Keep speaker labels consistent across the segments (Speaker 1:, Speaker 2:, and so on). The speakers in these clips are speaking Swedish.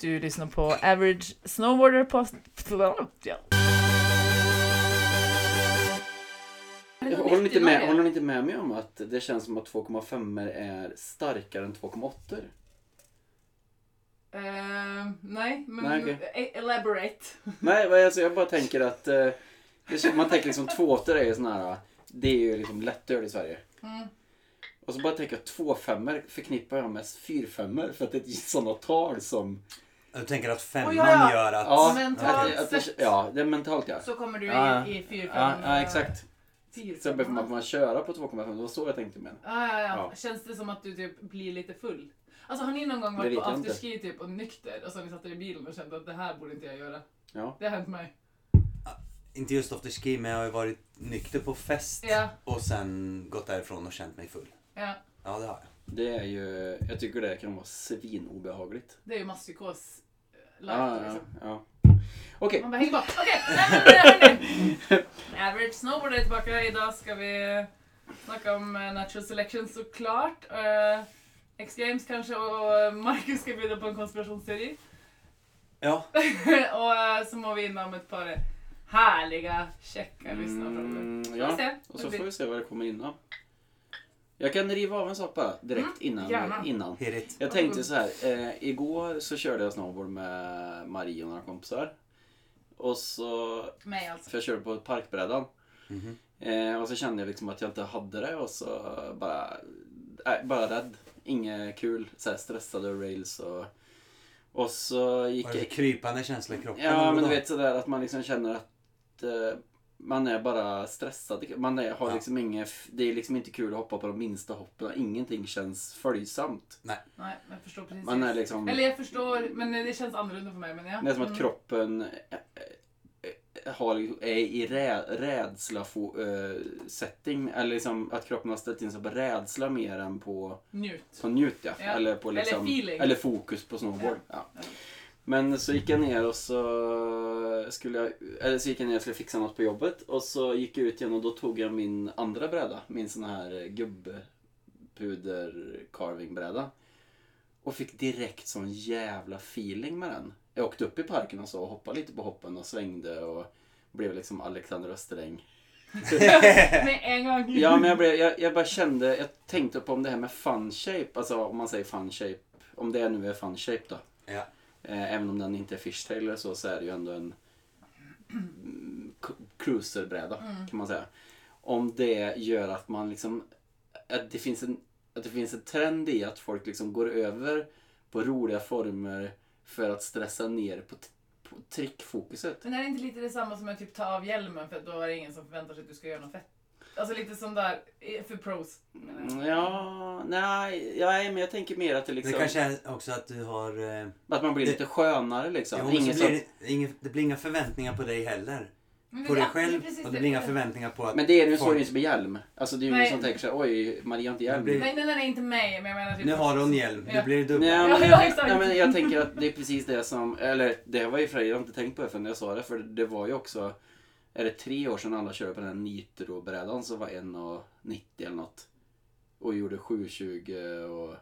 Speaker 1: Du lyssnar på Average Snowboarder Post... Ja.
Speaker 2: Håller ni inte med, håller ni inte med mig om att det känns som att 2,5 är starkare än 2,8?
Speaker 3: Eh, nej, men
Speaker 2: Nej, okej.
Speaker 3: e- elaborate.
Speaker 2: Nej, men alltså, jag bara tänker att eh, det känns, man tänker liksom 2,8 är ju sån här, det är ju liksom lättöl i Sverige.
Speaker 3: Mm.
Speaker 2: Och så bara tänker jag 2,5 förknippar jag med 4,5 för att det är sådana tal som...
Speaker 4: Du tänker att femman
Speaker 3: Oj, ja, ja.
Speaker 4: gör att...
Speaker 2: Ja,
Speaker 3: Mentalt
Speaker 2: att, att,
Speaker 3: sett.
Speaker 2: ja det är mentalt ja.
Speaker 3: Så kommer du
Speaker 2: Ja,
Speaker 3: i, i
Speaker 2: Ja,
Speaker 3: fyrkanten.
Speaker 2: ja Ah, exakt. Sen
Speaker 3: Fyrkanten.
Speaker 2: behöver man, får man köra på 2,5, det var så jag tänkte men.
Speaker 3: Ja, Ah, ja, ja.
Speaker 2: Ja.
Speaker 3: Känns det som att du typ blir lite full? Alltså har ni någon gång
Speaker 2: Det
Speaker 3: varit
Speaker 2: vet
Speaker 3: på
Speaker 2: jag inte.
Speaker 3: afterski typ och nykter och sen ni satt er i bilen och kände att det här borde inte jag göra?
Speaker 2: Ja.
Speaker 3: Det har hänt mig.
Speaker 4: Inte just after ski men jag har ju varit nykter på fest
Speaker 3: Ja.
Speaker 4: och sen gått därifrån och känt mig full.
Speaker 3: Ja,
Speaker 4: Ja det har jag.
Speaker 2: Det är ju, jag tycker det kan vara svinobehagligt.
Speaker 3: det är ju masspsykos eh, live
Speaker 2: Ah, Ja, ja,
Speaker 3: liksom.
Speaker 2: ja. Okej,
Speaker 3: Man bara hänger bara, okej, nej, men, nej, nej, nej. Average Snowboard är tillbaka. Idag ska vi snacka om eh, natural selection såklart. Uh, X-games kanske och eh, Marcus ska bjuda på en konspirationsteori.
Speaker 4: Ja,
Speaker 3: och eh, så må vi in om ett par härliga käcka lyssnarfrågor.
Speaker 2: Mm,
Speaker 3: Vi får
Speaker 2: ja.
Speaker 3: se.
Speaker 2: Och
Speaker 3: Det
Speaker 2: så
Speaker 3: blir-
Speaker 2: får vi se vad det kommer innan. Jag kan riva av en soppa direkt
Speaker 3: Mm, gärna.
Speaker 2: innan, innan.
Speaker 4: heligt.
Speaker 2: Jag tänkte så här. Eh, igår så körde jag snowboard med Marie och några kompisar. Och så,
Speaker 3: Mig alltså.
Speaker 2: för jag körde på parkbrädan.
Speaker 4: Mhm.
Speaker 2: Eh, och så kände jag liksom att jag inte hade det och så bara, äh, bara rädd. Inget kul. Så här stressad över rails och... Och så gick
Speaker 4: Var det krypande känsla i kroppen?
Speaker 2: Ja,
Speaker 4: eller
Speaker 2: men du
Speaker 4: vadå?
Speaker 2: vet sådär att man liksom känner att eh, man är bara stressad. Man är, har
Speaker 4: Ja.
Speaker 2: liksom inget, det är liksom inte kul att hoppa på de minsta hoppen. Ingenting känns följsamt.
Speaker 3: Nej, men jag förstår precis.
Speaker 2: Man är liksom,
Speaker 3: Eller jag förstår, men det känns annorlunda för mig. Men ja.
Speaker 2: det är som att
Speaker 3: Mm.
Speaker 2: kroppen eh, eh, har, är i rä, rädsla fo, eh, setting. Eller liksom att kroppen har ställt in sig på rädsla mer än på
Speaker 3: Njut.
Speaker 2: på njut ja.
Speaker 3: Ja.
Speaker 2: Eller, på
Speaker 3: Eller
Speaker 2: liksom,
Speaker 3: feeling.
Speaker 2: eller fokus på snowboard. Ja.
Speaker 3: Ja.
Speaker 2: Men så gick jag ner och så skulle jag, eller så gick jag ner och skulle fixa något på jobbet och så gick jag ut igen och då tog jag min andra bräda, min sån här gubbpuder carving bräda Och fick direkt sån jävla feeling med den. Jag åkte upp i parken och så och hoppade lite på hoppen och svängde och blev liksom Alexander Österläng.
Speaker 3: Med en gång.
Speaker 2: Ja, men jag, blev, jag, jag bara kände, jag tänkte på om det här med fun shape, alltså om man säger fun shape, om det nu är fun shape då.
Speaker 4: Ja.
Speaker 2: Eh, även om den inte är fishtail eller så, så är det ju ändå en mm, k- cruiserbräda
Speaker 3: Mm.
Speaker 2: kan man säga. Om det gör att man liksom, att det finns en, att det finns en trend i att folk liksom går över på roliga former för att stressa ner på, t- på trickfokuset.
Speaker 3: Men är det inte lite detsamma som att typ ta av hjälmen för att då är det ingen som förväntar sig att du ska göra något fett? Alltså lite som där, eh, för pros. menar jag.
Speaker 2: Ja, nej, nej, men jag tänker mer att det
Speaker 4: Det
Speaker 2: liksom...
Speaker 4: kanske är också att du har... Eh,
Speaker 2: Att man blir lite skönare liksom.
Speaker 4: jo,
Speaker 2: Jo,
Speaker 4: men så
Speaker 2: Ingen
Speaker 4: blir
Speaker 2: som...
Speaker 4: det, ingen, det blir inga förväntningar på dig heller.
Speaker 3: Men
Speaker 4: På
Speaker 3: det-
Speaker 4: dig
Speaker 3: ja,
Speaker 4: själv
Speaker 3: precis
Speaker 4: och det blir inga
Speaker 3: det-
Speaker 4: förväntningar på att...
Speaker 2: Men det är ju så
Speaker 4: folk-
Speaker 2: det är med hjälm. Alltså det är ju
Speaker 3: Nej.
Speaker 2: ingen som tänker sig oj, Maria har inte hjälm.
Speaker 4: Det blir-
Speaker 3: Nej, nej, nej, nej, inte mig, men jag menar typ...
Speaker 4: Nu har hon hjälm,
Speaker 3: Ja.
Speaker 4: nu blir det dubbel.
Speaker 2: Nej,
Speaker 3: Ja,
Speaker 2: men,
Speaker 3: ja, exakt.
Speaker 2: nej, men jag tänker att det är precis det som, eller det var ju för jag har inte tänkt på det förrän jag sa det, för det var ju också, är det tre år sedan alla körde på den här nitrobrädan som var 1,90 eller något. Och gjorde 7,20 och...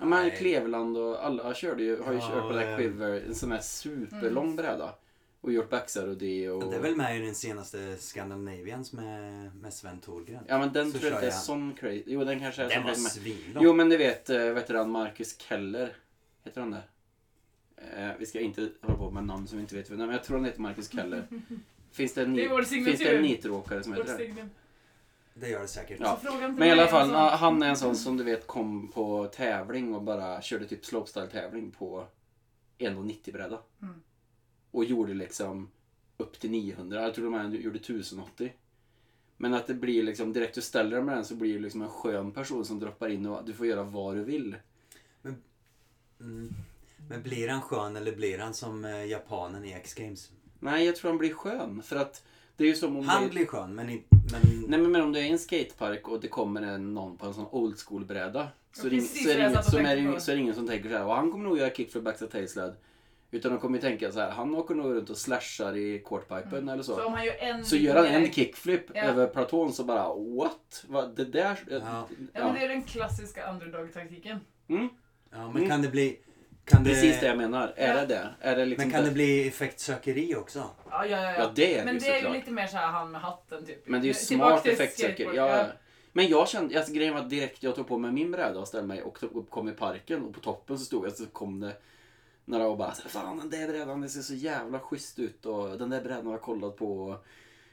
Speaker 2: Ja, men Cleveland och alla körde ju, har ju
Speaker 4: Ja,
Speaker 2: kört på Black
Speaker 4: ehm.
Speaker 2: Quiver, en sån här superlång
Speaker 3: Mm.
Speaker 2: bräda. Och gjort backside och det och...
Speaker 4: Det är väl med i den senaste Scandinavians med, med Sven Thorgren.
Speaker 2: Ja men den
Speaker 4: Så
Speaker 2: tror jag
Speaker 4: kör
Speaker 2: inte är
Speaker 4: jag.
Speaker 2: sån crazy. Jo den kanske är
Speaker 4: Den
Speaker 2: sån
Speaker 4: var
Speaker 2: crazy. men-
Speaker 4: svinlång.
Speaker 2: Jo men du vet, eh, vet du han Marcus Keller? Heter han det? Eh, vi ska inte hålla på med namn som vi inte vet. Nej, men jag tror han heter Marcus Keller. Finns det en,
Speaker 3: Det är vår
Speaker 2: ni-
Speaker 3: signatur.
Speaker 2: finns det en nitroåkare som
Speaker 3: Vårt
Speaker 2: heter det?
Speaker 3: signum.
Speaker 4: Det gör det säkert.
Speaker 2: Ja.
Speaker 3: Så fråga inte
Speaker 2: Men i
Speaker 3: mig
Speaker 2: alla
Speaker 3: om
Speaker 2: fall, ah,
Speaker 3: sånt.
Speaker 2: ja, han är en sån som du vet kom på tävling och bara körde typ slopestyle-tävling på 1,90-bräda.
Speaker 3: Mm.
Speaker 2: Och gjorde liksom upp till 900. Jag tror de här gjorde 1080. Men att det blir liksom, direkt du ställer dig med den så blir du liksom en skön person som droppar in och du får göra vad du vill.
Speaker 4: Mm. Men blir han skön eller blir han som eh, japanen i X-Games?
Speaker 2: Nej, jag tror han blir skön. För att det är ju som om...
Speaker 4: Han
Speaker 2: det...
Speaker 4: blir skön men, i, men
Speaker 2: Nej men men om du är i en skatepark och det kommer en, någon på en sån old school bräda.
Speaker 3: Ja,
Speaker 2: Så, är det ing-
Speaker 3: precis
Speaker 2: så, är
Speaker 3: vad
Speaker 2: det
Speaker 3: jag
Speaker 2: ingen,
Speaker 3: satt och
Speaker 2: som är, det
Speaker 3: tänkte
Speaker 2: ing-
Speaker 3: på.
Speaker 2: så är det ingen som tänker så här, och han kommer nog göra kickflip backside tailsled. Utan de kommer ju tänka så här, han åker nog runt och slashar i quartpipen eller
Speaker 3: Mm. Så
Speaker 2: så.
Speaker 3: om han gör en...
Speaker 2: Så gör han en kickflip
Speaker 3: Ja.
Speaker 2: över platån så bara what? Vad, det där... eh,
Speaker 4: Ja.
Speaker 3: Ja, men
Speaker 2: Ja.
Speaker 3: det är den klassiska underdog-taktiken.
Speaker 2: Mm.
Speaker 4: Ja, men
Speaker 2: Mm.
Speaker 4: kan det bli... Kan det,
Speaker 2: Precis det jag menar. Är
Speaker 3: Ja.
Speaker 2: det det? Är det liksom
Speaker 4: men kan
Speaker 2: det?
Speaker 4: det bli effektsökeri också?
Speaker 3: Ja, ja, ja.
Speaker 2: Ja, det är det
Speaker 3: Men
Speaker 2: ju
Speaker 3: det är ju
Speaker 2: såklart.
Speaker 3: lite mer såhär han med hatten typ.
Speaker 2: Men det är ju
Speaker 3: Tillbaka
Speaker 2: smart
Speaker 3: till
Speaker 2: effektsäker.
Speaker 3: skateboard,
Speaker 2: Ja, ja. Men jag kände, alltså, grejen var att direkt jag tog på mig min bräda och ställde mig och tog- kom i parken och på toppen så stod jag så kom det några och bara så här, Fan den där brädan den ser så jävla schysst ut och den där brädan har jag kollat på. Och,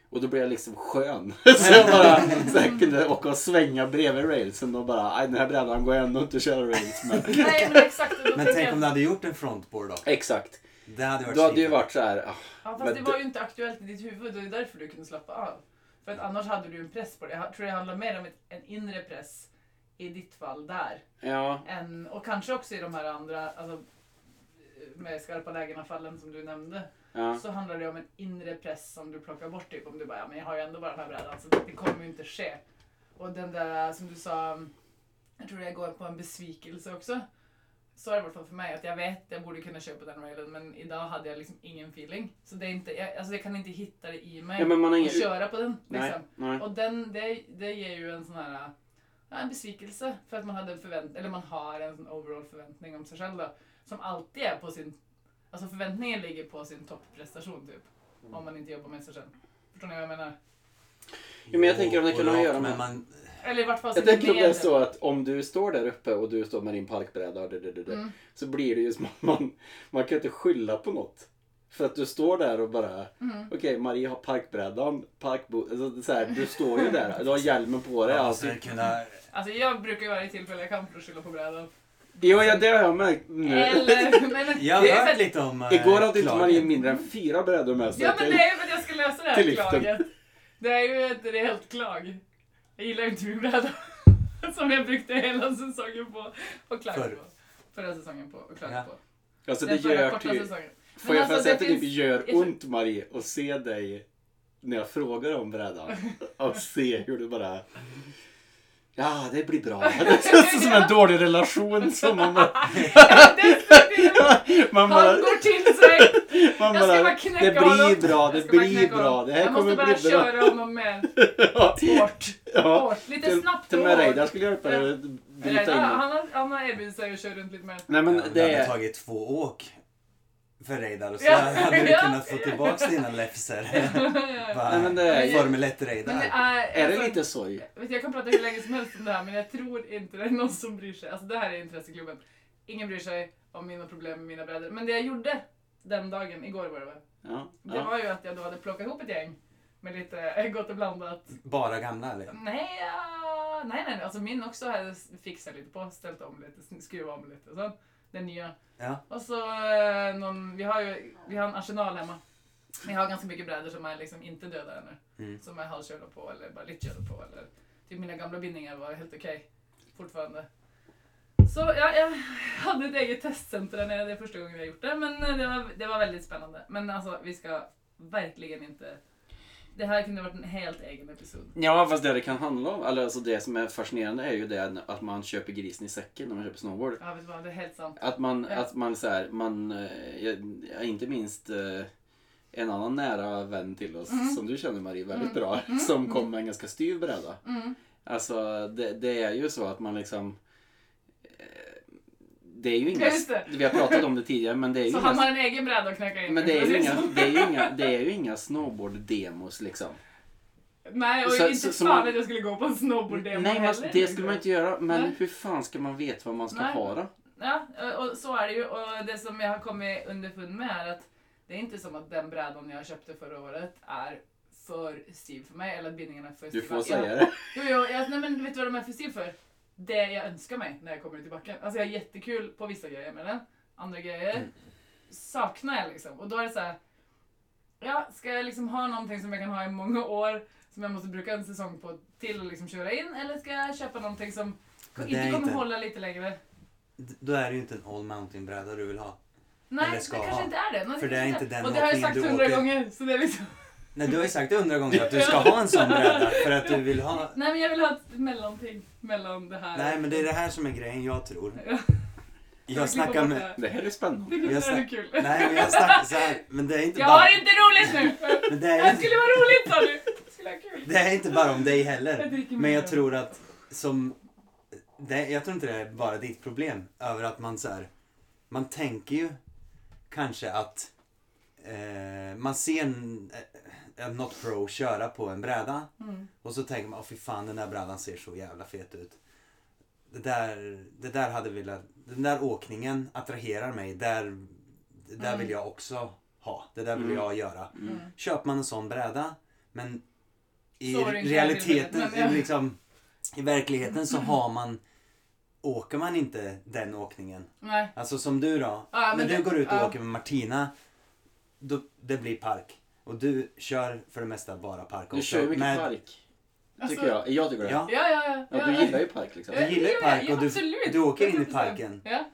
Speaker 2: och då blev jag liksom skön. så jag bara så jag kunde åka och svänga bredvid railsen och bara "Aj, den här brädan går jag ändå inte att köra rails med.
Speaker 3: Nej men exakt. och då
Speaker 4: Men
Speaker 3: tänker
Speaker 4: tänk
Speaker 3: jag-
Speaker 4: om du hade gjort en frontboard då?
Speaker 2: Exakt.
Speaker 4: Det hade varit
Speaker 2: Då hade ju
Speaker 4: svinbra.
Speaker 2: varit så här. "Ah,
Speaker 3: Ja,
Speaker 2: Men
Speaker 3: fast det
Speaker 2: det-
Speaker 3: var ju inte aktuellt i ditt huvud och det är därför du kunde slappa av. För att annars hade du ju en press på det. Jag tror det handlar mer om ett, en inre press i ditt fall där.
Speaker 2: Ja,
Speaker 3: Än, och kanske också i de här andra, alltså, eh, med skarpa lägena fallen som du nämnde.
Speaker 2: ja.
Speaker 3: Så handlar det om en inre press som du plockar bort. Typ om du bara, ja, men jag har ju ändå bara den här brädan så det kommer ju inte ske. Och den där som du sa, jag tror jag går på en besvikelse också. Så har det varit för mig, att jag vet jag borde kunna köpa den railen men idag hade jag liksom ingen feeling. Så det är inte, jag, alltså jag kan inte hitta det i mig
Speaker 2: ja men man
Speaker 3: och
Speaker 2: har ingen...
Speaker 3: köra på den.
Speaker 2: Nej,
Speaker 3: Liksom.
Speaker 2: nej.
Speaker 3: Och den, det, det ger ju en sån här ja, en besvikelse för att man hade en förvänt eller man har en sån overall förväntning om sig själv då, som alltid är på sin, alltså förväntningen ligger på sin topprestation typ.
Speaker 2: Mm.
Speaker 3: Om man inte jobbar med sig själv. Förstår ni vad jag menar?
Speaker 2: Ja, men jag tänker om det
Speaker 4: Jo,
Speaker 2: kunde
Speaker 4: och
Speaker 2: göra
Speaker 4: rakt,
Speaker 2: med-
Speaker 4: men man,
Speaker 3: Eller i vart fall sin
Speaker 2: Jag tänker om det är
Speaker 3: medel.
Speaker 2: så att om du står där uppe och du står med din parkbräda och det, det, det, det,
Speaker 3: Mm.
Speaker 2: så blir det ju som att man, man kan inte skylla på något. För att du står där och bara,
Speaker 3: Mm.
Speaker 2: okej Marie har parkbrädan, parkbo... Alltså, det är så här, du står ju där, du har hjälmen på dig.
Speaker 4: man
Speaker 2: Alltså.
Speaker 4: måste kunna...
Speaker 3: Alltså jag brukar ju varje tillfälle jag kan för att skylla på brädan.
Speaker 2: Jo, ja, det har jag märkt nu.
Speaker 3: Eller, men,
Speaker 4: Jag
Speaker 3: det är
Speaker 4: har
Speaker 3: för
Speaker 4: hört
Speaker 3: att-
Speaker 4: lite om... eh,
Speaker 2: Igår hade inte
Speaker 4: klagen.
Speaker 2: Marie mindre än fyra brädor med sig.
Speaker 3: Ja men
Speaker 2: till-
Speaker 3: det är ju för att jag ska lösa det här
Speaker 2: till liften.
Speaker 3: klaget. Det är ju ett rejält klag. Jag gillar ju inte min bräda. Som jag brukade hela säsongen på och klaga
Speaker 4: Förr.
Speaker 3: på. Förra säsongen på och klaga
Speaker 4: Ja.
Speaker 3: på.
Speaker 2: Alltså det
Speaker 3: Den förra
Speaker 2: gör
Speaker 3: korta
Speaker 2: typ...
Speaker 3: säsongen.
Speaker 2: Får jag
Speaker 3: alltså,
Speaker 2: alltså, säga att
Speaker 3: det
Speaker 2: det typ
Speaker 3: finns-
Speaker 2: gör
Speaker 3: jag-
Speaker 2: ont Marie att se dig när jag frågar om brädan. Och se hur du bara... Ja, det blir bra. Det känns som en dålig relation som man bara... Man bara,
Speaker 3: Han går till sig.
Speaker 2: man
Speaker 3: Jag ska
Speaker 2: bara
Speaker 3: bara
Speaker 2: det
Speaker 3: knäcka honom.
Speaker 2: blir bra,
Speaker 3: Jag
Speaker 2: det
Speaker 3: ska bara
Speaker 2: blir
Speaker 3: knäcka
Speaker 2: bra.
Speaker 3: honom.
Speaker 2: Det här
Speaker 3: Jag måste
Speaker 2: kommer
Speaker 3: bara
Speaker 2: bli bra.
Speaker 3: köra honom med
Speaker 2: Ja,
Speaker 3: hårt.
Speaker 2: ja.
Speaker 3: hårt. Lite
Speaker 2: Till-
Speaker 3: snabbt
Speaker 2: Till
Speaker 3: och
Speaker 2: och med Reidar
Speaker 3: hårt.
Speaker 2: skulle hjälpa dig att
Speaker 3: Eller, ja,
Speaker 2: bryta in. i-
Speaker 3: Han har- han har erbjudit sig att köra runt lite mer.
Speaker 2: Nej
Speaker 4: Ja,
Speaker 2: men
Speaker 4: men det
Speaker 2: det
Speaker 4: hade
Speaker 2: är...
Speaker 4: tagit två åk för Reidar och så
Speaker 3: Ja,
Speaker 4: hade du
Speaker 3: ja.
Speaker 4: kunnat få tillbaka dina läfser. Bara,
Speaker 2: Nej, men det är-
Speaker 4: Formel
Speaker 3: Men det
Speaker 4: 1-Reidar.
Speaker 3: är,
Speaker 2: Är det
Speaker 3: alltså-
Speaker 2: lite sorg?
Speaker 3: Vet, du, jag kan prata hur länge som helst om det här men jag tror inte det är någon som bryr sig. Alltså det här är intresseklubben. Ingen bryr sig om mina problem med mina brädor. Men det jag gjorde den dagen, igår var det väl?
Speaker 2: Ja,
Speaker 3: Det
Speaker 2: ja.
Speaker 3: var ju att jag då hade plockat ihop ett gäng med lite eh, gott och blandat.
Speaker 4: Bara gamla liksom. eller?
Speaker 3: Nej, ja, nej, nej, nej. Alltså min också hade s- fixat lite på, ställt om lite, skruvat om lite och så. Den nya.
Speaker 4: Ja.
Speaker 3: Och så eh, någon, vi har ju, vi har en arsenal hemma. Vi har ganska mycket brädor som är liksom inte döda ännu.
Speaker 4: Mm.
Speaker 3: Som är halvkörda på eller bara lite körda på. Eller, typ mina gamla bindningar var helt okej fortfarande. Så ja, jag hade ett eget testcenter där nere, det är första gången vi har gjort det. Men eh, det var, det var väldigt spännande. Men alltså vi ska verkligen inte... Det här kunde varit en helt egen episod.
Speaker 2: Ja, fast det det kan handla om, eller alltså det som är fascinerande är ju det att man köper grisen i säcken när man köper snowboard.
Speaker 3: Ja, vet du vad, det är helt sant.
Speaker 2: Att man,
Speaker 3: Ja.
Speaker 2: att man så här, man, eh, ja, inte minst eh, en annan nära vän till oss
Speaker 3: Mm.
Speaker 2: som du känner Marie väldigt bra, som kom med en ganska styv bräda.
Speaker 3: Mm.
Speaker 2: Alltså det, det är ju så att man liksom eh, det är ju inga,
Speaker 3: Just det.
Speaker 2: vi har pratat om det tidigare, men det är ju
Speaker 3: Så
Speaker 2: inga,
Speaker 3: han har en egen bräda att knäcka in
Speaker 2: men det är ju
Speaker 3: Precis.
Speaker 2: inga, det är ju inga, det är ju inga snowboard-demos liksom.
Speaker 3: Nej, och
Speaker 2: Så-
Speaker 3: inte
Speaker 2: så- så
Speaker 3: fan
Speaker 2: man-
Speaker 3: att jag skulle gå på en snowboard-demo
Speaker 2: Nej, men
Speaker 3: heller,
Speaker 2: det
Speaker 3: liksom.
Speaker 2: skulle man inte göra, men
Speaker 3: Nej.
Speaker 2: hur fan ska man veta vad man ska
Speaker 3: Nej.
Speaker 2: ha då?
Speaker 3: Ja, och så är det ju. Och det som jag har kommit underfund med är att det är inte som att den brädan jag köpte förra året är för stiv för mig, eller att bindningarna är för
Speaker 2: Du
Speaker 3: stiva.
Speaker 2: får
Speaker 3: Jag-
Speaker 2: säga det.
Speaker 3: Jo, jo, jag, nej, men vet du vad de är för stil för? Det jag önskar mig när jag kommer ut i backen. Alltså jag är jättekul på vissa grejer med den. Andra
Speaker 4: Mm.
Speaker 3: grejer saknar jag liksom. Och då är det så här. Ja, ska jag liksom ha någonting som jag kan ha i många år som jag måste bruka en säsong på till att liksom köra in? Eller ska jag köpa någonting som
Speaker 4: Men det
Speaker 3: inte
Speaker 4: är
Speaker 3: kommer
Speaker 4: inte-
Speaker 3: hålla lite längre?
Speaker 4: D- Då är det ju inte en all mountain-bräda du vill ha.
Speaker 3: Nej,
Speaker 4: Eller
Speaker 3: det
Speaker 4: ska
Speaker 3: kanske
Speaker 4: ha.
Speaker 3: inte är det. Nej,
Speaker 4: För det är
Speaker 3: kanske
Speaker 4: inte den
Speaker 3: Och det har jag
Speaker 4: åkningen
Speaker 3: sagt
Speaker 4: du
Speaker 3: hundra
Speaker 4: åker.
Speaker 3: gånger. Så det är liksom...
Speaker 4: Nej, du har ju sagt hundra gånger att du ska ha en sån bräda för att du vill ha...
Speaker 3: Nej, men jag vill ha ett mellanting mellan det här.
Speaker 4: Nej, men det är det här som är grejen jag tror.
Speaker 3: Ja.
Speaker 4: Jag snackar med...
Speaker 2: Det här är spännande.
Speaker 3: Det
Speaker 4: Jag
Speaker 3: är
Speaker 4: snack-
Speaker 3: lite kul.
Speaker 4: Nej, men jag snackar så här, men det är inte
Speaker 3: Jag har
Speaker 4: bara...
Speaker 3: inte roligt nu!
Speaker 4: Men det är
Speaker 3: Det
Speaker 4: inte...
Speaker 3: skulle vara roligt sa du! Det skulle vara kul.
Speaker 4: Det är inte bara om dig
Speaker 3: Jag
Speaker 4: heller.
Speaker 3: dricker
Speaker 4: Men jag
Speaker 3: mer.
Speaker 4: tror att som... Det, jag tror inte det är bara ditt problem. Över att man så här, Man tänker ju kanske att eh, man ser en, eh, något pro köra på en bräda
Speaker 3: Mm.
Speaker 4: och så tänker man, "Åh, fy fan den där brädan ser så jävla fet ut. Det där, det där hade velat, den där åkningen attraherar mig, där, det där
Speaker 3: Mm.
Speaker 4: vill jag också ha, det där vill
Speaker 2: Mm.
Speaker 4: jag göra.
Speaker 2: Mm.
Speaker 4: Köper man en sån bräda, men i
Speaker 3: Så är det inte
Speaker 4: realiteten,
Speaker 3: verkligheten, men ja.
Speaker 4: i liksom, i verkligheten så har man, åker man inte den åkningen.
Speaker 3: Nej.
Speaker 4: Alltså som du då.
Speaker 3: Ja, men
Speaker 4: när du
Speaker 3: det-
Speaker 4: går ut och
Speaker 3: ja.
Speaker 4: åker med Martina, då, det blir park. Och du kör för det mesta bara park
Speaker 2: Du
Speaker 4: också.
Speaker 2: kör ju mycket
Speaker 4: Men-
Speaker 2: park.
Speaker 3: Alltså- Eh,
Speaker 2: Tycker jag. Jag tycker det.
Speaker 4: Ja,
Speaker 3: Ja, ja, ja.
Speaker 2: Ja, du gillar ju park liksom.
Speaker 4: du gillar ju
Speaker 3: Ja,
Speaker 4: park
Speaker 3: ja,
Speaker 4: och du,
Speaker 3: absolut.
Speaker 4: du åker in i
Speaker 3: 100%.
Speaker 4: parken.
Speaker 3: Ja.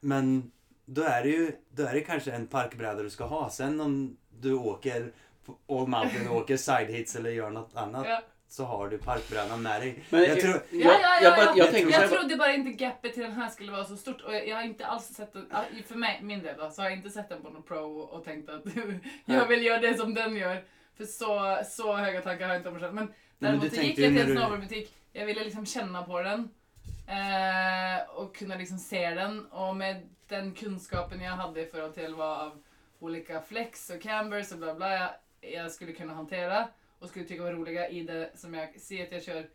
Speaker 4: Men då är det ju då är det kanske en parkbräda du ska ha. Sen om du åker på- och mountain åker side hits eller gör något annat
Speaker 3: Ja.
Speaker 4: så har du parkbrädan med dig.
Speaker 2: Men
Speaker 4: jag tror,
Speaker 3: Ja, ja, ja,
Speaker 2: jag, bara-
Speaker 3: ja.
Speaker 2: jag tänker så
Speaker 3: Jag
Speaker 2: här, bara-
Speaker 3: trodde bara inte gapet till den här skulle vara så stort och jag jag har inte alls sett den, ja, för mig, min del då, så har jag inte sett den på någon pro och tänkt att jag vill göra det som den gör. För så, så höga tankar har jag inte om mig själv. Men
Speaker 4: men du
Speaker 3: däremot så gick
Speaker 4: tänkte
Speaker 3: jag
Speaker 4: ju
Speaker 3: till en
Speaker 4: när du-
Speaker 3: snowboardbutik, jag ville liksom känna på den eh, och kunna liksom se den och med den kunskapen jag hade i förhållande till vad av olika flex och cambers och bla bla jag, jag skulle kunna hantera och skulle tycka var roliga i det som jag ser att jag kör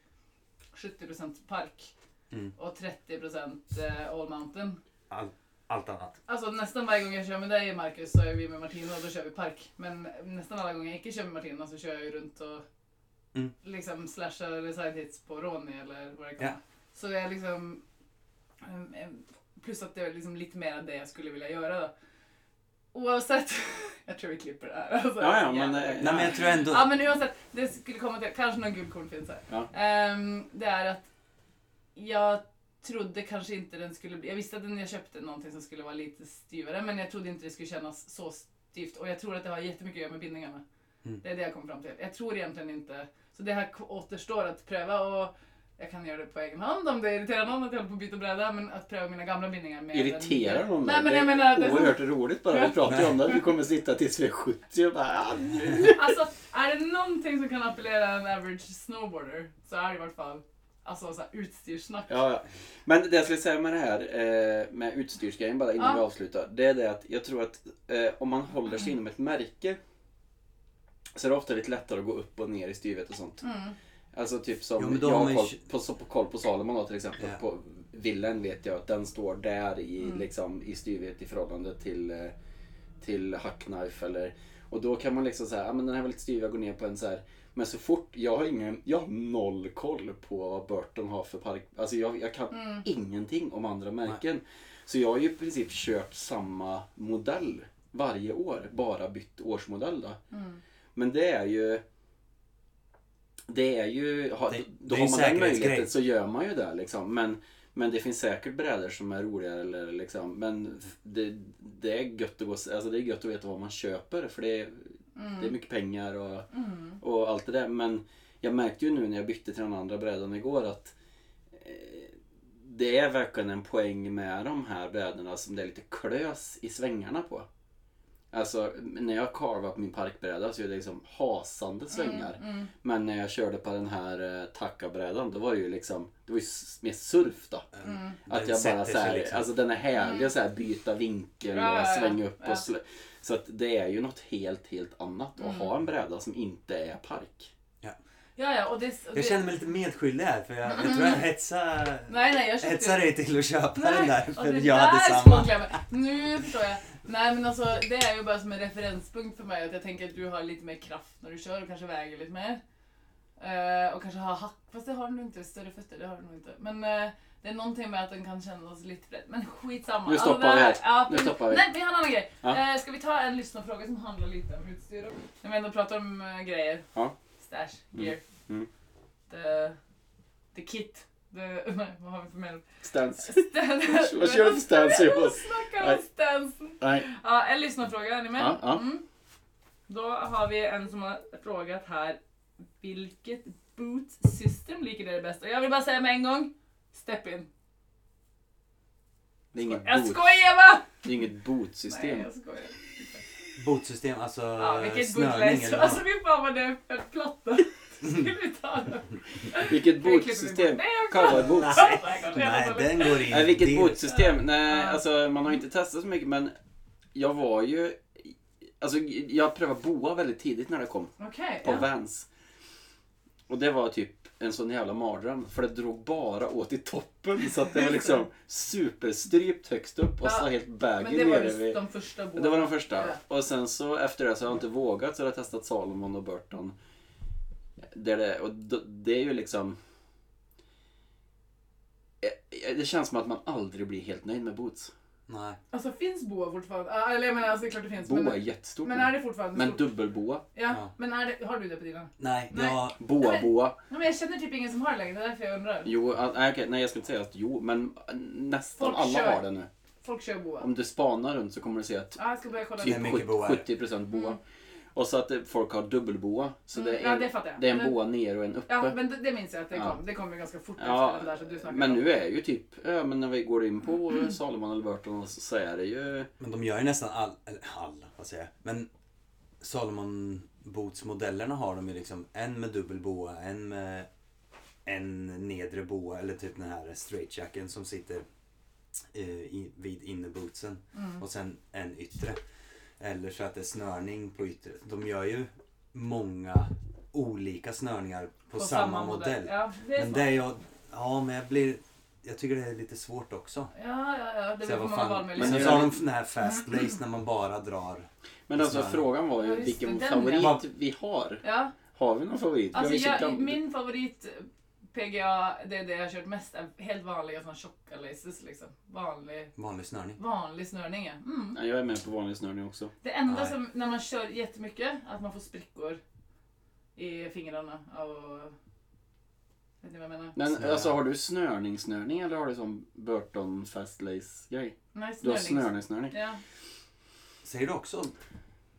Speaker 3: 70% park
Speaker 4: Mm.
Speaker 3: och 30% eh, all mountain.
Speaker 4: all, allt annat.
Speaker 3: Alltså nästan varje gång jag kör med dig Marcus så är vi med Martina och då kör vi park. Men nästan alla gånger jag inte kör med Martina så kör jag ju runt och
Speaker 4: Mm.
Speaker 3: liksom slashar eller side hits på Ronny eller vad det kan
Speaker 4: Ja.
Speaker 3: vara. Så jag liksom... em, em, Plus att det är liksom lite mer av det jag skulle vilja göra då. Oavsett. jag tror vi klipper det här. Alltså,
Speaker 2: Ja, ja,
Speaker 3: jävla-
Speaker 2: men, eh,
Speaker 4: Nej men jag tror ändå...
Speaker 3: Ja men oavsett, det skulle komma till, kanske någon guldkorn finns här.
Speaker 2: Ja.
Speaker 3: Ehm, det är att jag trodde kanske inte den skulle bli, jag visste att den jag köpte någonting som skulle vara lite styvare men jag trodde inte det skulle kännas så styvt och jag tror att det har jättemycket att göra med bindningarna.
Speaker 4: Mm.
Speaker 3: Det är det jag kom fram till. Jag tror egentligen inte, så det här k- återstår att pröva och jag kan göra det på egen hand om det irriterar någon att jag håller på att byta bräda men att pröva mina gamla bindningar med den
Speaker 2: Irriterar
Speaker 3: nya.
Speaker 2: någon
Speaker 3: Nej
Speaker 2: dig?
Speaker 3: men jag
Speaker 2: Det är
Speaker 3: menar, det är så-
Speaker 2: Oerhört roligt bara. Vi pratar ju om det. att Vi kommer sitta tills vi är 70 och bara... ah,
Speaker 3: Alltså, är det någonting som kan appellera en average snowboarder så är det i vart fall alltså, så här, utstyrssnack.
Speaker 2: Ja, ja. Men det jag skulle säga med det här eh, med utstyrsgrejen bara innan
Speaker 3: Ja.
Speaker 2: vi avslutar. Det är det att jag tror att eh, om man håller sig inom ett märke så är det ofta lite lättare att gå upp och ner i styvhet och sånt.
Speaker 3: Mm.
Speaker 2: Alltså typ som
Speaker 4: Jo, men då
Speaker 2: jag
Speaker 4: har
Speaker 2: har
Speaker 4: man ju
Speaker 2: koll
Speaker 4: kö-
Speaker 2: på, så- på, koll på Salomon då till exempel.
Speaker 4: Ja.
Speaker 2: På villen vet jag att den står där i,
Speaker 3: Mm.
Speaker 2: liksom, i styvhet i förhållande till, eh, till hackknife eller och då kan man liksom säga, ah, men den här var lite styv, jag går ner på en så här. Men så fort, jag har ingen, jag har noll koll på vad Burton har för park, alltså jag, jag kan
Speaker 3: Mm.
Speaker 2: ingenting om andra märken. Så jag har ju i princip kört samma modell varje år, bara bytt årsmodell då.
Speaker 3: Mm.
Speaker 2: Men det är ju... Det är ju... Ha,
Speaker 4: Det-
Speaker 2: då
Speaker 4: det är
Speaker 2: har
Speaker 4: ju
Speaker 2: man den
Speaker 4: säkerhetsgrej.
Speaker 2: möjligheten så gör man ju det liksom. Men, men det finns säkert brädor som är roligare eller liksom. Men f- det, det är gött att gå... Alltså det är gött att veta vad man köper för det, är- det är mycket pengar och,
Speaker 3: Mm.
Speaker 2: och allt det där. Men jag märkte ju nu när jag bytte till den andra brädan igår att eh, det är verkligen en poäng med de här brädorna som det är lite klös i svängarna på. Alltså när jag karvat min parkbräda så är det liksom hasande svängar.
Speaker 3: Mm.
Speaker 2: Men när jag körde på den här eh, tackabrädan då var det ju liksom, det var ju s- mer surf då.
Speaker 3: Mm.
Speaker 2: Att
Speaker 4: Den
Speaker 2: jag
Speaker 4: sätter
Speaker 2: bara
Speaker 4: sig
Speaker 2: så här,
Speaker 4: liksom.
Speaker 2: alltså den är härlig att så här byta vinkel
Speaker 3: Ja,
Speaker 2: och
Speaker 3: ja, ja.
Speaker 2: svänga upp
Speaker 3: Ja.
Speaker 2: och slå. Så att det är ju något helt, helt annat att
Speaker 3: Mm.
Speaker 2: ha en bräda som inte är park.
Speaker 3: Ja, ja, och det... Och det
Speaker 4: Jag känner mig lite medskyldig här för jag, jag tror jag hetsar
Speaker 3: Nej, nej, Mm. jag köpte
Speaker 4: hetsar dig till att köpa den där
Speaker 3: Nej, och
Speaker 4: för
Speaker 3: det
Speaker 4: jag
Speaker 3: där
Speaker 4: hade
Speaker 3: små
Speaker 4: samma.
Speaker 3: klämmar. Nu förstår jag. Nej men alltså det är ju bara som en referenspunkt för mig att jag tänker att du har lite mer kraft när du kör och kanske väger lite mer. Eh, och kanske har hack, fast det har du nog inte, större fötter det har du nog inte. Men eh, det är någonting med att den kan kännas lite bredd. Men skitsamma.
Speaker 2: Nu stoppar
Speaker 3: det
Speaker 2: vi här.
Speaker 3: Ja,
Speaker 2: Nu stoppar vi.
Speaker 3: Nej vi har en annan grej.
Speaker 2: Ja.
Speaker 3: Eh, ska vi ta en lyssnarfråga som handlar lite om utstyr? och- När vi ändå pratar om eh, grejer.
Speaker 2: Ja.
Speaker 3: Stash, gear.
Speaker 2: Mm.
Speaker 3: The, the kit. The, nej, vad har vi för mer?
Speaker 2: Stance.
Speaker 3: Stans.
Speaker 2: Vad kör du för stance Jonas?
Speaker 3: Snackar
Speaker 2: Nej.
Speaker 3: om stansen.
Speaker 2: Nej.
Speaker 3: Ja, en lyssnarfråga, är ni med?
Speaker 2: Ja, ja.
Speaker 3: Mm. Då har vi en som har frågat här. Vilket boot system liker dig bäst? Och jag vill bara säga med en gång. Step in.
Speaker 2: Det är inget
Speaker 3: Jag
Speaker 2: boot,
Speaker 3: skojar va?
Speaker 2: det är inget
Speaker 3: Nej,
Speaker 2: bootsystem.
Speaker 3: jag skojar.
Speaker 4: Botsystem, alltså
Speaker 3: Ja, vilket bootleg.
Speaker 4: Eh, snörning eller
Speaker 3: Alltså
Speaker 4: något.
Speaker 3: fy fan vad det är för platta. Skulle vi ta den? Det
Speaker 2: Vilket
Speaker 3: klipper vi bort.
Speaker 2: bootsystem?
Speaker 3: Nej, jag kan-
Speaker 2: Cowboyboots?
Speaker 3: Nej, kanske jag
Speaker 4: Nej,
Speaker 3: tar den.
Speaker 4: den går in.
Speaker 2: Nej, vilket
Speaker 4: Det-
Speaker 2: botsystem? Nej, alltså man har inte testat så mycket men jag var ju... Alltså jag prövade boa väldigt tidigt när det kom
Speaker 3: Okej.
Speaker 2: på
Speaker 3: ja.
Speaker 2: Vans. Och det var typ en sån jävla mardröm för det drog bara åt i toppen så att det var liksom superstrypt högst upp och så
Speaker 3: Ja,
Speaker 2: helt
Speaker 3: Men
Speaker 2: baggy
Speaker 3: det var
Speaker 2: nere
Speaker 3: ju
Speaker 2: vid...
Speaker 3: de första båda.
Speaker 2: Det var de första.
Speaker 3: Ja.
Speaker 2: Och sen så efter det så har jag inte vågat så har jag testat Salomon och Burton. Det är det, och då- det är ju liksom... Eh, eh, Det känns som att man aldrig blir helt nöjd med boots.
Speaker 4: Nej.
Speaker 3: Alltså finns boa fortfarande? Ah, Eller jag menar, alltså, det är klart det finns.
Speaker 2: Boa är
Speaker 3: men,
Speaker 2: jättestort
Speaker 3: men
Speaker 2: nu.
Speaker 3: är det fortfarande
Speaker 2: men
Speaker 3: stort?
Speaker 2: dubbelboa.
Speaker 3: ja,
Speaker 4: Ja.
Speaker 3: men är det, har du det på dina?
Speaker 4: Nej,
Speaker 3: Nej.
Speaker 4: jag...
Speaker 2: Boa,
Speaker 3: Men-
Speaker 2: boa.
Speaker 3: Nej, men jag känner typ ingen som har det längre, det är därför jag undrar.
Speaker 2: Jo, ah, nej, okej, nej jag skulle inte säga att jo, men nästan
Speaker 3: Folk
Speaker 2: alla
Speaker 3: kör.
Speaker 2: har det nu.
Speaker 3: Folk kör boa.
Speaker 2: Om du spanar runt så kommer du se att
Speaker 3: Ja, jag ska börja kolla.
Speaker 4: Det
Speaker 2: typ
Speaker 4: är
Speaker 3: nu.
Speaker 4: mycket boa.
Speaker 2: 70% boa.
Speaker 3: Mm.
Speaker 2: Och så att eh, folk har dubbelboa. Så det
Speaker 3: Mm,
Speaker 2: är
Speaker 3: ja,
Speaker 2: en,
Speaker 3: det fattar jag.
Speaker 2: det är en
Speaker 3: Men-
Speaker 2: boa ner och en uppe.
Speaker 3: Ja, men det, det minns jag att det
Speaker 2: Ja.
Speaker 3: kom. Det kom ju ganska fort
Speaker 2: Ja,
Speaker 3: efter den där som du snackade
Speaker 2: men
Speaker 3: om. Mm.
Speaker 2: nu är ju typ, ja, men när vi går in på Salomon eller Burton så, så är det ju,
Speaker 4: Men de gör ju nästan all, eller alla, vad säger jag? Men Salomon Boots-modellerna har de ju liksom en med dubbel boa, en med en nedre boa eller typ den här straightjacken som sitter eh, i, vid innerbootsen och sen en yttre. Eller så att det är snörning på yttre. De gör ju många olika snörningar på, samma, modell.
Speaker 3: Ja, det är
Speaker 4: men
Speaker 3: sant.
Speaker 4: det är jag, ja men jag blir, jag tycker det är lite svårt också.
Speaker 3: Ja, ja, ja. Det
Speaker 4: Så jag,
Speaker 3: blir för
Speaker 4: vad
Speaker 3: många
Speaker 4: fan, men
Speaker 3: valmöjligheter.
Speaker 4: sen
Speaker 2: Men
Speaker 4: så
Speaker 2: jag-
Speaker 4: har de den här fast lace när man bara drar.
Speaker 2: men alltså
Speaker 4: Snarare.
Speaker 2: frågan var ju
Speaker 3: Ja, just
Speaker 2: vilken
Speaker 3: det, den
Speaker 2: favorit
Speaker 4: ja.
Speaker 2: vi har.
Speaker 3: Ja,
Speaker 2: Har vi någon favorit?
Speaker 3: alltså
Speaker 2: vi har ju så
Speaker 3: jag,
Speaker 2: gam-
Speaker 3: min favorit PGA, det är det jag har kört mest, är helt vanliga såna tjocka laces liksom. Vanlig,
Speaker 4: Vanlig snörning.
Speaker 3: vanlig snörning ja. mm.
Speaker 2: Nej, jag är med på vanlig snörning också.
Speaker 3: Det enda
Speaker 4: Nej.
Speaker 3: som, när man kör jättemycket, att man får sprickor i fingrarna av... Vet ni vad jag menar?
Speaker 2: Men
Speaker 4: Snö.
Speaker 2: alltså har du snörning-snörning eller har du som Burton fast lace-grej?
Speaker 3: Nej,
Speaker 2: Du har
Speaker 3: snörning.
Speaker 2: snörning-snörning?
Speaker 3: Ja.
Speaker 4: Säger du också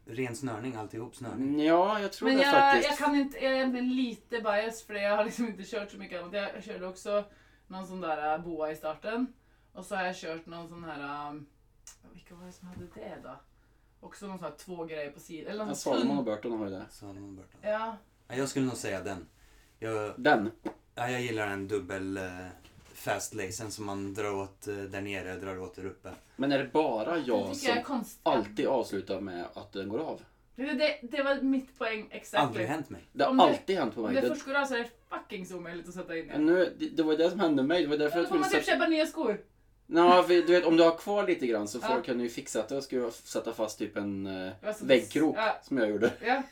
Speaker 4: ren snörning, alltihop snörning?
Speaker 2: Ja, jag tror
Speaker 3: Men
Speaker 2: det
Speaker 3: jag,
Speaker 2: faktiskt.
Speaker 3: jag kan inte, jag är egentligen lite bias för det. jag har liksom inte kört så mycket annat. Jag körde också någon sån där äh, boa i starten. Och så har jag kört någon sån här, ähm, vilka var det som hade det då? Också någon sån här två grejer på sidan. Eller
Speaker 2: Ja,
Speaker 3: någon sån
Speaker 2: Salomon och
Speaker 3: tunn.
Speaker 2: Burton har ju det.
Speaker 4: Salomon Burton.
Speaker 3: Ja,
Speaker 4: Ja, jag skulle nog säga den. Jag,
Speaker 2: Den.
Speaker 4: ja, jag gillar den dubbel eh, fast lacen som man drar åt eh, där nere, drar åt där uppe.
Speaker 2: Men är det bara
Speaker 3: det
Speaker 2: jag
Speaker 3: tycker jag är
Speaker 2: som
Speaker 3: konstigt.
Speaker 2: alltid avslutar med att den går av?
Speaker 3: Det, det, det var mitt poäng exakt.
Speaker 4: Aldrig hänt mig.
Speaker 2: Det har
Speaker 3: Om det-
Speaker 2: alltid hänt på
Speaker 3: Om
Speaker 2: mig.
Speaker 3: det
Speaker 2: Det,
Speaker 3: först går av så är det fucking så omöjligt att sätta in
Speaker 2: Ja,
Speaker 3: det.
Speaker 2: nu, det, det var ju det som hände mig. Det var därför
Speaker 3: Då
Speaker 2: Mm, jag
Speaker 3: får
Speaker 2: ville
Speaker 3: man typ köpa nya skor.
Speaker 2: Nå, för, du vet, om du har kvar lite grann så
Speaker 3: Ja.
Speaker 2: får, kan du ju fixa att du ska sätta fast typ en eh,
Speaker 3: Ja, så-
Speaker 2: väggkrok
Speaker 3: Alltså, ja.
Speaker 2: som jag gjorde.
Speaker 3: Ja,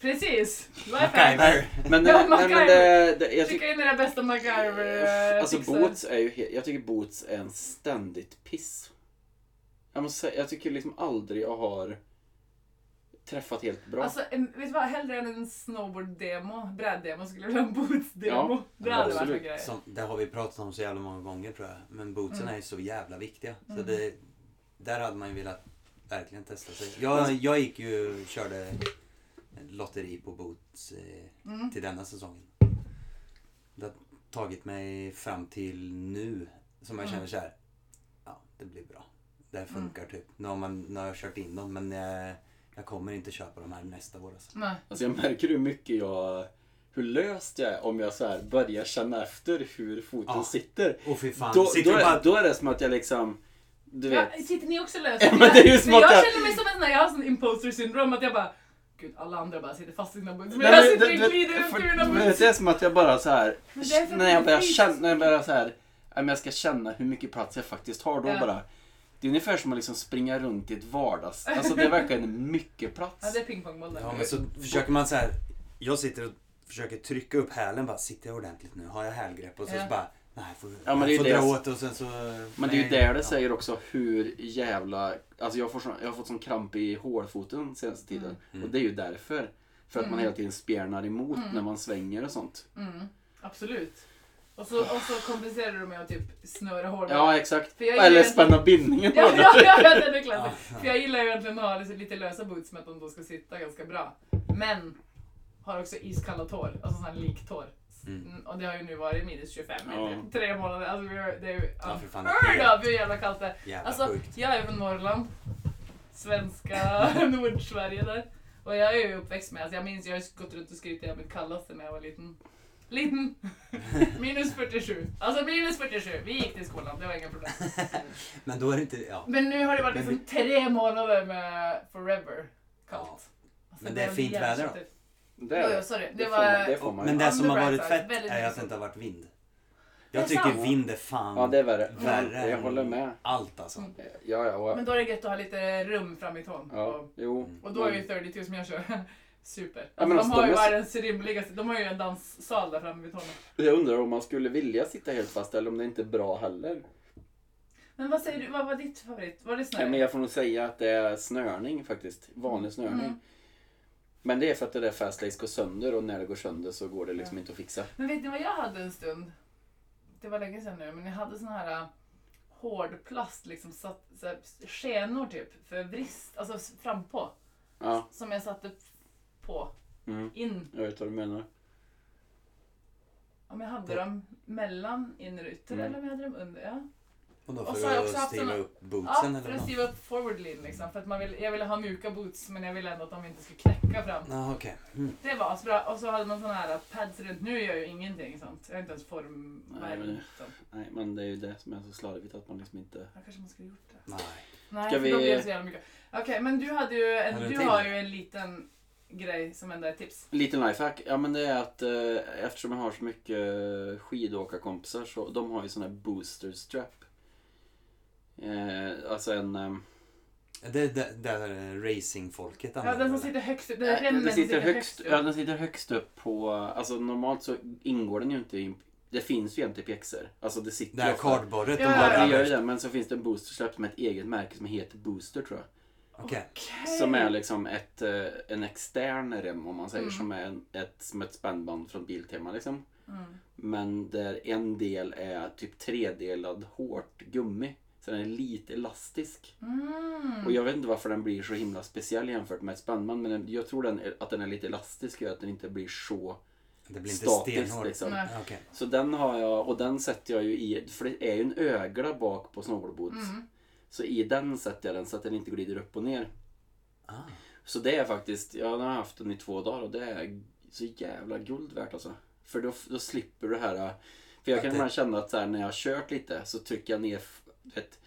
Speaker 3: precis. Lifehack.
Speaker 4: MacGyver.
Speaker 2: Men,
Speaker 3: Ja,
Speaker 2: eh, nej, men det, det, jag tycker...
Speaker 3: Skicka in era bästa MacGyver. eh,
Speaker 2: Alltså
Speaker 3: fixar.
Speaker 2: boots är ju he- Jag tycker boots är en ständigt piss. Jag måste säga, jag tycker liksom aldrig jag har träffat helt bra.
Speaker 3: Alltså, en, vet du vad? Hellre än en snowboard-demo, bräddemo, skulle jag vilja ha en boots-demo.
Speaker 2: Ja,
Speaker 3: det hade varit
Speaker 2: absolut.
Speaker 3: en grej.
Speaker 4: Som, det har vi pratat om så jävla många gånger tror jag. Men bootsen är ju så jävla viktiga. Så det, där hade man ju velat verkligen testa sig. Jag, jag gick ju körde lotteri på boots eh,
Speaker 3: Mm.
Speaker 4: till denna säsongen. Det har tagit mig fram till nu som jag känner så här. Ja, det blir bra. Det här funkar typ. Nu har, man, nu har jag kört in dem men jag, jag kommer inte köpa de här nästa år. Alltså.
Speaker 3: Nej.
Speaker 2: Alltså jag märker hur mycket jag... Hur löst jag är om jag så här börjar känna efter hur foten
Speaker 4: Ja.
Speaker 2: sitter.
Speaker 4: Åh fy fan.
Speaker 2: Då,
Speaker 4: Sitter
Speaker 2: då,
Speaker 4: du
Speaker 2: är,
Speaker 4: bara...
Speaker 2: då är det som att jag liksom... Du vet.
Speaker 3: Ja, sitter ni också löst?
Speaker 2: Ja, men det är ju som
Speaker 3: jag
Speaker 2: att jag-
Speaker 3: känner mig som en sån här, jag har sån imposter syndrom att jag bara Gud, alla andra bara sitter fast i sina boots. Men
Speaker 2: Nej,
Speaker 3: jag
Speaker 2: men
Speaker 3: sitter
Speaker 2: det-
Speaker 3: och
Speaker 2: det-
Speaker 3: glider runt
Speaker 2: för-
Speaker 3: i mina
Speaker 2: men
Speaker 3: boots.
Speaker 2: Det är som att jag bara så här
Speaker 3: Men det är för
Speaker 2: när jag
Speaker 3: att
Speaker 2: börjar
Speaker 3: det är
Speaker 2: känna, när jag börjar så här, ja, men jag ska känna hur mycket plats jag faktiskt har då
Speaker 3: Ja.
Speaker 2: bara. Det är ungefär som att liksom springa runt i ett vardags. Alltså det är verkligen mycket
Speaker 3: Ja,
Speaker 2: plats.
Speaker 3: det är pingpongbollen.
Speaker 4: Ja, men så försöker man så här. Jag sitter och försöker trycka upp hälen bara. Sitter jag ordentligt nu? Har jag hälgrepp? Och så,
Speaker 3: Ja.
Speaker 4: så bara. Nej, jag får,
Speaker 2: men det är
Speaker 4: jag
Speaker 2: ju
Speaker 4: får
Speaker 2: det
Speaker 4: dra
Speaker 2: jag-
Speaker 4: åt och sen så.
Speaker 2: Men det är ju
Speaker 4: nej.
Speaker 2: där det säger också hur jävla... Alltså jag, får sån, jag har fått sån kramp i hålfoten senaste tiden.
Speaker 3: Mm.
Speaker 2: Och det är ju därför. För att man hela tiden spjärnar emot när man svänger och sånt.
Speaker 3: Mm, absolut. Och så, och så kompenserar du med att typ snöra håret.
Speaker 2: Ja, exakt.
Speaker 3: För jag gillar
Speaker 2: Eller
Speaker 3: inte-
Speaker 2: spänna bindningen
Speaker 3: Ja,
Speaker 2: på den.
Speaker 3: ja, ja, ja, den är klassisk.
Speaker 4: Ah.
Speaker 3: För jag gillar ju egentligen att ha liksom lite lösa boots med att de då ska sitta ganska bra. Men har också iskalla tår, alltså sån här liktår.
Speaker 4: Mm.
Speaker 3: Mm, och det har ju nu varit minus 25 i
Speaker 2: Ja.
Speaker 3: typ tre månader. Alltså vi har, det är ju
Speaker 4: Ja, för fan, det är
Speaker 3: unheard of hur jävla kallt det är.
Speaker 4: Jävla
Speaker 3: Alltså
Speaker 4: sjukt.
Speaker 3: jag är från Norrland. Svenska Nordsverige där. Och jag är ju uppväxt med, alltså jag minns, jag har gått runt och skrivit det jag mitt kallaste när jag var liten. Liten! Minus 47. Alltså minus 47. Vi gick till skolan, det var inga problem.
Speaker 4: Men då är det inte, ja.
Speaker 3: Men nu har det varit
Speaker 4: Men
Speaker 3: liksom tre månader med forever kallt.
Speaker 4: Ja.
Speaker 3: Alltså,
Speaker 4: Men det är
Speaker 3: var
Speaker 4: fint
Speaker 3: jävligt
Speaker 4: väder då?
Speaker 3: tråkigt.
Speaker 2: Det,
Speaker 3: Jo,
Speaker 2: är
Speaker 3: jo,
Speaker 2: det.
Speaker 3: sorry. Det
Speaker 2: Det får man, det
Speaker 3: var...
Speaker 2: får man
Speaker 4: Men
Speaker 2: ju.
Speaker 4: det som har
Speaker 3: Underbright
Speaker 4: varit
Speaker 3: side,
Speaker 4: fett
Speaker 3: väldigt
Speaker 4: är att
Speaker 3: mysigt.
Speaker 4: det inte har varit vind.
Speaker 3: Det är
Speaker 4: Jag tycker
Speaker 3: sant.
Speaker 4: vind är fan
Speaker 2: Ja, det är värre.
Speaker 4: Värre.
Speaker 2: Jag håller med.
Speaker 4: allt alltså.
Speaker 3: Mm.
Speaker 2: Ja, ja. Och,
Speaker 3: Men då är det gött att ha lite rum fram i tån.
Speaker 2: ja
Speaker 3: Och,
Speaker 2: jo.
Speaker 4: Mm.
Speaker 3: och då är ju 32 som jag kör. Super. Alltså,
Speaker 2: men
Speaker 3: de
Speaker 2: alltså,
Speaker 3: har
Speaker 2: de
Speaker 3: ju
Speaker 2: är så-
Speaker 3: världens rymligaste. De har ju en danssal där framme vid tån.
Speaker 2: Jag undrar om man skulle vilja sitta helt fast eller om det inte är bra heller.
Speaker 3: Men vad säger du? Vad var ditt favorit? Var det
Speaker 2: Nej, men
Speaker 3: snö?
Speaker 2: jag får nog säga att det är snörning faktiskt. Vanlig snörning.
Speaker 3: Mm.
Speaker 2: Men det är för att det där Fastlace går sönder och när det går sönder så går det liksom inte att fixa.
Speaker 3: Men vet ni vad jag hade en stund? Det var länge sedan nu, men jag hade sån här äh, hård plast, liksom satt, så här, skenor typ, för vrist, alltså s- frampå.
Speaker 2: Ja,
Speaker 3: Som jag satte på,
Speaker 2: mm.
Speaker 3: in.
Speaker 2: jag vet vad du menar.
Speaker 3: Om jag hade dem mellan inrutor
Speaker 2: Mm.
Speaker 3: eller om jag hade dem under. Ja,
Speaker 4: Och då
Speaker 3: Och
Speaker 4: får
Speaker 3: så har jag
Speaker 4: du
Speaker 3: också haft
Speaker 4: styra
Speaker 3: såna-
Speaker 4: upp bootsen
Speaker 3: ja för
Speaker 4: eller
Speaker 3: att
Speaker 4: något.
Speaker 3: skriva upp forward lean liksom. För att man vill, jag ville ha mjuka boots men jag ville ändå att de inte skulle knäcka fram.
Speaker 4: Ja, okej. Mm.
Speaker 3: Det var asbra. Och så hade man såna här pads runt. Nu gör jag ju ingenting sånt. Jag har inte ens
Speaker 2: Nej, men-
Speaker 3: formvärmt. dem.
Speaker 2: Nej, men det är ju det som är så slarvigt att man liksom inte...
Speaker 3: Ja, kanske man skulle gjort det.
Speaker 4: Nej.
Speaker 3: Nej,
Speaker 2: Ska
Speaker 3: för då
Speaker 2: vi-
Speaker 3: blir det så jävla mycket. Okej, men du, hade ju en,
Speaker 4: Har du en
Speaker 3: du
Speaker 4: till?
Speaker 3: har ju en liten grej som ändå är ett tips.
Speaker 2: Liten lifehack, ja men det är att eh, eftersom jag har så mycket eh, skidåkarkompisar så de har ju sån här booster strap. Eh, alltså en... ehm,
Speaker 4: Det är det där racingfolket
Speaker 3: Ja, den som
Speaker 4: väl?
Speaker 3: sitter högst upp. Den
Speaker 2: Nej,
Speaker 3: remmen
Speaker 2: Den sitter
Speaker 3: sitter
Speaker 2: högst,
Speaker 3: upp.
Speaker 2: ja, den sitter högst upp på... Alltså normalt så ingår den ju inte i... Det finns ju en till pjäxor. Alltså det sitter
Speaker 4: Det här
Speaker 2: ofta-
Speaker 4: kardborret
Speaker 3: Ja,
Speaker 4: de
Speaker 2: Ja,
Speaker 4: har
Speaker 2: det gör ju
Speaker 4: överst.
Speaker 2: det. Men så finns det en booster släppt med ett eget märke som heter Booster tror jag.
Speaker 4: Okej.
Speaker 3: Okej.
Speaker 2: Som är liksom ett, eh, en extern rem om man säger.
Speaker 3: Mm.
Speaker 2: Som är en, ett, som ett spännband från Biltema liksom.
Speaker 3: Mm.
Speaker 2: Men där en del är typ tredelad hårt gummi. Så den är lite elastisk.
Speaker 3: Mm.
Speaker 2: Och jag vet inte varför den blir så himla speciell jämfört med ett spännband. Men den, jag tror den, är- att den är lite elastisk gör att den inte blir så
Speaker 4: Det blir inte
Speaker 2: statisk.
Speaker 4: stenhårt.
Speaker 2: Liksom.
Speaker 3: Nej.
Speaker 4: Ja, Okej.
Speaker 2: Så den har jag och den sätter jag ju i, för det är ju en ögla bak på snowboardboots.
Speaker 3: Mm.
Speaker 2: Så i den sätter jag den så att den inte glider upp och ner.
Speaker 4: Ah.
Speaker 2: Så det är faktiskt, jag har haft den i två dagar och det är så jävla guld värt alltså. För då, då slipper du det här, för jag
Speaker 4: Att
Speaker 2: kan
Speaker 4: det-
Speaker 2: ibland känna att så här, när jag har kört lite så trycker jag ner du vet,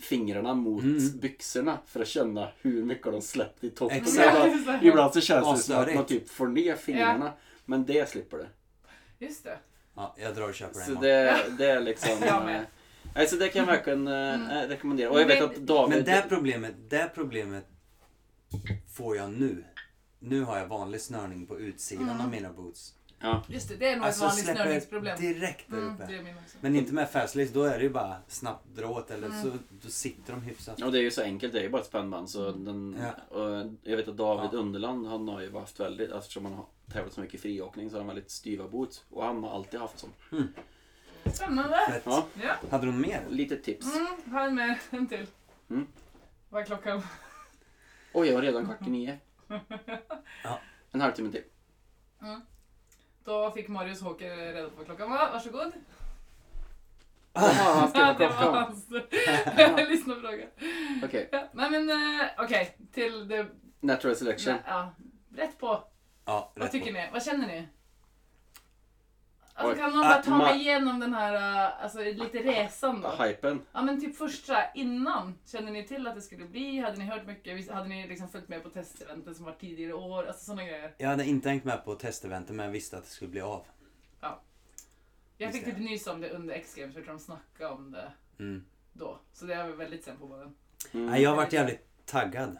Speaker 2: fingrarna mot
Speaker 4: Mm.
Speaker 2: byxorna för att känna hur mycket de släppt i toppen.
Speaker 4: Exakt.
Speaker 2: Ibland-
Speaker 3: Just det.
Speaker 2: Ibland så känns det som att
Speaker 4: Asnörigt.
Speaker 2: man typ får ner fingrarna. Men det slipper du.
Speaker 3: Just det.
Speaker 4: Ja, jag drar och köper
Speaker 2: Så
Speaker 4: den.
Speaker 2: det, det är liksom...
Speaker 3: Jag med.
Speaker 2: eh, Nej, så det kan jag verkligen eh, eh, rekommendera. Och jag vet
Speaker 3: Men-
Speaker 2: att David...
Speaker 4: Men det här problemet, det här problemet får jag nu. Nu har jag vanlig snörning på utsidan av mina boots. Alltså,
Speaker 2: Ja,
Speaker 3: Just Mm. det, det är nog
Speaker 2: Alltså,
Speaker 3: ett vanligt
Speaker 4: släpper
Speaker 3: snörningsproblem.
Speaker 4: direkt där
Speaker 3: Mm,
Speaker 4: uppe.
Speaker 3: det är min också.
Speaker 4: Men inte med Fastlace, då är det ju bara snabbt dra åt eller
Speaker 3: Mm.
Speaker 4: så då sitter de hyfsat.
Speaker 2: och det är ju så enkelt. Det är ju bara ett spännband. Så den,
Speaker 4: Mm. Ja.
Speaker 2: och jag vet att David
Speaker 4: Ja.
Speaker 2: Underland, han har ju haft väldigt... Eftersom han har tävlat så mycket i friåkning så har han väldigt styva boots. Och han har alltid haft sånt.
Speaker 3: Spännande.
Speaker 4: Fett.
Speaker 2: Ja,
Speaker 3: Ja.
Speaker 4: Hade du mer?
Speaker 2: lite tips.
Speaker 3: Mm, har en med en till.
Speaker 2: Mm.
Speaker 3: Vad är klockan?
Speaker 2: Oj, jag var redan kvart i nio.
Speaker 4: Ja.
Speaker 2: En halvtimme till.
Speaker 3: Då fick Marius Håker reda på vad klockan var. Varsågod.
Speaker 2: Jaha, han skrev
Speaker 3: Ja,
Speaker 2: på
Speaker 3: det var
Speaker 2: klockan.
Speaker 3: hans lyssnarfråga.
Speaker 2: Okej,
Speaker 3: Ja, nej men eh, okej, till det...
Speaker 2: natural selection.
Speaker 3: Nej, ja, rätt på.
Speaker 4: Ja,
Speaker 3: Vad
Speaker 4: rätt
Speaker 3: tycker
Speaker 4: på.
Speaker 3: ni? Vad känner ni? Alltså
Speaker 2: Oj.
Speaker 3: kan någon
Speaker 4: Äh,
Speaker 3: bara
Speaker 2: Ah,
Speaker 3: ta
Speaker 2: ma-
Speaker 3: mig igenom den här, eh, alltså lite resan då?
Speaker 2: Hypen.
Speaker 3: Ja men typ först så här, innan, kände ni till att det skulle bli? Hade ni hört mycket? Vis- Hade ni liksom följt med på testeventen som var tidigare år? Alltså sådana grejer.
Speaker 4: Jag hade inte hängt med på testeventet men jag visste att det skulle bli av.
Speaker 3: Jag
Speaker 4: Just
Speaker 3: fick
Speaker 4: det.
Speaker 3: typ nys om det under X-games, för jag tror de snackade om det
Speaker 4: Mm.
Speaker 3: då. Så det är väl väldigt sen på bollen.
Speaker 2: Mm.
Speaker 4: Nej, jag har varit jävligt taggad.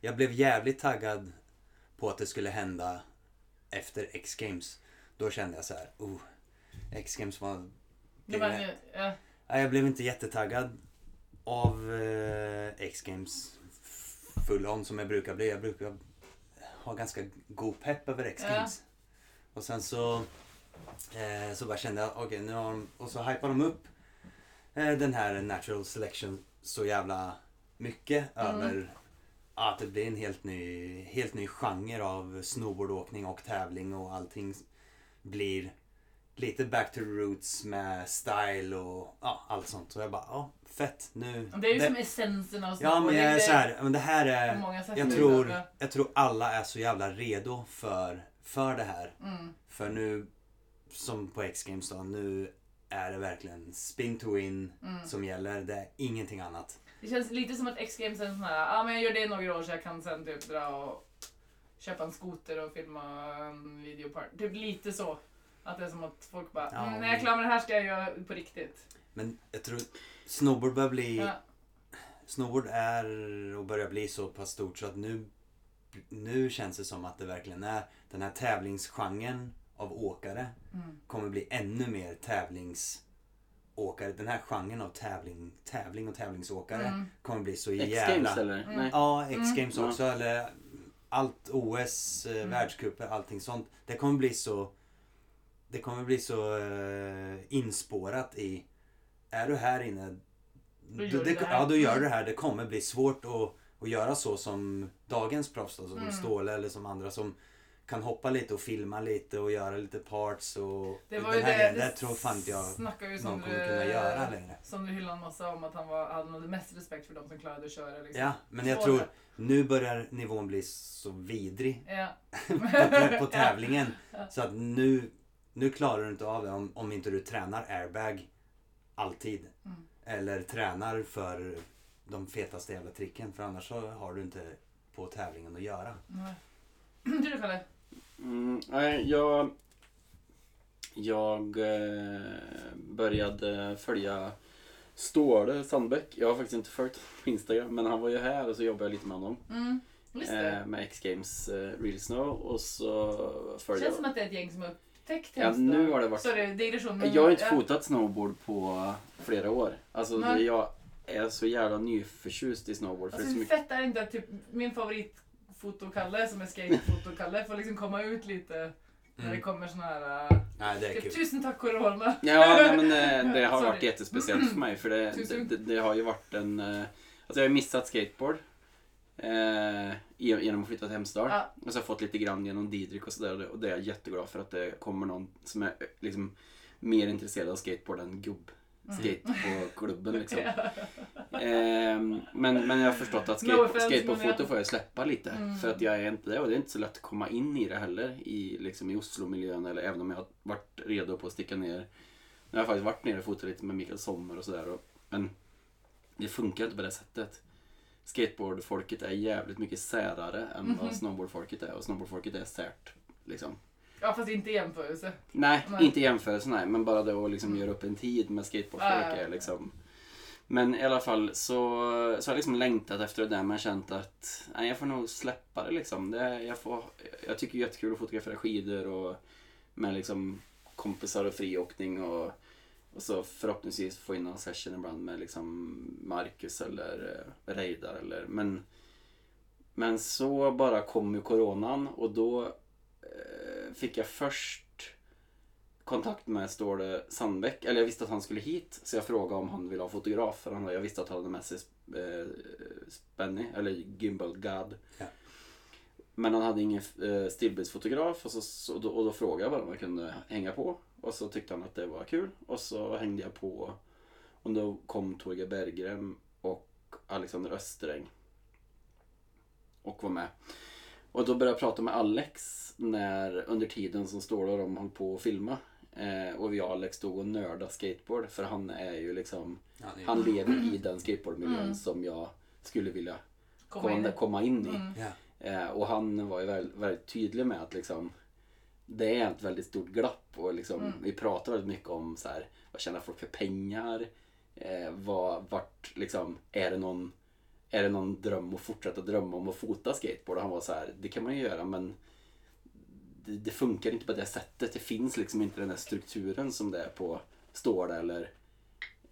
Speaker 4: Jag blev jävligt taggad på att det skulle hända efter X-Games. Då kände jag så här, oh, X-Games var...
Speaker 3: Det var ju, ja,
Speaker 4: Nej, jag blev inte jättetaggad av eh, X-Games full on som jag brukar bli. Jag brukar ha ganska god pepp över X-Games. Och sen så, eh, så bara kände jag, okej nu har de, och så hypar de upp eh, den här natural selection så jävla mycket
Speaker 3: Mm.
Speaker 4: över att det blir en helt ny, helt ny genre av snowboardåkning och tävling och allting blir lite back to roots med style och ja, allt sånt. Så jag bara, ja, fett nu.
Speaker 3: Det är ju som essensen av
Speaker 4: Ja men jag är
Speaker 3: det-
Speaker 4: så här, men det här
Speaker 3: på
Speaker 4: är...
Speaker 3: många sätt
Speaker 4: Jag
Speaker 3: nu,
Speaker 4: tror,
Speaker 3: så-
Speaker 4: jag tror alla är så jävla redo för, för det här.
Speaker 3: Mm.
Speaker 4: För nu, som på X-Games då, nu är det verkligen spin to win
Speaker 3: Mm.
Speaker 4: som gäller. Det är ingenting annat.
Speaker 3: Det känns lite som att X-Games är en sån här, ja ah, men jag gör det i några år så jag kan sen typ dra och köpa en skoter och filma en videopart. Typ lite så. Att det är som att folk bara,
Speaker 4: Ja,
Speaker 3: mm, när
Speaker 4: men-
Speaker 3: jag är klar med det här ska jag göra på riktigt.
Speaker 4: Men jag tror snowboard börjar bli...
Speaker 3: Ja.
Speaker 4: Snowboard är och börjar bli så pass stort så att nu, nu känns det som att det verkligen är den här tävlingsgenren av åkare
Speaker 3: Mm.
Speaker 4: kommer bli ännu mer tävlingsåkare. Den här genren av tävling, tävling och tävlingsåkare
Speaker 3: Mm.
Speaker 4: kommer bli så jävla...
Speaker 2: X-Games eller?
Speaker 3: Mm.
Speaker 2: Nej.
Speaker 4: Ja, X-Games
Speaker 2: Mm.
Speaker 4: också eller allt OS, mm. världscuper, allting sånt. Det kommer bli så Det kommer bli så eh, inspårat i Är du här inne
Speaker 3: Då gör du det här. Mm.
Speaker 4: Ja, då gör du det här. Det kommer bli svårt att, att göra så som dagens proffs då, som
Speaker 3: Mm.
Speaker 4: Ståle eller som andra som kan hoppa lite och filma lite och göra lite parts och
Speaker 3: Det var
Speaker 4: den
Speaker 3: ju
Speaker 4: här
Speaker 3: det,
Speaker 4: grejen, det tror fan inte jag
Speaker 3: snackar ju
Speaker 4: någon
Speaker 3: som
Speaker 4: kommer kunna göra
Speaker 3: du,
Speaker 4: längre.
Speaker 3: som du hyllade en massa om att han, var, han hade mest respekt för de som klarade att köra. Liksom.
Speaker 4: Ja, men jag
Speaker 3: Ståle.
Speaker 4: tror nu börjar nivån bli så vidrig
Speaker 3: Ja.
Speaker 4: på- på tävlingen.
Speaker 3: Ja.
Speaker 4: Så att nu, nu klarar du inte av det om, om inte du tränar airbag alltid.
Speaker 3: Mm.
Speaker 4: Eller tränar för de fetaste jävla tricken. För annars så har du inte på tävlingen att göra.
Speaker 3: Nej. Du då Kalle?
Speaker 2: Mm, nej, jag... Jag eh, började följa Ståle Sandbäck. Jag har faktiskt inte följt honom på Instagram, men han var ju här och så jobbade jag lite med honom.
Speaker 3: Mm. Just det.
Speaker 2: Eh, med X-Games eh, Real Snow och så
Speaker 3: Det
Speaker 2: följde
Speaker 3: känns
Speaker 2: jag...
Speaker 3: som att det är ett gäng som har upptäckt
Speaker 2: Ja,
Speaker 3: hästar.
Speaker 2: nu har det varit-
Speaker 3: Sorry, digression. men-
Speaker 2: Jag har inte
Speaker 3: ja.
Speaker 2: fotat snowboard på flera år. Alltså, det,
Speaker 3: Nej.
Speaker 2: jag är så jävla nyförtjust i snowboard. För det är
Speaker 3: Alltså
Speaker 2: så
Speaker 3: hur
Speaker 2: mycket...
Speaker 3: fett är det inte att typ min favoritfotokalle som är skatefotokalle får liksom komma ut lite när det
Speaker 4: Mm.
Speaker 3: kommer såna här... äh,
Speaker 4: Nej, det är
Speaker 3: Typ,
Speaker 4: kul.
Speaker 3: tusen tack corona!
Speaker 2: Ja, nej, men eh, det har
Speaker 3: Sorry.
Speaker 2: varit jättespeciellt för mig. För det, det,
Speaker 3: Tusen.
Speaker 2: det, det har ju varit en... eh, Alltså jag har missat skateboard. Eh, ge- genom att flytta till Hemsedal.
Speaker 3: Ja.
Speaker 2: Och så har jag fått lite grann genom Didrik och sådär. och det- Och det är jag jätteglad för att det kommer någon som är eh, liksom, mer intresserad av skateboard än gubb.
Speaker 3: Mm.
Speaker 2: Skate på klubben liksom. Ehm, men, men jag har förstått att skate,
Speaker 3: No offense, men
Speaker 2: skateboardfoto
Speaker 3: jag-
Speaker 2: får jag släppa lite.
Speaker 3: Mm.
Speaker 2: För att jag är inte det och det är inte så lätt att komma in i det heller i, liksom, i Oslo-miljön. Eller även om jag har varit redo på att sticka ner. Jag har faktiskt varit nere och fotat lite med Mikael Sommer och sådär. och- Men det funkar inte på det sättet. Skateboardfolket är jävligt mycket särare än
Speaker 3: Mhm.
Speaker 2: vad snowboardfolket är. Och snowboardfolket är särt. Liksom.
Speaker 3: Ja fast inte i jämförelse.
Speaker 2: Nej,
Speaker 3: Nej.
Speaker 2: inte i jämförelse nej, men bara det att liksom
Speaker 3: Mm.
Speaker 2: göra upp en tid med
Speaker 3: Ja,
Speaker 2: skateboardfolk
Speaker 3: ja, ja.
Speaker 2: är liksom... Men i alla fall så, så har jag liksom längtat efter det där men känt att nej, jag får nog släppa det liksom. Det, jag, får, jag tycker det är jättekul att fotografera skidor och med liksom kompisar och friåkning och, och så förhoppningsvis få in någon session ibland med liksom Marcus eller eh, Reidar eller men men så bara kom ju coronan och då eh, fick jag först kontakt med Ståle Sandbäck. Eller jag visste att han skulle hit så jag frågade om han ville ha fotograf. För han, jag visste att han hade med sig eh, Spenny, eller Gimbal God.
Speaker 4: Ja.
Speaker 2: Men han hade ingen eh, stillbildsfotograf och, så, så, och, då, och då frågade jag bara om jag kunde hänga på. Och så tyckte han att det var kul och så hängde jag på. Och då kom Torge Berggren och Alexander Östräng och var med. Och då började jag prata med Alex när, under tiden som Ståle och de höll på att filma. Eh, och vi och Alex stod och nörda skateboard för han är ju liksom,
Speaker 4: Ja, det är-
Speaker 2: han lever i den skateboardmiljön
Speaker 3: Mm.
Speaker 2: som jag skulle vilja
Speaker 3: Komma in.
Speaker 2: komma, komma in i.
Speaker 3: Mm.
Speaker 4: Ja.
Speaker 2: Eh, och han var ju väldigt, väldigt tydlig med att liksom, det är ett väldigt stort glapp och liksom,
Speaker 3: Mm.
Speaker 2: vi pratar väldigt mycket om så här, vad tjänar folk för pengar? Eh, vad, vart, liksom, är, det någon, är det någon dröm att fortsätta drömma om att fota skateboard? Och han var så här, det kan man ju göra men det, det funkar inte på det sättet. Det finns liksom inte den där strukturen som det är på Ståla eller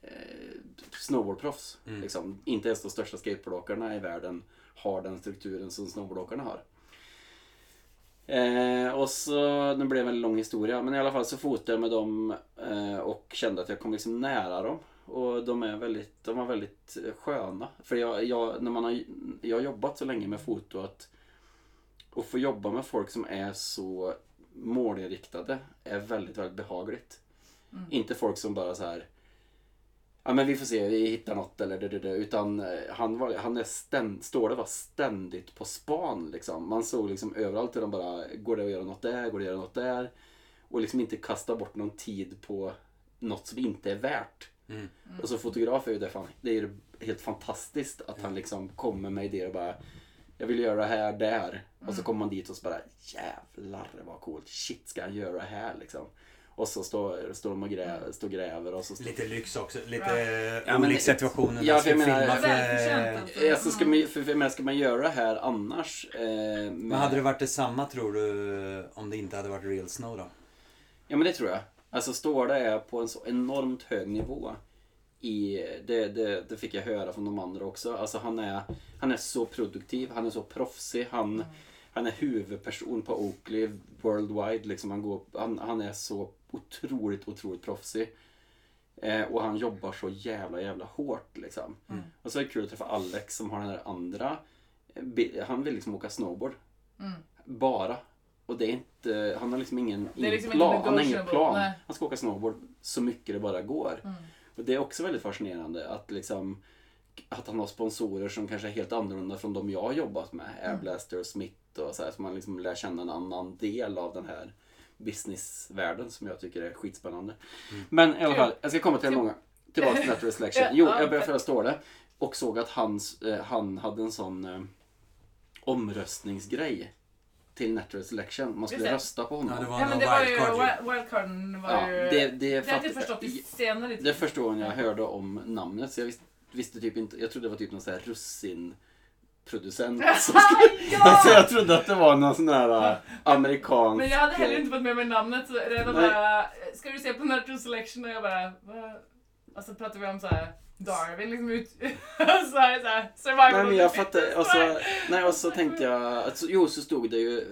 Speaker 2: eh, snowboardproffs.
Speaker 4: Mm.
Speaker 2: Liksom. Inte ens de största skateboardåkarna i världen har den strukturen som snowboardåkarna har. Eh, och så, nu blev det en väldigt lång historia, men i alla fall så fotade jag med dem eh, och kände att jag kom liksom nära dem. Och de är väldigt, de var väldigt eh, sköna. För jag, jag, när man har, jag har jobbat så länge med foto att och få jobba med folk som är så målinriktade är väldigt, väldigt behagligt.
Speaker 3: Mm.
Speaker 2: Inte folk som bara så här Ja men vi får se, vi hittar något eller det, det, det. Utan eh, han, var, han är ständ, står det var ständigt på span liksom. Man såg liksom överallt hur de bara, går det att göra något där, går det att göra något där? Och liksom inte kasta bort någon tid på något som inte är värt.
Speaker 4: Mm.
Speaker 2: Och så fotograf är ju det, fan, det är ju helt fantastiskt att
Speaker 4: Mm.
Speaker 2: han liksom kommer med idéer och bara jag vill göra det här där. Och så kommer man dit och så bara jävlar vad coolt. Shit ska han göra det här liksom. Och så står, står de och grä, står och gräver och så står
Speaker 4: Lite lyx också. Lite
Speaker 2: Ja,
Speaker 4: ja,
Speaker 2: men-
Speaker 4: olika situationer.
Speaker 2: Ja,
Speaker 4: man
Speaker 2: för jag
Speaker 4: ska eh,
Speaker 2: menar-
Speaker 4: filma
Speaker 3: Välförtjänt
Speaker 4: för...
Speaker 3: alltså.
Speaker 2: Ja, så Eh, ska, man, för, för, men ska man göra det här annars? Eh, med,
Speaker 4: Men hade det varit detsamma tror du om det inte hade varit real snow då?
Speaker 2: Ja men det tror jag. Alltså står det är på en så enormt hög nivå. I, det, det, det fick jag höra från de andra också. Alltså han är, han är så produktiv, han är så proffsig, han, han är huvudperson på Oakley worldwide. Liksom. Han, går, han, han är så otroligt, otroligt proffsig. Eh, och han jobbar så jävla, jävla hårt liksom.
Speaker 3: Mm.
Speaker 2: Och så är det kul att träffa Alex som har den här andra, eh, bi- han vill liksom åka snowboard. Bara. Och det är inte, han har liksom ingen,
Speaker 3: Mm. Det är
Speaker 2: ingen
Speaker 3: liksom inte
Speaker 2: plan. Han har ingen
Speaker 3: negotiable,
Speaker 2: plan.
Speaker 3: nej. Mm.
Speaker 2: Han ska åka snowboard så mycket det bara går. Och det är också väldigt fascinerande att liksom att han har sponsorer som kanske är helt annorlunda från de jag har jobbat med.
Speaker 3: Mm.
Speaker 2: Airblaster och Smith och så här. Så man liksom lär känna en annan del av den här businessvärlden som jag tycker är skitspännande. Men i alla fall, jag ska komma till det långa. Tillbaka till Natural Selection.
Speaker 3: Mm. Ja,
Speaker 2: Jo,
Speaker 3: ja,
Speaker 2: jag började
Speaker 3: okej.
Speaker 2: förstå det. Och såg att hans, eh, han hade en sån eh, omröstningsgrej till Natural Selection. Man
Speaker 3: Just
Speaker 2: skulle
Speaker 3: det.
Speaker 2: rösta på honom.
Speaker 4: Ja, det var
Speaker 3: Ja men
Speaker 4: någon
Speaker 3: det var ju,
Speaker 4: wildcard. ju.
Speaker 3: wi- wildcarden var
Speaker 2: Ja,
Speaker 3: ju...
Speaker 2: det, det,
Speaker 3: det hade jag
Speaker 2: fatt-
Speaker 3: förstått i senare tid.
Speaker 2: det förstår jag när jag hörde om namnet. Så jag visste, visste typ inte. Jag trodde det var typ någon sån här russinproducent. som skulle-
Speaker 3: ja!
Speaker 2: så jag trodde att det var någon sån här äh, amerikansk...
Speaker 3: Men jag hade heller inte fått med mig namnet så redan
Speaker 2: Nej.
Speaker 3: bara, ska du se på Natural Selection och jag bara, va? Och så pratar vi om så här Darwin liksom ut, så här, så här, survival
Speaker 2: Nej
Speaker 3: of
Speaker 2: men
Speaker 3: the
Speaker 2: jag
Speaker 3: fittest,
Speaker 2: fattar. alltså- Och
Speaker 3: så
Speaker 2: så,
Speaker 3: här.
Speaker 2: nej, och så tänkte jag. Alltså, jo, så stod det ju eh,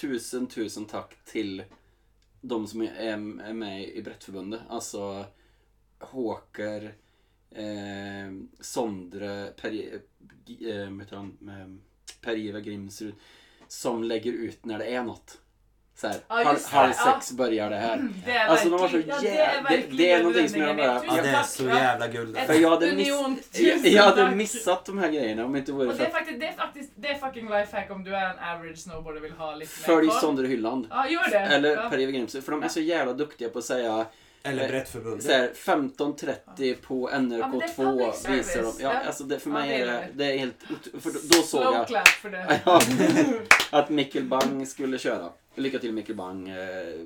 Speaker 2: tusen, tusen tack till de som är, är med i Brettförbundet. Alltså Håker, eh, Sondre, per, eh, vad heter han, eh, Per-Ivar Grimsrud. Som lägger ut när det är något. Så här,
Speaker 3: Ja,
Speaker 2: halv,
Speaker 3: just det,
Speaker 2: halv
Speaker 3: ja.
Speaker 2: sex börjar det här.
Speaker 3: Det är
Speaker 2: Alltså, de var så
Speaker 3: verkligen- ja,
Speaker 2: jävla- det-
Speaker 3: verkligen
Speaker 2: det är någonting som jag
Speaker 3: benämningen.
Speaker 2: bara-
Speaker 4: Ja, det är
Speaker 3: Tusen
Speaker 4: så
Speaker 3: tack, va?
Speaker 4: jävla guld.
Speaker 3: Ett
Speaker 2: För jag hade,
Speaker 3: union,
Speaker 2: miss,
Speaker 3: tusen
Speaker 2: jag, jag hade
Speaker 3: tack.
Speaker 2: missat de här grejerna om det inte vore
Speaker 3: Och det
Speaker 2: för
Speaker 3: är
Speaker 2: att
Speaker 3: faktiskt, det är faktiskt, det är fucking lifehack om du är en average snowboarder och vill ha lite mer
Speaker 2: följ
Speaker 3: koll.
Speaker 2: Sondre Hylland.
Speaker 3: Ja, gör det.
Speaker 2: Eller
Speaker 3: Ja.
Speaker 2: Per Evert Grimsö, för de är så jävla duktiga på att säga
Speaker 4: Eller
Speaker 2: så
Speaker 4: Brettförbundet.
Speaker 2: här, 15.30 på
Speaker 3: det är
Speaker 2: NRK2
Speaker 3: public service.
Speaker 2: visar de.
Speaker 3: Ja.
Speaker 2: Ja, alltså det, för
Speaker 3: Ja,
Speaker 2: mig
Speaker 3: det
Speaker 2: är
Speaker 3: är det.
Speaker 2: det, det är helt ot- för då- Då såg
Speaker 3: Slow
Speaker 2: jag
Speaker 3: clap för det.
Speaker 2: ja, att Mikkel Bang skulle köra. Lycka till Mikkel Bang, eh,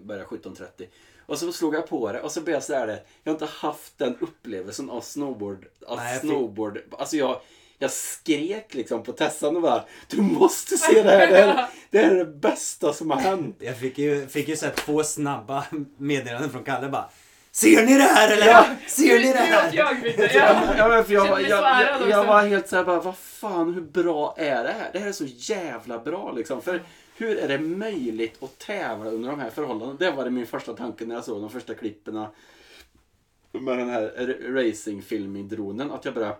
Speaker 2: börjar 17.30. Och så slog jag på det och så blev jag så här, jag har inte haft den upplevelsen av snowboard, av
Speaker 4: Nej, jag fick-
Speaker 2: snowboard. Alltså jag, jag skrek liksom på Tessan och bara Du måste se det här! Det här, det här är det bästa som har hänt!
Speaker 4: Jag fick ju, fick ju så här två snabba meddelanden från Kalle bara. Ser ni det här eller?
Speaker 2: Ja.
Speaker 4: Ser
Speaker 3: Nu
Speaker 4: ni det
Speaker 3: åt
Speaker 4: här?
Speaker 3: jag Victor. Ja.
Speaker 2: Ja, ja, men för jag, var-
Speaker 3: Kände
Speaker 2: jag,
Speaker 3: mig så ärad
Speaker 2: jag,
Speaker 3: också.
Speaker 2: jag var helt såhär bara, vad fan hur bra är det här? Det här är så jävla bra liksom. För hur är det möjligt att tävla under de här förhållandena? Det var det min första tanke när jag såg de första klipperna med den här r- racingfilmdronen. Att jag bara,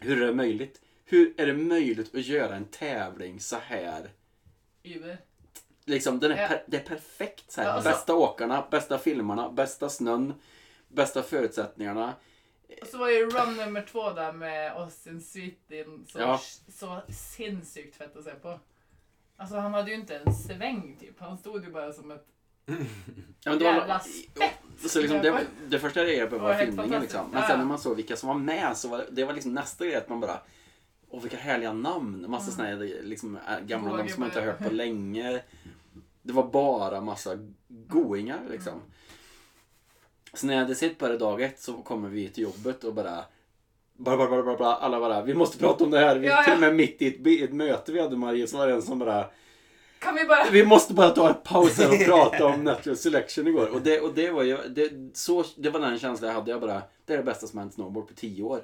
Speaker 2: hur är det möjligt? Hur är det möjligt att göra en tävling så här?
Speaker 3: Iver.
Speaker 2: Liksom, den är
Speaker 3: Ja.
Speaker 2: per, det är perfekt. Så här.
Speaker 3: Ja, alltså- och så-
Speaker 2: Bästa åkarna, bästa filmarna, bästa snön, bästa förutsättningarna.
Speaker 3: Och så var ju run nummer två där med Austin Sweetin så,
Speaker 2: Ja.
Speaker 3: så sinnssykt fett att se på. Alltså han hade ju inte en sväng typ. Han stod ju bara som ett
Speaker 2: Ja, men det var-
Speaker 3: jävla spett.
Speaker 2: Så liksom det, det första jag reagerade på
Speaker 3: Det
Speaker 2: var,
Speaker 3: var helt
Speaker 2: filmningen
Speaker 3: fantastiskt.
Speaker 2: liksom. Men
Speaker 3: Ja.
Speaker 2: sen när man såg vilka som var med så var det var liksom nästa grej att man bara Åh vilka härliga namn!
Speaker 3: Mm.
Speaker 2: Massa såna här liksom, äh, gamla namn som man inte har hört på länge. Det var bara massa goingar
Speaker 3: Mm.
Speaker 2: liksom. Så när jag hade sett på det dag ett så kommer vi till jobbet och bara Bla, bla, bla, bla, bla, alla bara, vi måste prata om det här. Vi,
Speaker 3: Ja, ja.
Speaker 2: Till och med mitt i ett, bi- ett möte vi hade Marie så var det en som bara
Speaker 3: Kan vi bara...
Speaker 2: vi måste bara ta en paus här och prata om natural selection igår. Och det, och det var ju, det, så, det var den känslan jag hade. Jag bara, det är det bästa som hänt snowboard på tio år.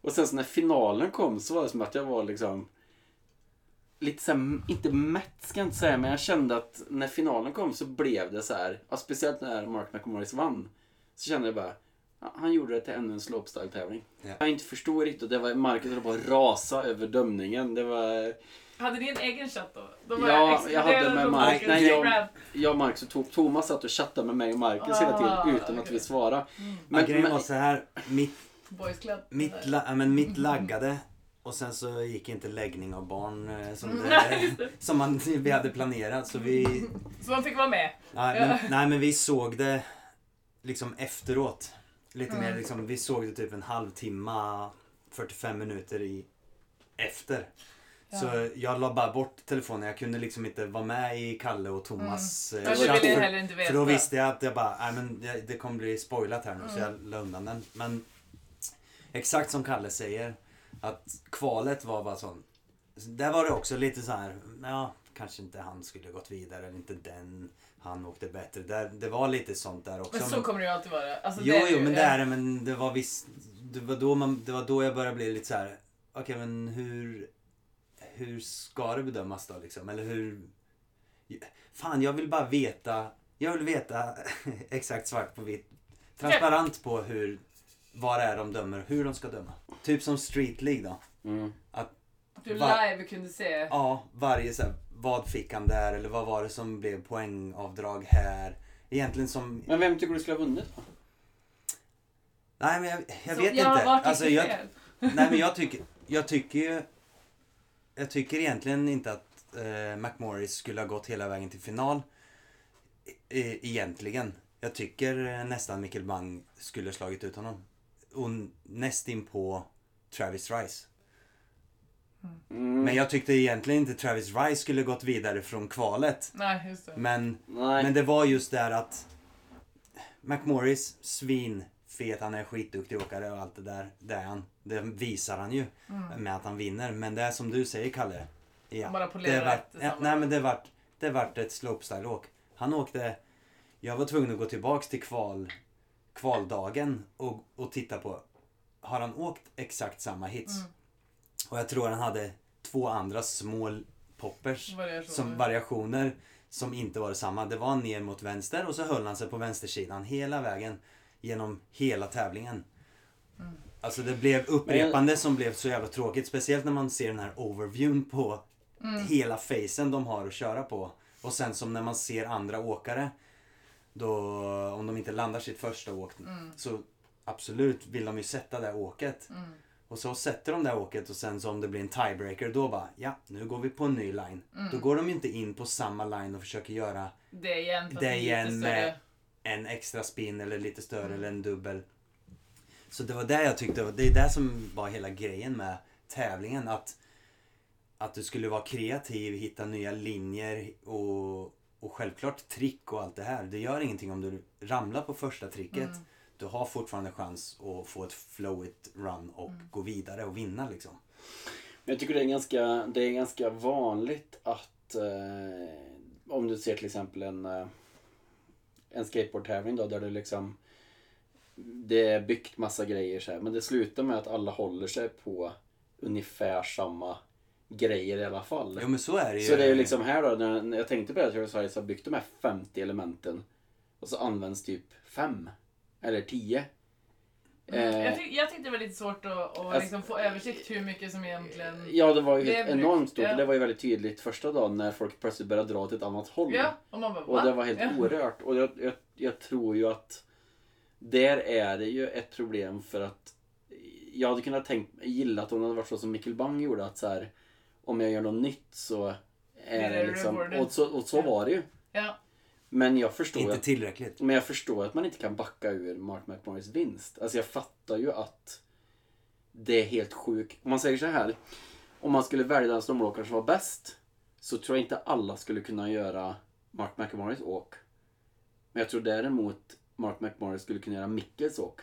Speaker 2: Och sen så när finalen kom så var det som att jag var liksom lite såhär, inte mätt ska jag inte säga, men jag kände att när finalen kom så blev det så här, ja, speciellt när Mark McMorris vann, så kände jag bara, ja, han gjorde det till ännu en slopestyle-tävling.
Speaker 4: Ja.
Speaker 2: Jag inte förstod riktigt, och det var, Marcus höll på att rasa över dömningen. Det var,
Speaker 3: Hade ni en egen chatt då? då
Speaker 2: Ja,
Speaker 3: exkluderade
Speaker 2: jag hade med
Speaker 3: på
Speaker 2: Mark.
Speaker 3: Marcus
Speaker 2: Nej, jag-
Speaker 3: Instagram.
Speaker 2: Jag och Marcus och To- Thomas satt och chattade med mig och Marcus hela
Speaker 3: Ah,
Speaker 2: tiden utan att
Speaker 3: okej.
Speaker 2: vi svarade.
Speaker 4: Men,
Speaker 2: Men,
Speaker 4: grejen
Speaker 2: men,
Speaker 4: var så här, mitt,
Speaker 3: Boys Club.
Speaker 4: mitt, la, ja, men mitt laggade och sen så gick inte läggning av barn eh, som,
Speaker 3: Mm, nej, just
Speaker 4: det, som man, vi hade planerat. Så vi,
Speaker 3: Så man fick vara med.
Speaker 4: nej, men, nej men vi såg det liksom efteråt. Lite
Speaker 3: Mm.
Speaker 4: mer liksom, vi såg det typ en halvtimme, 45 minuter i, efter. Så eh, jag la bara bort telefonen. Jag kunde liksom inte vara med i Kalle och Thomas eh,
Speaker 3: Kanske
Speaker 4: chatt,
Speaker 3: ville
Speaker 4: för-
Speaker 3: jag heller Mm. inte veta.
Speaker 4: För då visste jag att jag bara, nej men det- det kommer bli spoilat här nu så
Speaker 3: Mm.
Speaker 4: jag la undan den. Men exakt som Kalle säger, att kvalet var bara sån. så Där var det också lite så här, ja kanske inte han skulle gått vidare eller inte den, han åkte bättre. Där, det var lite sånt där också.
Speaker 3: Men så
Speaker 4: men-
Speaker 3: kommer det ju alltid vara. Alltså,
Speaker 4: jo,
Speaker 3: det är
Speaker 4: jo
Speaker 3: ju-
Speaker 4: men det är det men det var visst, det var då, man, det var då jag började bli lite så här, okej men hur, hur ska det bedömas då liksom? Eller hur, Fan, jag vill bara veta. Jag vill veta exakt svart på vitt. Transparent på hur, vad det är de dömer, hur de ska döma. Typ som Street League då.
Speaker 2: mm.
Speaker 3: Att Du
Speaker 4: Va-
Speaker 3: live kunde se.
Speaker 4: Ja, varje så här, vad fick han där eller vad var det som blev poängavdrag här? Egentligen som,
Speaker 2: men vem tycker du skulle ha vunnit då?
Speaker 4: nej men jag, jag
Speaker 3: Så,
Speaker 4: vet
Speaker 3: ja,
Speaker 4: inte.
Speaker 3: vart gick
Speaker 4: Alltså,
Speaker 3: det
Speaker 4: jag,
Speaker 3: fel?
Speaker 4: nej men jag tycker, jag tycker ju, jag tycker egentligen inte att eh, McMorris skulle ha gått hela vägen till final. E- e- egentligen. Jag tycker eh, nästan Mikkel Bang skulle ha slagit ut honom. Och nästin på Travis Rice.
Speaker 2: Mm.
Speaker 4: Men jag tyckte egentligen inte Travis Rice skulle gått vidare från kvalet.
Speaker 3: Nej, just det.
Speaker 4: Men,
Speaker 2: Nej.
Speaker 4: men det var just där att McMorris, svin, fet, han är skitduktig åkare och allt det där. Det är han. Det visar han ju med att han vinner. Men det är som du säger Kalle. Ja,
Speaker 3: Mm. Han bara polerar
Speaker 4: det vart,
Speaker 3: efter
Speaker 4: ja,
Speaker 3: samma.
Speaker 4: nej, men det vart, det vart ett slopestyle-åk. Han åkte... Jag var tvungen att gå tillbaks till kval, kvaldagen och, och titta på har han åkt exakt samma hits? Och jag tror han hade två andra små poppers
Speaker 3: Variationer.
Speaker 4: som variationer som inte var detsamma. Det var ner mot vänster och så höll han sig på vänstersidan hela vägen genom hela tävlingen. Alltså det blev upprepande som blev så jävla tråkigt. Speciellt när man ser den här overviewn på hela facen de har att köra på. Och sen som när man ser andra åkare. Då, om de inte landar sitt första åk så absolut vill de ju sätta det åket. Och så sätter de det åket och sen så om det blir en tiebreaker då bara ja, nu går vi på en ny line. Då går de ju inte in på samma line och försöker göra
Speaker 3: Det igen. fast
Speaker 4: det
Speaker 3: lite
Speaker 4: igen eh,
Speaker 3: större. Mm.
Speaker 4: med en extra spin eller lite större eller en dubbel. Så det var det jag tyckte, det är det som var hela grejen med tävlingen. Att, att du skulle vara kreativ, hitta nya linjer och, och självklart trick och allt det här. Det gör ingenting om du ramlar på första tricket.
Speaker 3: Mm.
Speaker 4: Du har fortfarande chans att få ett flowigt run och
Speaker 3: Mm.
Speaker 4: gå vidare och vinna liksom.
Speaker 2: Men Jag tycker det är ganska, det är ganska vanligt att eh, om du ser till exempel en, eh, en skateboardtävling då där du liksom det är byggt massa grejer så här, men det slutar med att alla håller sig på ungefär samma grejer i alla fall.
Speaker 4: Jo men så är det ju.
Speaker 2: Så det är ju liksom här då, när när jag tänkte på det, att Travis Harris har byggt de här 50 elementen och så används typ fem eller tio. Eh,
Speaker 3: Mm,
Speaker 2: alltså,
Speaker 3: Jag, tyck, jag tyckte det var lite svårt att, att liksom få översikt hur mycket som egentligen...
Speaker 2: Ja, det var ju
Speaker 3: Det
Speaker 2: helt
Speaker 3: är brukt,
Speaker 2: enormt stort.
Speaker 3: ja.
Speaker 2: och Det var ju väldigt tydligt första dagen när folk plötsligt började dra åt ett annat håll.
Speaker 3: Ja, och man bara
Speaker 2: Och
Speaker 3: va?
Speaker 2: det var helt
Speaker 3: ja.
Speaker 2: orört. Och jag, jag, jag tror ju att där är det ju ett problem för att jag hade kunnat tänkt, gillat om det hade varit så som Mikkel Bang gjorde att så här, om jag gör något nytt så är
Speaker 3: det
Speaker 2: det liksom,
Speaker 3: rewarded.
Speaker 2: och så, och så
Speaker 3: Ja.
Speaker 2: var det ju.
Speaker 3: Ja.
Speaker 2: Men jag förstår
Speaker 4: Inte
Speaker 2: att,
Speaker 4: tillräckligt.
Speaker 2: men jag förstår att man inte kan backa ur Mark McMorris vinst. Alltså jag fattar ju att det är helt sjukt. Om man säger så här. Om man skulle välja den snowboardåkare som var bäst. Så tror jag inte alla skulle kunna göra Mark McMorris åk. Men jag tror däremot Mark McMorris skulle kunna göra Mickels åk.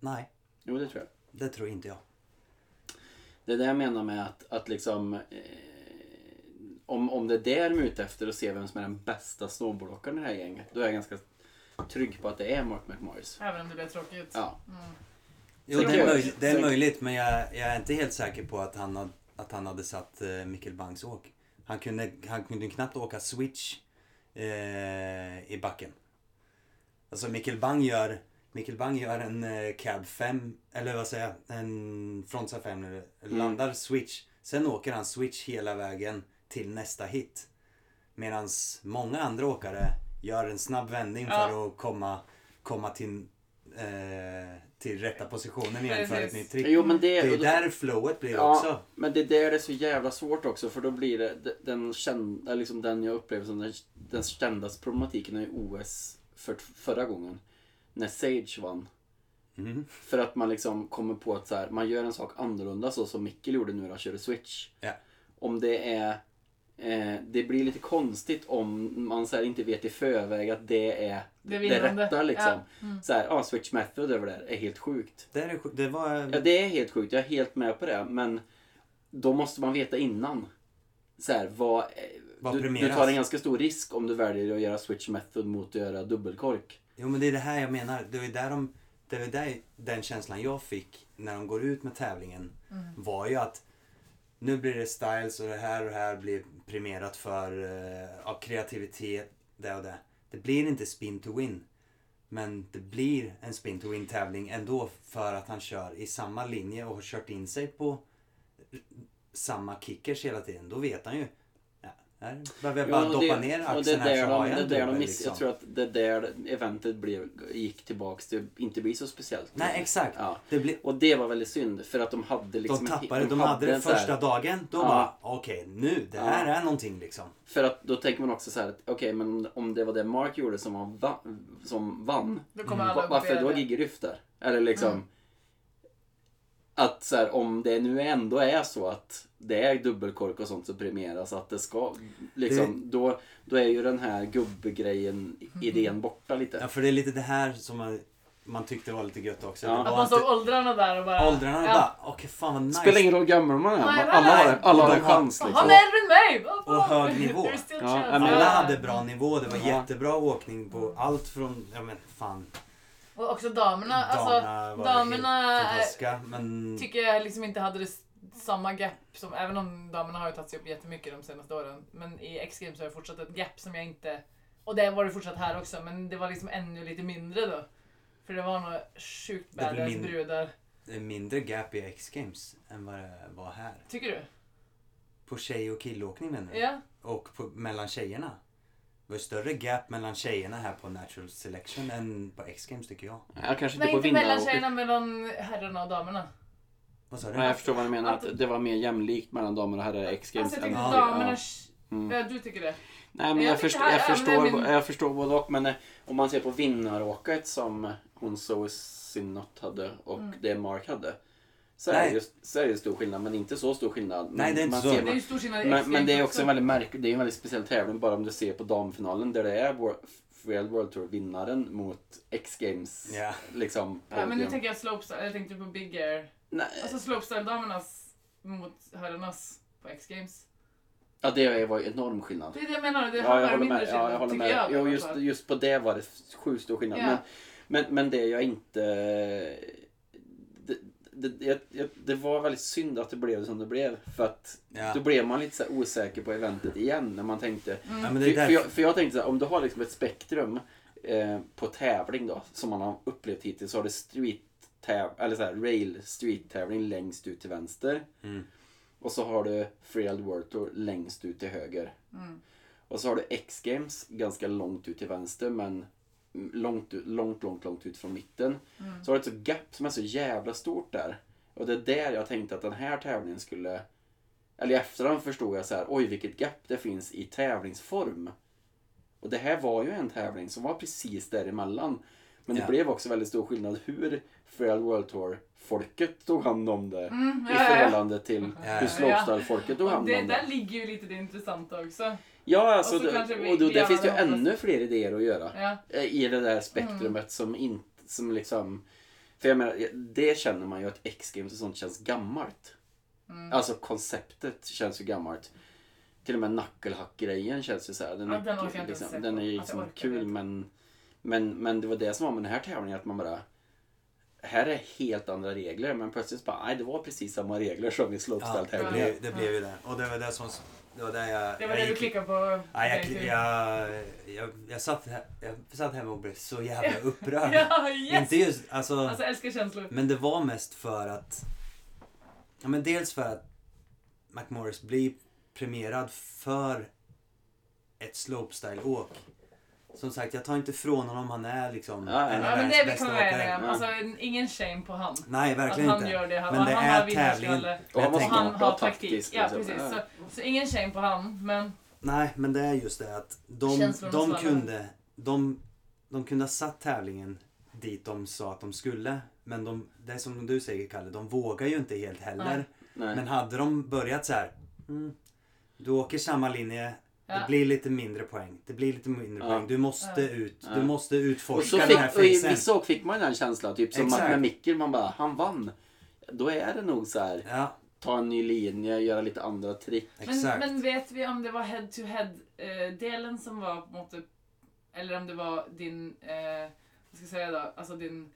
Speaker 4: Nej,
Speaker 2: Jo, det tror jag.
Speaker 4: det tror inte jag.
Speaker 2: Det är det jag menar med att, att liksom... Eh, om, om det är det de är ute efter och se vem som är den bästa snowboardåkaren i det här gänget. Då är jag ganska trygg på att det är Mark McMorris.
Speaker 3: Även om det blev tråkigt.
Speaker 2: Ja.
Speaker 4: Jo,
Speaker 2: Sen kan
Speaker 4: det är,
Speaker 2: jag-
Speaker 4: möjligt, det är
Speaker 2: sen-
Speaker 4: möjligt, men jag, jag är inte helt säker på att han, had, att han hade satt eh, Mikkel Bangs åk. Han kunde, han kunde knappt åka switch eh, i backen. Alltså Mikkel Bang gör, Mikkel Bang gör en eh, cab 5, eller vad säger jag, en frontside 5 nu, landar switch, Sen åker han switch hela vägen till nästa hit. Medan många andra åkare gör en snabb vändning för att komma, komma till, eh, till rätta positionen igen för ett
Speaker 3: Precis.
Speaker 4: nytt trick.
Speaker 2: Jo, men det,
Speaker 4: Det är
Speaker 2: och då-
Speaker 4: där flowet blir
Speaker 2: Ja,
Speaker 4: också.
Speaker 2: men det är där det är så jävla svårt också för då blir det d- den kända, liksom den jag upplever som den, den kändaste problematiken i OS för, förra gången. När Sage vann.
Speaker 4: Mhm.
Speaker 2: För att man liksom kommer på att så här, man gör en sak annorlunda så som Mikkel gjorde nu när han körde switch.
Speaker 4: Ja.
Speaker 2: Om det är Eh, det blir lite konstigt om man så här, inte vet i förväg att det är
Speaker 3: Det
Speaker 2: det,
Speaker 3: vinnande.
Speaker 2: rätta. Liksom.
Speaker 3: Ja. Mm.
Speaker 2: Så här, ah, switch method över det här är helt sjukt.
Speaker 4: Det, är, sj- det var...
Speaker 2: Ja, det är helt sjukt. Jag är helt med på det. Men då måste man veta innan. Så här, vad, eh,
Speaker 4: Vad
Speaker 2: du, du
Speaker 4: premieras?
Speaker 2: tar en ganska stor risk om du väljer att göra switch method mot att göra dubbelkork.
Speaker 4: Jo men det är det här jag menar. Det var där, de, det var där den känslan jag fick när de går ut med tävlingen var ju att nu blir det styles och det här och det här blir premierat för eh, ja, kreativitet, det och det. Det blir inte spin to win. Men det blir en spin to win tävling ändå för att han kör i samma linje och har kört in sig på samma kickers hela tiden. Då vet han ju. Ja, här behöver jag bara
Speaker 2: och
Speaker 4: doppa
Speaker 2: det-
Speaker 4: ner
Speaker 2: och det är
Speaker 4: axeln här
Speaker 2: där
Speaker 4: så har
Speaker 2: de,
Speaker 4: jag
Speaker 2: det är
Speaker 4: en
Speaker 2: där de
Speaker 4: dubbel.
Speaker 2: miss,
Speaker 4: Liksom.
Speaker 2: Jag tror att det är där eventet blev, gick tillbaks till att inte bli så speciellt.
Speaker 4: Nej exakt.
Speaker 2: Ja.
Speaker 4: Det blir,
Speaker 2: Och det var väldigt synd för att de hade liksom...
Speaker 4: De
Speaker 2: en-
Speaker 4: tappade, de hade den
Speaker 2: en så här-
Speaker 4: första dagen. Då
Speaker 2: Ja.
Speaker 4: bara, okej nu, det här
Speaker 2: Ja.
Speaker 4: är någonting liksom.
Speaker 2: För att då tänker man också så här, att, okej men om- om det var det Mark gjorde som, han va, som vann.
Speaker 3: Då kommer alla
Speaker 2: Va-
Speaker 3: upp
Speaker 2: Varför
Speaker 3: i
Speaker 2: då
Speaker 3: det.
Speaker 2: Gigeryff där? Eller liksom... Att så här, om det nu ändå är så att det är dubbelkork och sånt som premieras, att det ska... Liksom, Då, då är ju den här
Speaker 3: Mm.
Speaker 2: gubbgrejen, idén borta lite.
Speaker 4: Ja, för det är lite det här som man, man tyckte var lite gött också.
Speaker 2: Ja.
Speaker 4: Det
Speaker 2: Att
Speaker 4: var
Speaker 3: Att man såg
Speaker 4: inte,
Speaker 3: åldrarna där och bara...
Speaker 4: åldrarna
Speaker 3: ja.
Speaker 4: bara, okej fan vad nice.
Speaker 2: Spelar ingen roll hur gammal man är,
Speaker 3: Nej,
Speaker 2: man-
Speaker 3: nej,
Speaker 2: alla har,
Speaker 3: nej.
Speaker 2: alla har
Speaker 4: Och
Speaker 2: en
Speaker 4: de har-
Speaker 2: chans
Speaker 3: Han
Speaker 2: liksom.
Speaker 3: är äldre än mig! Vad
Speaker 4: Och
Speaker 3: fan?
Speaker 4: hög nivå.
Speaker 3: There's still
Speaker 2: Ja,
Speaker 3: chance.
Speaker 2: men
Speaker 4: Alla
Speaker 3: Ja.
Speaker 4: hade bra nivå, det var
Speaker 2: Ja.
Speaker 4: jättebra åkning på allt från, ja men fan,
Speaker 3: Och också damerna. Alltså,
Speaker 4: damerna var
Speaker 3: damerna eh,
Speaker 4: helt
Speaker 3: är-
Speaker 4: fantastiska. Men
Speaker 3: tycker jag liksom inte hade det s- samma gap som, även om damerna har ju tagit sig upp jättemycket de senaste åren. Men i X-games har det fortsatt ett gap som jag inte, och det var det fortsatt här också, men det var liksom ännu lite mindre då. För det var nog sjukt
Speaker 4: Det blir
Speaker 3: badass
Speaker 4: mindre.
Speaker 3: brudar.
Speaker 4: det är mindre gap i X-games än vad det var här.
Speaker 3: Tycker du?
Speaker 4: På tjej och killåkning menar du?
Speaker 3: Ja.
Speaker 4: och på, mellan tjejerna. Det var större gap mellan tjejerna här på natural selection än på X-games tycker jag.
Speaker 2: Ja, kanske
Speaker 3: Nej,
Speaker 2: inte på
Speaker 3: inte
Speaker 2: vinnare.
Speaker 3: mellan tjejerna, mellan herrarna och damerna.
Speaker 4: Vad sa du?
Speaker 2: Nej, jag förstår vad du menar, att det var mer jämlikt mellan damer och herrar i X-Games.
Speaker 3: Alltså jag tyckte
Speaker 2: än-
Speaker 3: damerna...
Speaker 2: Ja. Mm.
Speaker 3: Ja, du tycker det?
Speaker 2: Nej, men
Speaker 3: Men
Speaker 2: jag,
Speaker 3: jag
Speaker 2: förstår,
Speaker 3: tycker här
Speaker 2: jag,
Speaker 3: är-
Speaker 2: förstår,
Speaker 3: men-
Speaker 2: jag förstår både och. Men eh, om man ser på vinnaråket som hon Zoe Sinnott hade och
Speaker 3: Mm.
Speaker 2: det Mark hade. Så är,
Speaker 4: Nej.
Speaker 2: det just, så är det ju stor skillnad, men inte så stor skillnad. Men
Speaker 4: Nej, det är inte
Speaker 2: man
Speaker 4: så.
Speaker 2: Ser,
Speaker 3: Det är ju stor skillnad i
Speaker 2: men,
Speaker 3: X-games
Speaker 2: men det är också en väldigt, märk, det är en väldigt speciell tävling bara om du ser på damfinalen där det är Wor- Real World Tour-vinnaren mot X-Games.
Speaker 4: Ja.
Speaker 2: Liksom,
Speaker 3: Ja, men nu
Speaker 2: podium.
Speaker 3: tänker jag slopestyle, jag tänkte på Big Air.
Speaker 2: Nej,
Speaker 3: Alltså slopestyle-damernas mot herrarnas på X-games.
Speaker 2: ja, det var ju enorm skillnad.
Speaker 3: Det är det jag menar, det
Speaker 2: Ja, jag
Speaker 3: handlar
Speaker 2: håller
Speaker 3: mindre
Speaker 2: med.
Speaker 3: skillnad
Speaker 2: Ja, jag håller
Speaker 3: tycker
Speaker 2: med.
Speaker 3: jag.
Speaker 2: jo,
Speaker 3: i alla
Speaker 2: just,
Speaker 3: fall.
Speaker 2: just på det var det sjukt stor skillnad.
Speaker 3: Ja.
Speaker 2: Men, men, men det jag inte... Det, det, det, jag- det var väldigt synd att det blev som det blev. För att
Speaker 4: Ja.
Speaker 2: då blev man lite så här osäker på eventet igen när man tänkte...
Speaker 3: Mm.
Speaker 4: Ja, men
Speaker 2: För,
Speaker 4: det är därför.
Speaker 2: för, jag, för jag tänkte så här, om du har liksom ett spektrum eh, på tävling då, som man har upplevt hittills, så har du street täv- eller så här, rail street tävling längst ut till vänster.
Speaker 4: Mm.
Speaker 2: Och så har du Freeld World Tour längst ut till höger.
Speaker 3: Mm.
Speaker 2: Och så har du X-Games ganska långt ut till vänster men långt, ut- långt, långt, långt ut från mitten.
Speaker 3: Mm.
Speaker 2: Så har du ett så gap som är så jävla stort där. Och det är där jag tänkte att den här tävlingen skulle... Eller i efterhand förstod jag så här, oj vilket gap det finns i tävlingsform. Och det här var ju en tävling som var precis däremellan. Men det
Speaker 4: Ja.
Speaker 2: blev också väldigt stor skillnad hur Freeld World Tour-folket tog hand om det
Speaker 3: Mm,
Speaker 2: i
Speaker 3: ja, ja, ja.
Speaker 2: förhållande till hur
Speaker 4: Ja.
Speaker 2: slopestyle-folket tog
Speaker 3: Och
Speaker 2: hand
Speaker 3: det,
Speaker 2: om det.
Speaker 3: där ligger ju lite det intressanta också.
Speaker 2: Ja, alltså,
Speaker 3: Och så kanske
Speaker 2: det,
Speaker 3: vi-
Speaker 2: och då,
Speaker 3: vi
Speaker 2: där
Speaker 3: alla
Speaker 2: finns det ju
Speaker 3: hoppas-
Speaker 2: ännu fler idéer att göra.
Speaker 3: Ja.
Speaker 2: eh, I det där spektrumet
Speaker 3: Mm.
Speaker 2: som inte, som liksom... För jag menar, det känner man ju att X-Games och sånt känns gammalt.
Speaker 3: Mm.
Speaker 2: Alltså konceptet känns ju gammalt. Till och med knucklehack-grejen känns ju så här. Den,
Speaker 3: Ja,
Speaker 2: är-
Speaker 3: den orkar jag inte ens se
Speaker 2: liksom,
Speaker 3: på.
Speaker 2: den är ju
Speaker 3: Att jag
Speaker 2: liksom
Speaker 3: orkar
Speaker 2: kul
Speaker 3: inte.
Speaker 2: men, men, men det var det som var med den här tävlingen att man bara här är helt andra regler men plötsligt bara, nej det var precis samma regler som i
Speaker 4: Ja, det,
Speaker 2: slopestyle-tävlingen.
Speaker 4: blev, det blev ju det. Och det var det som... Det var där jag...
Speaker 3: Det var
Speaker 4: jag
Speaker 3: det du
Speaker 4: gick-
Speaker 3: klickade på. typ.
Speaker 4: Ja, jag,
Speaker 3: dig
Speaker 4: klick-
Speaker 3: till.
Speaker 4: jag, jag, jag, satt här, jag satt hemma och blev så jävla upprörd.
Speaker 3: ja, yes!
Speaker 4: Inte just, alltså,
Speaker 3: Alltså jag älskar känslor.
Speaker 4: Men det var mest för att... Ja, men dels för att McMorris blir premierad för ett slopestyle-åk. Som sagt, jag tar inte från honom. Han är liksom
Speaker 2: Ja, ja.
Speaker 4: en av
Speaker 3: Ja men det
Speaker 4: världens
Speaker 3: är vi
Speaker 4: bästa
Speaker 3: konverterade
Speaker 4: åkare.
Speaker 3: om.
Speaker 2: Ja.
Speaker 3: Alltså en- ingen shame på han.
Speaker 4: Nej,
Speaker 3: Att
Speaker 4: verkligen
Speaker 3: han
Speaker 4: inte.
Speaker 3: gör det. Han,
Speaker 4: Men det
Speaker 3: han har
Speaker 4: är tävling.
Speaker 3: vinnarskalle.
Speaker 2: Och han
Speaker 4: Jag
Speaker 3: Och
Speaker 2: måste
Speaker 4: tänker-
Speaker 2: ha
Speaker 3: han
Speaker 2: en bra
Speaker 3: har
Speaker 2: taktisk.
Speaker 3: taktik. Ja
Speaker 2: liksom.
Speaker 3: precis. Så,
Speaker 2: Ja.
Speaker 3: så ingen shame på han. Men
Speaker 4: Nej, men det är just det att de,
Speaker 3: Känslorna
Speaker 4: de
Speaker 3: svallar.
Speaker 4: kunde de, de kunde ha satt tävlingen dit de sa att de skulle. Men de, det är som du säger Kalle, de vågar ju inte helt heller.
Speaker 3: Nej.
Speaker 2: Nej.
Speaker 4: Men hade de börjat så här. Mm, du åker samma linje, det
Speaker 3: Ja.
Speaker 4: blir lite mindre poäng. Det blir lite mindre
Speaker 2: Ja.
Speaker 4: poäng. Du måste
Speaker 3: Ja.
Speaker 4: ut.
Speaker 2: Ja.
Speaker 4: Du måste
Speaker 2: Och
Speaker 4: utforska
Speaker 2: så
Speaker 4: den här
Speaker 2: fick, och i
Speaker 4: fasen.
Speaker 2: vissa år fick man den känslan, typ som
Speaker 4: Exakt.
Speaker 2: att med Mickel, man bara, han vann. Då är det nog så här,
Speaker 4: Ja,
Speaker 2: ta en ny linje, göra lite andra trick.
Speaker 3: Men,
Speaker 4: exakt.
Speaker 3: men vet vi om det var head-to-head-delen som var på en måte, eller om det var din, eh, vad ska jag säga då, alltså din,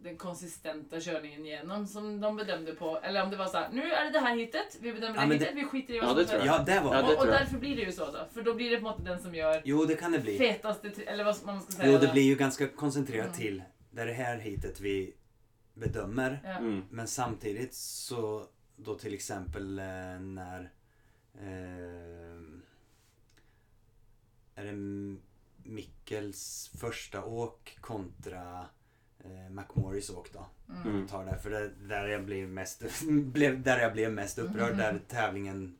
Speaker 3: den konsistenta körningen igenom som de bedömde på? Eller om det var så här, nu är det det här hitet, vi bedömer
Speaker 4: Ja,
Speaker 3: det
Speaker 4: men
Speaker 3: hitet, vi skiter i
Speaker 2: Ja,
Speaker 3: vad
Speaker 2: det
Speaker 3: som
Speaker 2: tror jag.
Speaker 4: Ja, det var
Speaker 2: Ja, det-
Speaker 3: Och, och
Speaker 2: tror jag.
Speaker 3: därför blir det ju så då, för då blir det på något den som gör
Speaker 4: Jo, det kan det bli.
Speaker 3: fetaste, tri- eller vad man ska säga.
Speaker 4: Jo,
Speaker 3: då.
Speaker 4: det blir ju ganska koncentrerat
Speaker 3: Mm.
Speaker 4: till det är det här hitet vi bedömer.
Speaker 3: Ja.
Speaker 2: Mm.
Speaker 4: Men samtidigt så då till exempel eh, när eh, är det M- Mickels första åk kontra eh, McMorris åk då.
Speaker 3: Mm.
Speaker 2: Mm.
Speaker 4: Tar det, för det där jag blev mest, blev, där jag blev mest upprörd.
Speaker 3: Mhm.
Speaker 4: Där tävlingen,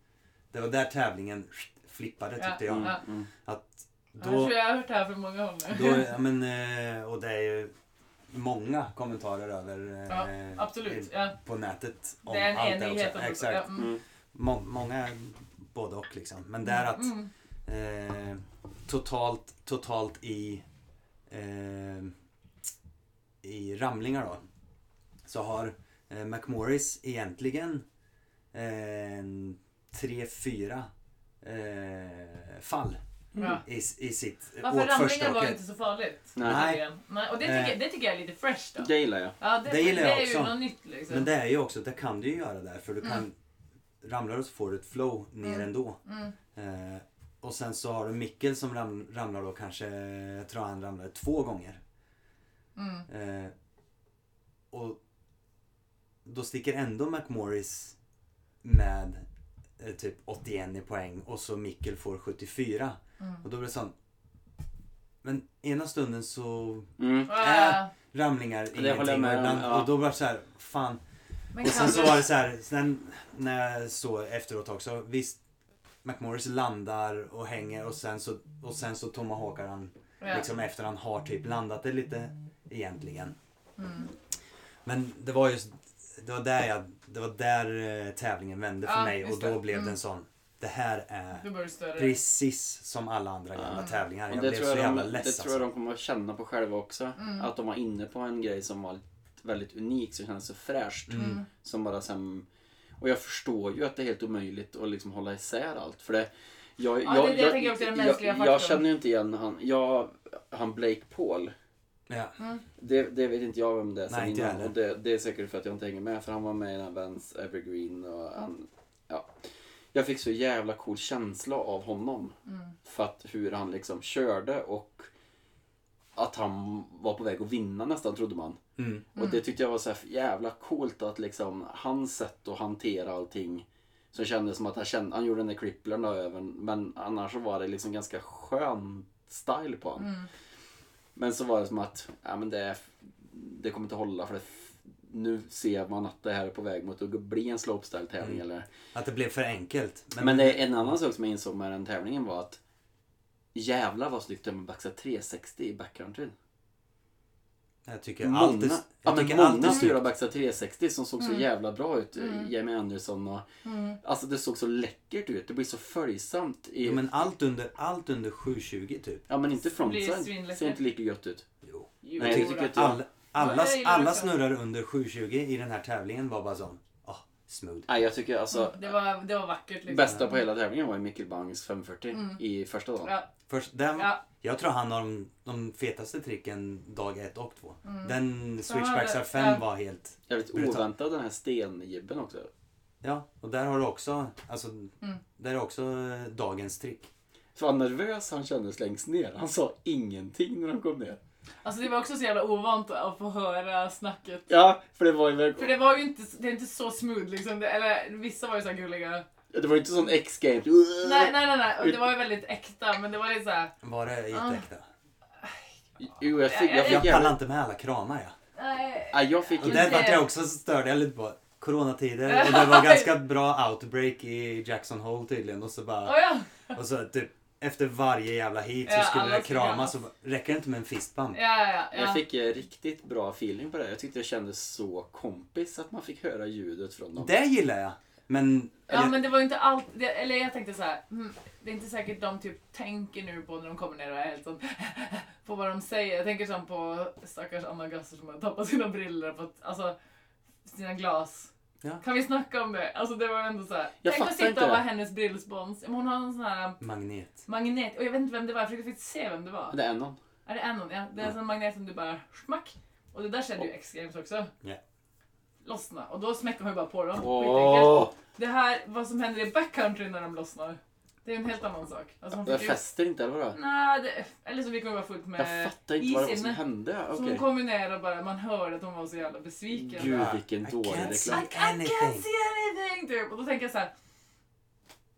Speaker 4: det var där tävlingen flippade tyckte
Speaker 3: Ja.
Speaker 4: jag.
Speaker 2: Mm.
Speaker 3: Ja.
Speaker 2: Mm.
Speaker 3: Ja,
Speaker 4: Då,
Speaker 3: Jag tror jag har hört det här från många håll nu.
Speaker 4: då, ja, men, eh, och det är ju många kommentarer över
Speaker 3: Ja,
Speaker 4: eh,
Speaker 3: Absolut, ja.
Speaker 4: på nätet om
Speaker 3: Det är en
Speaker 4: allt det
Speaker 3: enighet
Speaker 4: också.
Speaker 3: om
Speaker 4: Exakt.
Speaker 3: Ja, mm.
Speaker 2: Mm.
Speaker 4: Må- många både och liksom. Men det är att
Speaker 3: Mm.
Speaker 4: eh, totalt, totalt i, eh, i ramlingar då. Så har eh, McMorris egentligen eh, en tre, fyra eh, fall
Speaker 3: Ja.
Speaker 4: i, i sitt
Speaker 3: Varför
Speaker 4: åk första
Speaker 3: ramlingar var
Speaker 4: åket.
Speaker 3: inte så farligt?
Speaker 2: Nej.
Speaker 3: Nej. Nej. Och det tycker,
Speaker 4: Eh.
Speaker 3: det tycker jag är lite fresh då.
Speaker 2: Det gillar jag.
Speaker 3: Ja, det,
Speaker 4: Det gillar jag
Speaker 3: det är
Speaker 4: också.
Speaker 3: ju något nytt liksom.
Speaker 4: Men det är ju också, det kan du ju göra där för du kan
Speaker 3: Mm.
Speaker 4: ramlar och så får du ett flow ner
Speaker 3: Mm.
Speaker 4: ändå.
Speaker 3: mm.
Speaker 4: Eh, och sen så har du Mikkel som ram, ramlar då kanske, jag tror han ramlade två gånger.
Speaker 3: Mm.
Speaker 4: Eh, och då sticker ändå McMorris med eh, typ 81 i poäng och så Mikkel får 74.
Speaker 3: Mm.
Speaker 4: Och då blir det sån... Men ena stunden så
Speaker 2: Mm.
Speaker 3: Ah,
Speaker 4: ramlingar
Speaker 2: håller jag
Speaker 4: ingenting och,
Speaker 2: med om,
Speaker 4: ibland,
Speaker 2: ja.
Speaker 4: och då var det så här, fan.
Speaker 3: men
Speaker 4: Och sen
Speaker 3: kan
Speaker 4: så
Speaker 3: du-
Speaker 4: var det så här, sen när jag såg efteråt också, visst McMorris landar och hänger och sen så, och sen så tomahawkar han
Speaker 3: ja.
Speaker 4: liksom efter han har typ landat det lite egentligen.
Speaker 3: Mm.
Speaker 4: Men det var just, det var där jag, det var där eh, tävlingen vände för
Speaker 3: Ja,
Speaker 4: mig och
Speaker 3: just
Speaker 4: då
Speaker 3: det.
Speaker 4: blev det en
Speaker 3: Mm.
Speaker 4: sån, det här är
Speaker 3: Du börjar störa dig.
Speaker 4: precis som alla andra gamla
Speaker 2: Ja.
Speaker 4: tävlingar.
Speaker 2: Och
Speaker 4: Jag
Speaker 2: det
Speaker 4: blev
Speaker 2: tror
Speaker 4: så
Speaker 2: jag,
Speaker 4: jävla
Speaker 2: de, det
Speaker 4: less
Speaker 2: tror jag
Speaker 4: alltså.
Speaker 2: de kommer att känna på själva också.
Speaker 3: Mm.
Speaker 2: Att de var inne på en grej som var väldigt unik, som kändes så fräscht.
Speaker 4: Mm.
Speaker 2: Som bara sen... Och jag förstår ju att det är helt omöjligt att liksom hålla isär allt. För det, jag,
Speaker 3: Ja, det är det jag tänker också, den
Speaker 2: jag,
Speaker 3: mänskliga
Speaker 2: jag,
Speaker 3: faktorn.
Speaker 2: jag känner ju inte igen han, jag, han Blake Paul.
Speaker 4: Ja.
Speaker 2: Det, det vet inte jag vem det är
Speaker 4: Nej,
Speaker 2: sen
Speaker 4: inte jag
Speaker 2: innan.
Speaker 4: heller.
Speaker 2: Och det, det är säkert för att jag inte hänger med. För han var med i den här Vans Evergreen och han... Ja. Jag fick så jävla cool känsla av honom.
Speaker 3: Mm.
Speaker 2: För att hur han liksom körde och att han var på väg att vinna nästan trodde man.
Speaker 4: Mm.
Speaker 2: Och det tyckte jag var så här jävla coolt att liksom hans sätt att hantera allting. Så kändes som att han, kände, han gjorde den där cripplern då över men annars så var det liksom ganska skön style på honom.
Speaker 3: Mm.
Speaker 2: Men så var det som att ja, men det, är- det kommer inte hålla för det, nu ser man att det här är på väg mot att bli en slopestyle tävling eller
Speaker 4: Att det blev för enkelt.
Speaker 2: Mm. men, men det är en annan sak som jag insåg med den tävlingen var att jävlar vad snyggt det var med baxa 360 i backcountryn.
Speaker 4: jag tycker
Speaker 2: Många,
Speaker 4: allt är,
Speaker 2: ja,
Speaker 4: jag
Speaker 2: men
Speaker 4: tycker allt är
Speaker 2: många
Speaker 4: snyggt.
Speaker 2: fyra baxa 360 som såg
Speaker 3: Mm.
Speaker 2: så jävla bra ut. eh, Jamie Anderson och... Alltså det såg så läckert ut. Det blir så följsamt. I,
Speaker 4: Ja, men allt under, allt under 720 typ.
Speaker 2: inte
Speaker 3: blir
Speaker 2: frontside.
Speaker 3: svinläckert.
Speaker 2: Ser inte lika gött ut.
Speaker 4: Jo.
Speaker 3: Jo,
Speaker 2: Nej, det tycker jag inte.
Speaker 4: Alla, alla,
Speaker 3: Ja, jag gillar
Speaker 4: alla
Speaker 3: också.
Speaker 4: snurrar under 720 i den här tävlingen var bara sån, ah, smooth.
Speaker 2: Nej, jag tycker alltså...
Speaker 3: det, var, det var vackert liksom.
Speaker 2: Bästa på hela tävlingen var ju Mikkel Bangs 540
Speaker 3: Mm.
Speaker 2: i första dagen.
Speaker 3: Ja,
Speaker 4: Först, den,
Speaker 3: ja.
Speaker 4: Jag tror han har de, de fetaste tricken dag 1 och 2.
Speaker 3: Mm.
Speaker 4: Den
Speaker 3: Så han hade-
Speaker 4: Switchbacksar 5
Speaker 3: ja.
Speaker 4: var helt...
Speaker 2: Jävligt
Speaker 4: Brutal.
Speaker 2: oväntad den här stenjibben också.
Speaker 4: Ja, och där har du också, alltså,
Speaker 3: Mm.
Speaker 4: där är också eh, dagens trick.
Speaker 2: Så vad nervös han kändes längst ner. Han sa ingenting när han kom ner.
Speaker 3: Alltså det var också så jävla ovant att få höra snacket.
Speaker 2: Ja, för det var ju...
Speaker 3: För det var ju inte, det är inte så smooth liksom. Det, eller vissa var ju så här gulliga.
Speaker 2: Det var ju inte sån X-game.
Speaker 3: Nej, nej, nej, nej. Och det var ju väldigt äkta, men det var lite såhär...
Speaker 4: Var det jätteäkta?
Speaker 2: Jo, jag fick, jag
Speaker 4: Jag
Speaker 2: fick
Speaker 4: pallar
Speaker 2: jävla...
Speaker 4: inte med alla kramar jag.
Speaker 3: Nej.
Speaker 2: Ja, jag fick
Speaker 4: Och
Speaker 3: det-
Speaker 4: där vart jag också så störde jag lite på. Coronatider och det var ganska bra outbreak i Jackson Hole tydligen och så
Speaker 3: Oh,
Speaker 4: bara...
Speaker 3: ja.
Speaker 4: Och så typ efter varje jävla hit så
Speaker 3: Ja,
Speaker 4: skulle
Speaker 3: alla
Speaker 4: det
Speaker 3: ska
Speaker 4: kramas
Speaker 3: kramas.
Speaker 4: och bara, räcker det inte med en fistbump?
Speaker 3: Ja, ja, ja.
Speaker 2: Jag fick eh, riktigt bra feeling på det. här. Jag tyckte det kändes så kompis att man fick höra ljudet från dem.
Speaker 4: Det gillar jag! Men...
Speaker 3: Ja, men det var ju inte allt. Det, eller jag tänkte så här. hmm, Det är inte säkert de typ tänker nu på när de kommer ner och är helt sån, på vad de säger. Jag tänker som på stackars anagosser som har tappat sina briller på att, alltså, sina glas.
Speaker 4: Ja.
Speaker 3: Kan vi snacka om det? Alltså det var ändå så här.
Speaker 2: Jag
Speaker 3: Tänk att
Speaker 2: fattar
Speaker 3: sitta
Speaker 2: inte
Speaker 3: och
Speaker 2: det.
Speaker 3: vara hennes brillspons. Men Hon har en sån här
Speaker 4: Magnet.
Speaker 3: magnet. Och jag vet inte vem det var. Jag försökte faktiskt se vem det var.
Speaker 2: Det är någon.
Speaker 3: Är det en? Ja, det är en sån magnet som du bara smack. Och det där kände ju X-Games också.
Speaker 4: Ja.
Speaker 3: Lossna. Och då smäcker man ju bara på dem. Skitenkelt.
Speaker 2: Åh!
Speaker 3: Det här, vad som händer i backcountry när de lossnar. Det är en helt annan sak. Alltså, hon
Speaker 2: Jag
Speaker 3: fick ju...
Speaker 2: fäster inte eller vadå?
Speaker 3: Nej, det... Eller så fick hon vara fullt
Speaker 2: Jag
Speaker 3: med
Speaker 2: fattar inte vad det var som
Speaker 3: inne.
Speaker 2: hände.
Speaker 3: Så hon
Speaker 2: Okej.
Speaker 3: kom ju ner och bara, man hörde att hon var så jävla besviken.
Speaker 2: Gud
Speaker 4: Ja.
Speaker 2: vilken
Speaker 4: I
Speaker 2: dålig
Speaker 4: can't
Speaker 3: I,
Speaker 2: reklam.
Speaker 3: I can't see anything! Typ. Och då tänker jag så här.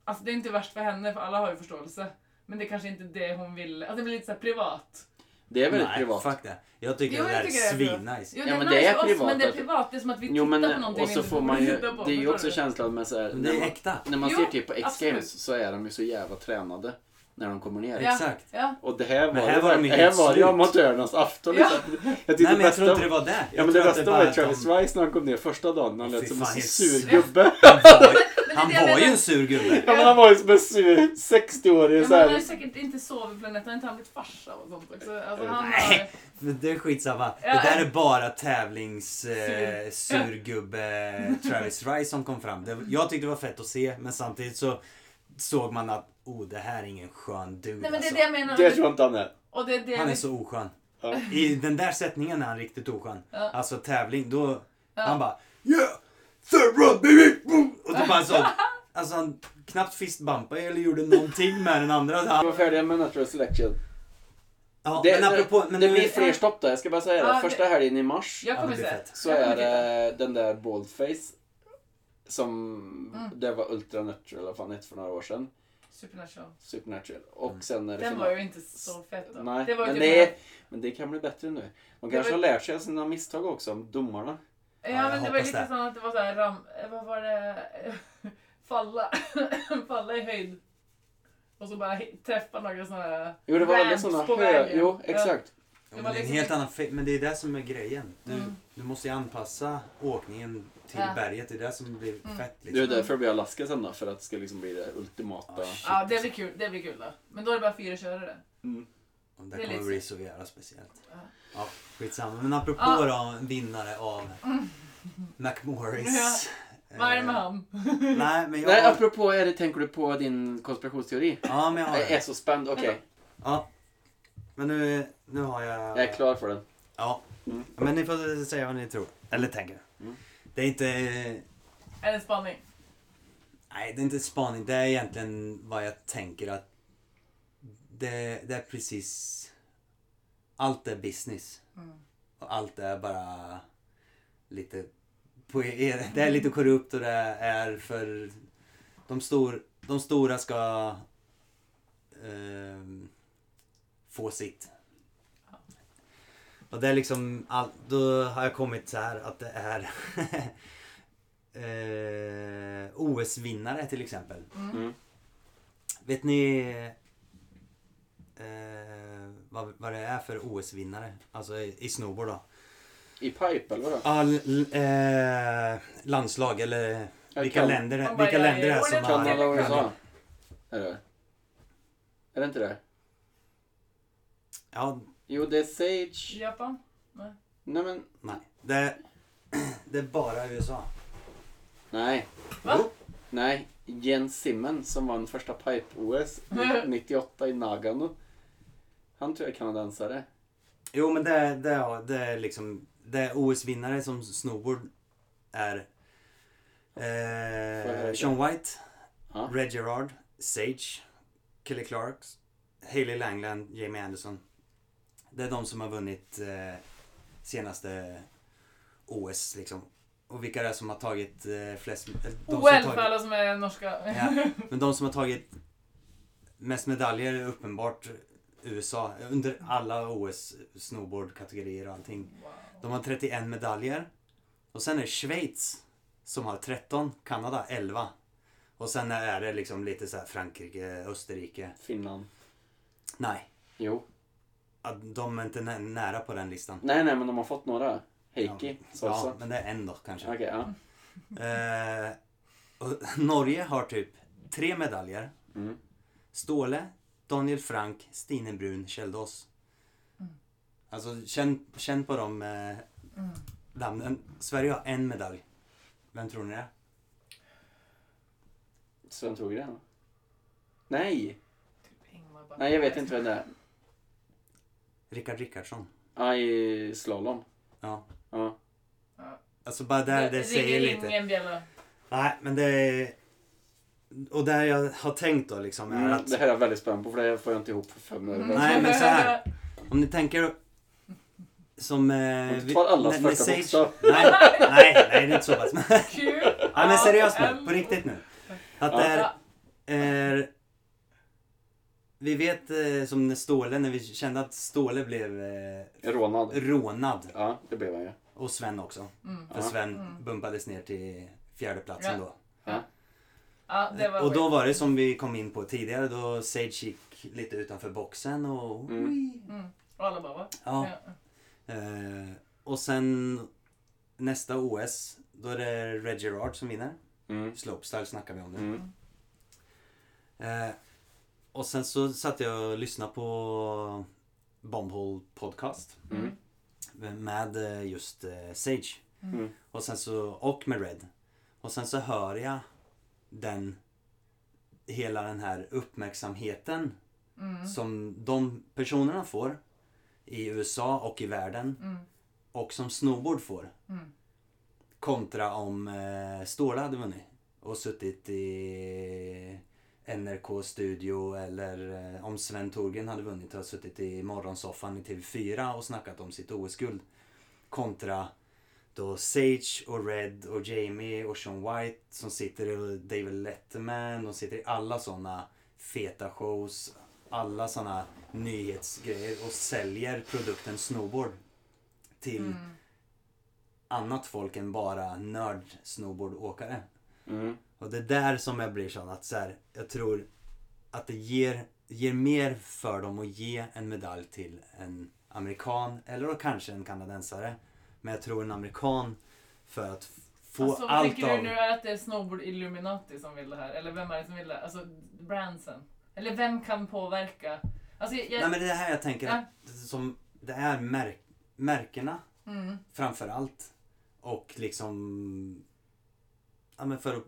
Speaker 3: Alltså det är inte värst för henne, för alla har ju förståelse. Men det är kanske inte det hon ville. Alltså det blir lite så här privat.
Speaker 2: Det är väldigt
Speaker 4: Nej,
Speaker 2: privat.
Speaker 4: fuck det. Jag tycker
Speaker 3: Jo,
Speaker 4: det
Speaker 3: jag
Speaker 4: där är
Speaker 3: tycker det är privat.
Speaker 4: svinnice.
Speaker 3: Jo,
Speaker 2: Ja,
Speaker 3: det är
Speaker 2: men
Speaker 3: nice
Speaker 2: det är
Speaker 3: för oss,
Speaker 2: privat
Speaker 3: men det är
Speaker 2: att-
Speaker 3: privat. Det är som att vi tittar
Speaker 2: Jo men
Speaker 3: på någonting
Speaker 2: och så
Speaker 3: vi inte
Speaker 2: får
Speaker 3: borde
Speaker 2: man ju,
Speaker 3: titta på.
Speaker 2: det är ju
Speaker 3: Förstår
Speaker 2: också
Speaker 3: du?
Speaker 2: känslan med såhär,
Speaker 4: Men det
Speaker 2: när,
Speaker 4: är
Speaker 2: man-
Speaker 4: äkta.
Speaker 2: när man
Speaker 3: Jo,
Speaker 2: ser typ på X-games
Speaker 3: absolut.
Speaker 2: så är de ju så jävla tränade när de kommer ner.
Speaker 4: Ja. Exakt.
Speaker 3: Ja.
Speaker 2: Och det här var,
Speaker 4: Men här var de
Speaker 2: det,
Speaker 4: ju
Speaker 2: här
Speaker 4: helt
Speaker 2: var det ju
Speaker 4: slut.
Speaker 2: amatörernas afton.
Speaker 3: Ja.
Speaker 2: Liksom. Jag
Speaker 4: Nej
Speaker 2: tyckte
Speaker 4: men jag
Speaker 2: bästa,
Speaker 4: tror inte det var det. Jag
Speaker 2: ja, men det
Speaker 4: tror att
Speaker 2: bästa
Speaker 4: bara
Speaker 2: var ju
Speaker 4: att de-
Speaker 2: Travis Rice när han kom ner första dagen. Han lät
Speaker 4: Fy
Speaker 2: som en
Speaker 4: fan,
Speaker 2: så
Speaker 4: helt
Speaker 2: sur
Speaker 4: sur.
Speaker 2: gubbe.
Speaker 4: Han
Speaker 3: det är det jag
Speaker 4: var ju
Speaker 3: menar.
Speaker 4: en sur gubbe.
Speaker 2: Ja, men han var ju som en sur 60-årig.
Speaker 3: Ja, men han har
Speaker 2: såhär.
Speaker 3: ju säkert inte sovit bland nätterna, han har inte han blivit farsa och sånt också. Alltså,
Speaker 2: Eh,
Speaker 3: han har...
Speaker 4: nej. Men Det är skitsamma.
Speaker 3: Ja.
Speaker 4: Det där är bara tävlings eh, surgubbe Travis Rice som kom fram. Det, jag tyckte det var fett att se men samtidigt så såg man att oh det här är ingen skön dude
Speaker 3: Nej men det är
Speaker 4: alltså.
Speaker 3: det jag menar.
Speaker 2: Det tror jag inte han är.
Speaker 3: Och det är det
Speaker 4: Han är
Speaker 3: vi-
Speaker 4: så oskön.
Speaker 2: Ja.
Speaker 4: I den där sättningen är han riktigt oskön.
Speaker 3: Ja.
Speaker 4: Alltså tävling, då...
Speaker 3: Ja.
Speaker 4: Han bara Yeah! Third round baby! Boom! Och då bara så... Alltså han knappt fistbumpade eller gjorde någonting med den andra. Så
Speaker 2: Vi
Speaker 4: Han,
Speaker 2: var färdiga med Natural Selection.
Speaker 4: ja,
Speaker 2: Det,
Speaker 4: men apropå... Men
Speaker 2: det
Speaker 4: nu-
Speaker 2: blir fler stopp där, jag ska bara säga det.
Speaker 3: Ja, det-
Speaker 2: Första helgen i mars
Speaker 3: Jag
Speaker 4: Ja, det
Speaker 3: kommer
Speaker 4: blir
Speaker 3: se.
Speaker 4: fett.
Speaker 2: så
Speaker 3: Jag kommer
Speaker 2: är det den där Boldface. Som
Speaker 3: Mm.
Speaker 2: det var Ultranatural, vad fan det hette för några år sedan.
Speaker 3: Supernatural.
Speaker 2: Supernatural. Och
Speaker 4: Mm.
Speaker 2: sen är det
Speaker 3: Den
Speaker 2: final-
Speaker 3: var ju inte så fett då.
Speaker 2: Nej,
Speaker 3: det var ju
Speaker 2: men,
Speaker 3: typ
Speaker 2: det, men det kan bli bättre nu. De
Speaker 3: Det
Speaker 2: kanske
Speaker 3: var-
Speaker 2: har lärt sig av sina misstag också, om domarna.
Speaker 3: Ja,
Speaker 4: Ja, jag
Speaker 3: men det var
Speaker 4: hoppas
Speaker 3: lite
Speaker 4: det.
Speaker 3: sånt att det var såhär ram... eh, Vad var det? Falla. Falla i höjd. Och så bara hi- träffa några såna här...
Speaker 2: Jo, det var alla
Speaker 3: ramps
Speaker 2: sådana
Speaker 3: på
Speaker 2: hö...
Speaker 3: vägen.
Speaker 2: Jo,
Speaker 3: Ja.
Speaker 2: exakt.
Speaker 4: Ja, men det är en helt annan fe- Men det är det som är grejen. Du,
Speaker 3: liksom Mm.
Speaker 4: du måste ju anpassa åkningen till
Speaker 3: Ja.
Speaker 4: berget. Det är det som blir
Speaker 3: Mm.
Speaker 4: fett
Speaker 2: Det är
Speaker 4: liksom.
Speaker 2: därför det blir Alaska sen då, för att det ska liksom bli det ultimata.
Speaker 4: Ah, shit.
Speaker 3: Ja, det blir kul. Det blir kul då. Men då är det bara fyra körare.
Speaker 2: Mm.
Speaker 4: Och det
Speaker 3: det är
Speaker 4: kommer
Speaker 3: lite-
Speaker 4: bli så jävla speciellt.
Speaker 3: Ja.
Speaker 4: Ja, skitsamma. Men apropå då vinnare av McMorris.
Speaker 3: Mm. Vad är det med
Speaker 4: eh,
Speaker 3: han?
Speaker 4: Nej, men jag...
Speaker 2: Nej, apropå är det, tänker du på din konspirationsteori?
Speaker 4: Ja, men jag har
Speaker 2: Jag är
Speaker 4: det.
Speaker 2: så spänd, okej.
Speaker 4: Ja. Men nu, nu har jag...
Speaker 2: Jag är klar för den.
Speaker 4: Ja.
Speaker 2: Mm.
Speaker 4: Men ni får säga vad ni tror. Eller tänker.
Speaker 2: Mm.
Speaker 4: Det är inte...
Speaker 3: Är det en spaning?
Speaker 4: Nej, det är inte spaning. Det är egentligen vad jag tänker att... Det, det är precis... Allt är business.
Speaker 3: Mm.
Speaker 4: Och allt är bara lite... På, e-, det är lite korrupt och det är för... De, stor, de stora ska ehm, få sitt. Och det är liksom allt. Då har jag kommit så här att det är eh, OS-vinnare till exempel.
Speaker 2: Mm.
Speaker 4: Vet ni eh, vad, vad det är för OS-vinnare? Alltså i, i snowboard då.
Speaker 2: I pipe, eller vadå?
Speaker 4: Ja, l- l- eh, landslag eller
Speaker 2: Jag
Speaker 4: vilka
Speaker 2: kan-
Speaker 4: länder, det-
Speaker 3: Man bara,
Speaker 4: vilka
Speaker 3: ja,
Speaker 4: länder det är
Speaker 3: ja,
Speaker 4: som
Speaker 3: ja,
Speaker 4: har...
Speaker 2: Kanada och
Speaker 3: Ja.
Speaker 2: USA. Är det? Är det inte det?
Speaker 4: Ja,
Speaker 2: Jo, det är Sage.
Speaker 3: Japan?
Speaker 2: Nej, men...
Speaker 4: nej. Det, det är bara USA.
Speaker 2: Nej.
Speaker 3: Va?
Speaker 4: Jo.
Speaker 2: Nej. Jens Simmen som vann första Pipe-OS 98 i Nagano. Han tror jag är kanadensare.
Speaker 4: Jo, men det, är- det, är- det är liksom... Det är OS-vinnare som snowboard är
Speaker 2: Får jag höra?
Speaker 4: eh, Sean White,
Speaker 2: Ja.
Speaker 4: Red Gerard, Sage, Kelly Clarks, Hailey Langland, Jamie Anderson. Det är de som har vunnit eh, senaste OS liksom. Och vilka det är som har tagit eh, flest... eh, De som har
Speaker 3: OL för
Speaker 4: tagit,
Speaker 3: alla som är norska.
Speaker 4: Ja. men de som har tagit mest medaljer är uppenbart USA. Under alla OS snowboardkategorier och allting.
Speaker 3: Wow.
Speaker 4: De har 31 medaljer. Och sen är det Schweiz som har 13, Kanada 11. Och sen är det liksom lite så här Frankrike, Österrike.
Speaker 2: Finland.
Speaker 4: Nej,
Speaker 2: Jo.
Speaker 4: ja, de är inte nä- nära på den listan.
Speaker 2: Nej, nej, men de har fått några. Heikki,
Speaker 4: Ja,
Speaker 2: Sosa.
Speaker 4: men det är en då kanske.
Speaker 2: Okej, ja.
Speaker 4: Eh, och Norge har typ tre medaljer.
Speaker 2: Mm.
Speaker 4: Ståle, Daniel Frank, Stine Brun, Kjell Doss. Alltså känn, känn på de eh, namnen. Sverige har en medalj. Vem tror ni det är?
Speaker 2: Sven Trogren. Nej!
Speaker 3: Typ Ingmar Bergman.
Speaker 2: Nej, jag vet inte vem det är.
Speaker 4: Rickard Rickardsson.
Speaker 2: Ja, i slalom.
Speaker 4: Ja.
Speaker 2: Ja.
Speaker 4: Alltså bara där det säger
Speaker 3: ringer
Speaker 4: lite.
Speaker 3: ingen bjälla.
Speaker 4: Nej, men det är... Och där jag har tänkt då liksom är
Speaker 2: Mm,
Speaker 4: att...
Speaker 2: det här är jag väldigt spänd på för det här får jag inte ihop för fem öre.
Speaker 4: Nej, men så här. Om ni tänker... Som... Eh,
Speaker 2: Om du tar allas
Speaker 4: när- när
Speaker 2: första
Speaker 4: Sage-
Speaker 2: bokstav.
Speaker 4: Nej, nej, nej, det är inte så pass.
Speaker 3: Kul!
Speaker 4: Ja, men seriöst nu. På riktigt nu. Att det är...
Speaker 3: Ja.
Speaker 4: är vi vet eh, som när Ståle, när vi kände att Ståle blev eh,
Speaker 2: Rånad.
Speaker 4: rånad.
Speaker 2: Ja, det blev han ju.
Speaker 4: Och Sven också.
Speaker 3: Mm.
Speaker 4: För
Speaker 2: Ja.
Speaker 4: Sven
Speaker 3: Mm.
Speaker 4: bumpades ner till fjärdeplatsen
Speaker 3: Ja.
Speaker 4: då.
Speaker 3: Ja, det var
Speaker 4: Och
Speaker 3: sjukt.
Speaker 4: då var det som vi kom in på tidigare, då Sage gick lite utanför boxen och...
Speaker 2: Mm.
Speaker 3: Mm. Och alla bara va?
Speaker 4: Ja. Eh, och sen nästa OS, då är det Red Gerard som vinner.
Speaker 2: Mm.
Speaker 4: Slopestyle snackar vi om nu.
Speaker 2: Mm.
Speaker 4: Eh, och sen så satt jag och lyssnade på Bombhole Podcast
Speaker 2: Mm.
Speaker 4: med eh, just eh, Sage.
Speaker 2: Mm.
Speaker 4: Och, sen så, och med Red. Och sen så hör jag den hela den här uppmärksamheten
Speaker 3: Mm.
Speaker 4: som de personerna får i USA och i världen
Speaker 3: Mm.
Speaker 4: och som snowboard får.
Speaker 3: Mm.
Speaker 4: Kontra om eh, Ståla hade vunnit och suttit i NRK studio eller eh, om Sven Thorgren hade vunnit och suttit i morgonsoffan i TV4 och snackat om sitt OS-guld. Kontra då Sage och Red och Jamie och Sean White som sitter och David Letterman. De sitter i alla sådana feta shows, alla sådana nyhetsgrejer och säljer produkten snowboard till
Speaker 3: Mm.
Speaker 4: annat folk än bara nörd-snowboardåkare.
Speaker 2: Mm.
Speaker 4: Och det är där som jag blir sån att så här, jag tror att det ger, ger mer för dem att ge en medalj till en amerikan eller då kanske en kanadensare. Men jag tror en amerikan för att f- få
Speaker 3: Alltså,
Speaker 4: allt
Speaker 3: Tycker
Speaker 4: av...
Speaker 3: du nu är att det är Snowboard Illuminati som vill det här? Eller vem är det som vill det? Alltså Branson? Eller vem kan påverka? Alltså, jag...
Speaker 4: Nej men det är det här jag tänker
Speaker 3: Ja.
Speaker 4: att som, det är märk, märkena
Speaker 3: Mm.
Speaker 4: framför allt. Och liksom... Ja, men för, att,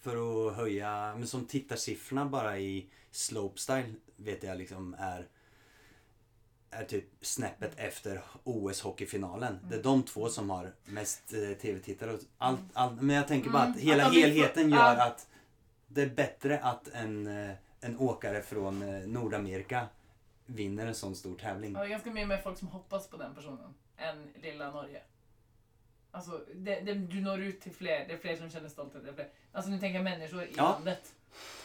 Speaker 4: för att höja... Men som tittarsiffrorna bara i slopestyle vet jag liksom är är typ snäppet efter OS-hockeyfinalen. Det är de två som har mest eh, tv-tittare. och Allt, allt, men jag tänker bara att
Speaker 3: Mm.
Speaker 4: hela
Speaker 3: Att de inte-
Speaker 4: helheten gör
Speaker 3: ja.
Speaker 4: att det är bättre att en, eh, en åkare från eh, Nordamerika vinner en sån stor tävling.
Speaker 3: Ja, det är ganska mycket mer folk som hoppas på den personen än lilla Norge. Alltså, det, det, du når ut till fler. Det är fler som känner stolthet. Det är fler. Alltså nu tänker jag människor i
Speaker 4: Ja.
Speaker 3: landet.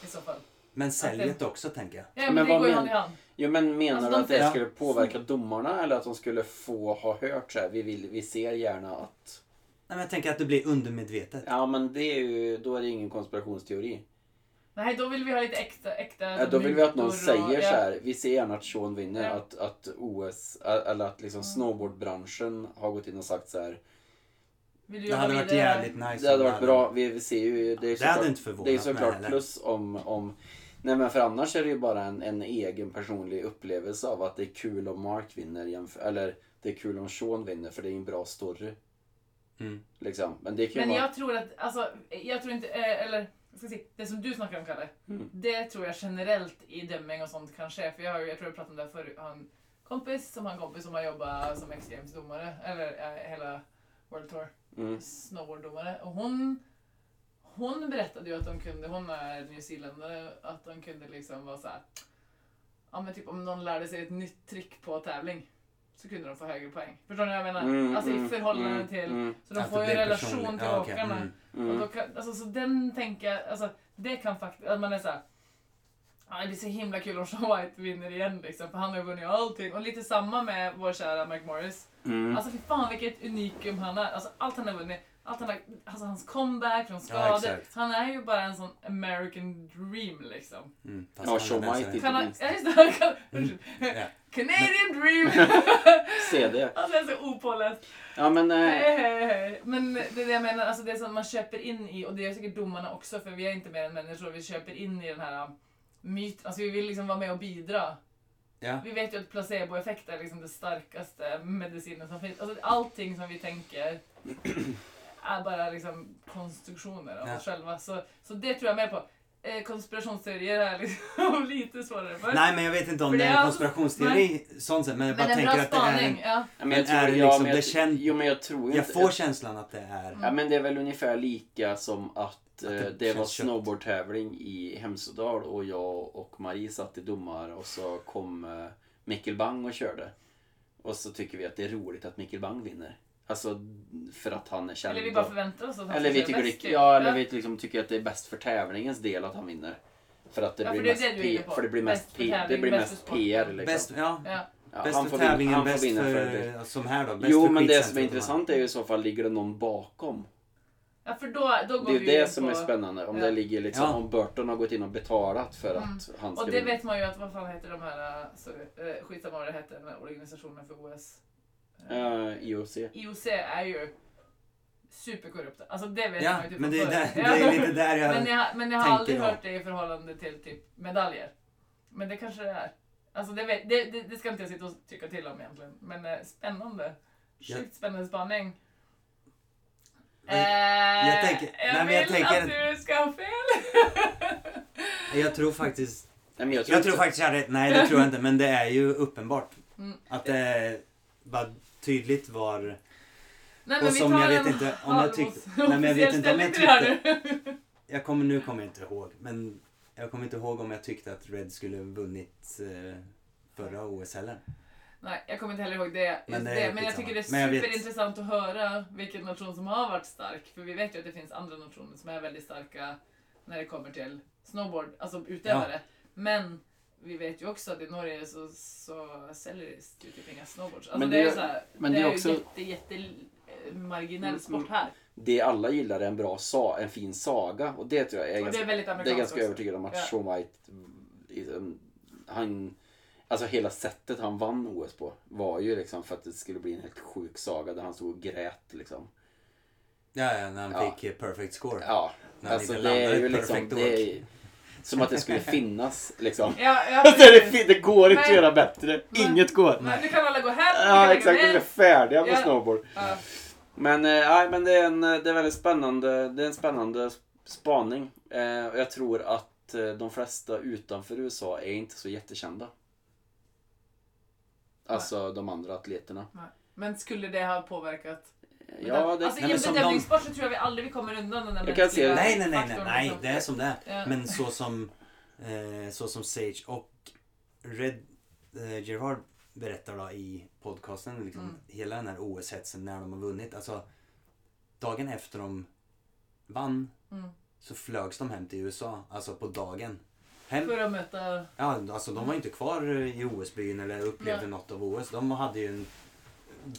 Speaker 3: I så fall.
Speaker 4: Men säljet också tänker jag.
Speaker 3: Ja, men,
Speaker 2: Men
Speaker 3: det
Speaker 2: vad
Speaker 3: går ju
Speaker 2: men-
Speaker 3: hand i hand.
Speaker 2: Jo, men menar
Speaker 3: Alltså,
Speaker 2: du
Speaker 3: de
Speaker 2: att det
Speaker 4: ser-
Speaker 2: skulle påverka domarna eller att de skulle få ha hört så här, vi, vill, vi ser gärna att...
Speaker 4: Nej, men jag tänker att det blir undermedvetet.
Speaker 2: Ja, men det är ju, då är det ingen konspirationsteori.
Speaker 3: Nej, då vill vi ha lite äkta... äkta
Speaker 2: Ja, då vill vi att någon
Speaker 3: mutor och-
Speaker 2: säger
Speaker 3: ja.
Speaker 2: så här, vi ser gärna att Sean vinner,
Speaker 3: Ja. Mm.
Speaker 2: att, att OS, eller att liksom snowboardbranschen har gått in och sagt så här.
Speaker 3: Vill du
Speaker 4: Det
Speaker 3: jobba
Speaker 4: hade varit
Speaker 3: vidare?
Speaker 4: jävligt nice.
Speaker 2: Det hade
Speaker 4: om
Speaker 2: varit bra, vi, vi ser ju, det är
Speaker 4: Det
Speaker 2: såklart,
Speaker 4: hade inte förvånat
Speaker 2: det är
Speaker 4: mig
Speaker 2: såklart
Speaker 4: heller.
Speaker 2: plus om, om Nej men för annars är det ju bara en, en egen personlig upplevelse av att det är kul om Mark vinner jämför, eller det är kul om Sean vinner för det är ju en bra story.
Speaker 4: Mm.
Speaker 2: Liksom. Men det kan ju
Speaker 3: Men
Speaker 2: vara...
Speaker 3: jag tror att, alltså, jag tror inte, eh, eller jag ska se, det som du snackar om Kalle,
Speaker 2: Mm.
Speaker 3: det tror jag generellt i dömning och sånt kan ske. För jag, har ju- jag tror jag pratade om det förut, har en kompis som har en kompis som har jobbat som X Games-domare, eller eh, hela World Tour
Speaker 2: Mm.
Speaker 3: snowboarddomare. Och hon, hon berättade ju att de kunde, hon är nyzeeländare, att de kunde liksom vara så här. Ja men typ om någon lärde sig ett nytt trick på tävling. så kunde de få högre poäng. Förstår ni vad jag menar?
Speaker 2: Mm,
Speaker 3: alltså i
Speaker 2: mm,
Speaker 3: förhållande
Speaker 2: mm,
Speaker 3: till...
Speaker 2: mm,
Speaker 3: Så de
Speaker 4: Att det
Speaker 3: får ju
Speaker 4: blir
Speaker 3: relation
Speaker 4: personligt.
Speaker 3: till
Speaker 4: Ja, okej,
Speaker 3: åkarna.
Speaker 4: mm.
Speaker 3: Och
Speaker 2: mm.
Speaker 3: då kan, alltså, så den tänker jag, alltså, det kan faktiskt, att man är såhär, ah, det blir så himla kul om Sean White vinner igen liksom, för han har ju vunnit allting. Och lite samma med vår kära Mike Morris.
Speaker 2: Mm.
Speaker 3: Alltså fy fan vilket unikum han är. Alltså allt han har vunnit, allt han har, alltså hans comeback från
Speaker 4: Ja,
Speaker 3: skador.
Speaker 4: exakt.
Speaker 3: han är ju bara en sån American dream liksom.
Speaker 4: Mm, fast
Speaker 2: Ja,
Speaker 4: han är
Speaker 2: Shawn
Speaker 4: dansare.
Speaker 2: White är-
Speaker 3: Kan han,
Speaker 2: minst.
Speaker 3: ja, just det, han kan,
Speaker 4: Ja.
Speaker 3: Canadian dream!
Speaker 2: Se det.
Speaker 3: Han är så opåläst.
Speaker 2: Ja men... Eh,
Speaker 3: Hej, hej, hej. Men det är det jag menar, alltså det som man köper in i, och det gör säkert domarna också för vi är inte mer än människor, vi köper in i den här myten, alltså vi vill liksom vara med och bidra.
Speaker 4: Ja.
Speaker 3: Vi vet ju att placeboeffekt är liksom det starkaste medicinen som finns. Alltså allting som vi tänker är bara liksom konstruktioner av
Speaker 4: Ja.
Speaker 3: oss själva. Så, så det tror jag mer på. Eh, konspirationsteorier är liksom lite svårare. För.
Speaker 4: Nej, men jag vet inte om
Speaker 3: För
Speaker 4: det
Speaker 3: det
Speaker 4: är
Speaker 3: är-
Speaker 4: en konspirationsteori. Sånt sätt, men jag
Speaker 3: Men
Speaker 4: bara
Speaker 3: en bra
Speaker 4: tänker att det är en...
Speaker 3: spaning. Ja.
Speaker 2: men jag
Speaker 4: men
Speaker 2: tror,
Speaker 4: är det
Speaker 2: ja,
Speaker 4: liksom
Speaker 2: men jag,
Speaker 4: bekänt?
Speaker 2: Jo men jag tror ju
Speaker 4: Jag
Speaker 2: inte... Mm.
Speaker 4: får känslan att det är...
Speaker 3: Mm.
Speaker 2: Ja men det är väl ungefär lika som att eh,
Speaker 4: det
Speaker 2: det var
Speaker 4: känns köpt.
Speaker 2: snowboardtävling i Hemsedal och jag och Marie satt i domar och så kom eh, Mikkel Bang och körde. Och så tycker vi att det är roligt att Mikkel Bang vinner. Alltså för att han är känd.
Speaker 3: Eller vi bara
Speaker 2: och-
Speaker 3: förväntar oss att han
Speaker 2: eller
Speaker 3: ska
Speaker 2: vi
Speaker 3: köra
Speaker 2: tycker,
Speaker 3: bäst,
Speaker 2: det,
Speaker 3: typ.
Speaker 2: ja, eller vi liksom tycker att det är bäst för tävlingens del att han vinner. För att det
Speaker 3: Ja,
Speaker 2: blir
Speaker 3: för det är
Speaker 2: mest,
Speaker 3: det du är
Speaker 2: P-
Speaker 3: inne på.
Speaker 2: för det blir
Speaker 3: Bäst
Speaker 2: mest,
Speaker 3: för
Speaker 2: P- det
Speaker 3: tävling,
Speaker 2: blir
Speaker 3: bäst
Speaker 2: mest
Speaker 3: för sport.
Speaker 2: PR. Liksom.
Speaker 4: Bäst, ja,
Speaker 3: Ja.
Speaker 2: Ja,
Speaker 4: bäst
Speaker 2: han
Speaker 4: för
Speaker 2: får vinna-
Speaker 4: tävlingen,
Speaker 2: han får
Speaker 4: bäst
Speaker 2: vinna
Speaker 4: för...
Speaker 2: det.
Speaker 4: Som här då, bäst
Speaker 2: Jo
Speaker 4: för
Speaker 2: men det som är
Speaker 4: skidcentrum.
Speaker 2: intressant är ju i så fall, ligger det någon bakom?
Speaker 3: Ja, för då, då går
Speaker 2: Det är ju
Speaker 3: vi in
Speaker 2: det som
Speaker 3: på...
Speaker 2: är spännande. Om
Speaker 3: Ja.
Speaker 2: det ligger liksom,
Speaker 4: Ja.
Speaker 2: om Burton har gått in och betalat för att
Speaker 3: Mm.
Speaker 2: han ska
Speaker 3: Och det
Speaker 2: vinna.
Speaker 3: vet man ju att vad fan heter de här, så, eh, skitsamma vad det heter, den här organisationen för OS. Eh,
Speaker 2: Eh, IOC.
Speaker 3: IOC är ju superkorrupta. Alltså det vet
Speaker 4: Ja,
Speaker 3: man ju typ
Speaker 4: men
Speaker 3: från
Speaker 4: det är, där,
Speaker 3: förut.
Speaker 4: det
Speaker 3: Ja.
Speaker 4: är lite där jag...
Speaker 3: men jag, men jag har
Speaker 4: tänker
Speaker 3: aldrig
Speaker 4: då.
Speaker 3: hört det i förhållande till typ medaljer. Men det kanske det är. Alltså det, vet, det, det, det ska inte jag sitta och tycka till om egentligen. Men eh, spännande.
Speaker 4: Ja.
Speaker 3: Sjukt spännande spaning. Äh,
Speaker 4: Jag- jag tänker-
Speaker 3: jag
Speaker 4: nej, men jag
Speaker 3: vill
Speaker 4: tänker-
Speaker 3: att du ska ha fel.
Speaker 4: Jag tror faktiskt...
Speaker 2: Nej, men jag tror,
Speaker 4: Jag tror
Speaker 2: inte-
Speaker 4: faktiskt jag hade rätt. Nej, det tror jag inte. Men det är ju uppenbart.
Speaker 3: Mm.
Speaker 4: Att det var tydligt var...
Speaker 3: Nej,
Speaker 4: Och som jag vet inte om jag tyckte- Nej, men jag vet inte om jag
Speaker 3: tyckte...
Speaker 4: Jag kommer, nu kommer jag inte ihåg. Men jag kommer inte ihåg om jag tyckte att Red skulle vunnit eh, förra OS heller.
Speaker 3: Nej, jag kommer inte heller ihåg det.
Speaker 4: Men
Speaker 3: Men,
Speaker 4: det
Speaker 3: det,
Speaker 4: är
Speaker 3: men jag
Speaker 4: skitsamma.
Speaker 3: tycker det är
Speaker 4: Men jag vet-
Speaker 3: superintressant att höra vilken nation som har varit stark. För vi vet ju att det finns andra nationer som är väldigt starka när det kommer till snowboard, alltså utövare. Men vi vet ju också att i Norge så, så säljer det ju typ inga snowboards. Alltså
Speaker 2: Men
Speaker 3: det,
Speaker 2: det
Speaker 3: är ju
Speaker 2: är-
Speaker 3: så här,
Speaker 2: men
Speaker 3: det
Speaker 2: det är
Speaker 3: är ju
Speaker 2: också-
Speaker 3: jätte, jätte eh, marginell
Speaker 2: Mm,
Speaker 3: sport här.
Speaker 2: det alla gillar är en bra sa, en fin saga. Och det tror jag är
Speaker 3: Och det
Speaker 2: ganska,
Speaker 3: är väldigt
Speaker 2: det är
Speaker 3: amerikanskt
Speaker 2: ganska
Speaker 3: också.
Speaker 2: övertygad om att
Speaker 3: Ja.
Speaker 2: Sean White, mm, han, alltså hela sättet han vann OS på var ju liksom för att det skulle bli en helt sjuk saga där han stod och grät liksom.
Speaker 4: Ja, ja, när han
Speaker 2: Ja.
Speaker 4: fick eh, perfect score.
Speaker 2: Ja,
Speaker 4: När han
Speaker 2: alltså
Speaker 4: inte
Speaker 2: det är
Speaker 4: landade
Speaker 2: ju
Speaker 4: perfekt
Speaker 2: liksom,
Speaker 4: åk.
Speaker 2: det är, ju- som att det skulle finnas liksom.
Speaker 3: Ja, ja,
Speaker 2: Alltså, det,
Speaker 3: precis.
Speaker 2: fin- det går inte att
Speaker 3: Nej.
Speaker 2: göra bättre,
Speaker 3: Nej.
Speaker 2: inget går.
Speaker 3: Men nu kan alla gå hem. nu kan alla
Speaker 2: Ja
Speaker 3: gå
Speaker 2: exakt,
Speaker 3: ner.
Speaker 2: vi är färdiga med
Speaker 3: Ja.
Speaker 2: snowboard.
Speaker 3: Ja.
Speaker 2: Men, eh, nej, men det, är en, eh, det är väldigt spännande, det är en spännande spaning. Eh, och jag tror att eh, de flesta utanför USA är inte så jättekända. Alltså de andra atleterna. Eh,
Speaker 3: Nej. Men skulle det ha påverkat?
Speaker 2: Ja,
Speaker 3: alltså,
Speaker 2: det,
Speaker 4: Nej,
Speaker 3: I
Speaker 4: men
Speaker 3: en
Speaker 4: som
Speaker 3: bedömningssport så tror jag vi aldrig vi kommer undan den där
Speaker 2: Jag kan se-
Speaker 3: mänskliga
Speaker 4: Nej, nej, nej, nej,
Speaker 3: faktorn,
Speaker 4: nej,
Speaker 3: liksom.
Speaker 4: det är som det
Speaker 3: Ja.
Speaker 4: är. Men så som, eh, så som Sage och Red eh, Gerard berättar då i podcasten, liksom,
Speaker 3: Mm.
Speaker 4: hela den här OS-hetsen när de har vunnit. Alltså, dagen efter de vann
Speaker 3: Mm.
Speaker 4: så flögs de hem till USA, alltså på dagen. Hem,
Speaker 3: För att möta...
Speaker 4: ja, alltså de var ju inte kvar i OS-byn eller upplevde
Speaker 3: Nej.
Speaker 4: något av OS. De hade ju en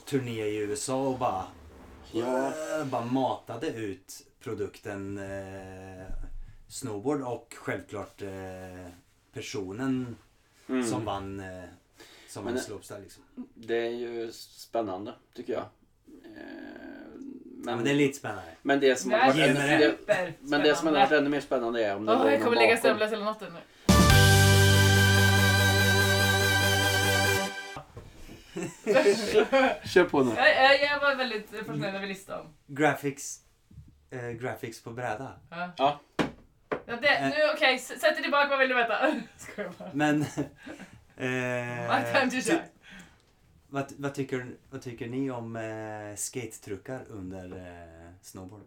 Speaker 4: turné i USA och bara
Speaker 2: ja,
Speaker 4: eh, bara matade ut produkten eh, snowboard och självklart eh, personen
Speaker 2: mm.
Speaker 4: som vann eh, som
Speaker 2: Men
Speaker 4: vann
Speaker 2: det-
Speaker 4: slopestyle liksom.
Speaker 2: det är ju spännande tycker jag. Eh,
Speaker 4: Ja,
Speaker 2: men,
Speaker 4: men det är lite spännande.
Speaker 2: men det som
Speaker 3: Det
Speaker 2: har
Speaker 3: är
Speaker 2: varit
Speaker 4: Ge
Speaker 2: ännu,
Speaker 4: mig
Speaker 2: det,
Speaker 3: superspännande.
Speaker 2: men det som har varit ännu mer spännande är om det
Speaker 3: Åh,
Speaker 2: var
Speaker 3: jag
Speaker 2: någon
Speaker 3: kommer lägga
Speaker 2: bakom.
Speaker 3: sömnlös hela natten nu.
Speaker 2: Kör på nu.
Speaker 3: Jag, jag, jag var väldigt fascinerad över listan.
Speaker 4: Graphics, eh, graphics på bräda.
Speaker 3: Ja.
Speaker 2: Ja.
Speaker 3: Ja, det,
Speaker 4: Mm.
Speaker 3: nu okej, s- sätt dig tillbaka, vad vill du veta? Skojar bara.
Speaker 4: Men...
Speaker 3: Mark
Speaker 4: eh,
Speaker 3: time to
Speaker 4: ty,
Speaker 3: shine.
Speaker 4: vad, vad, tycker, vad tycker ni om eh, skatetruckar under eh, snowboard?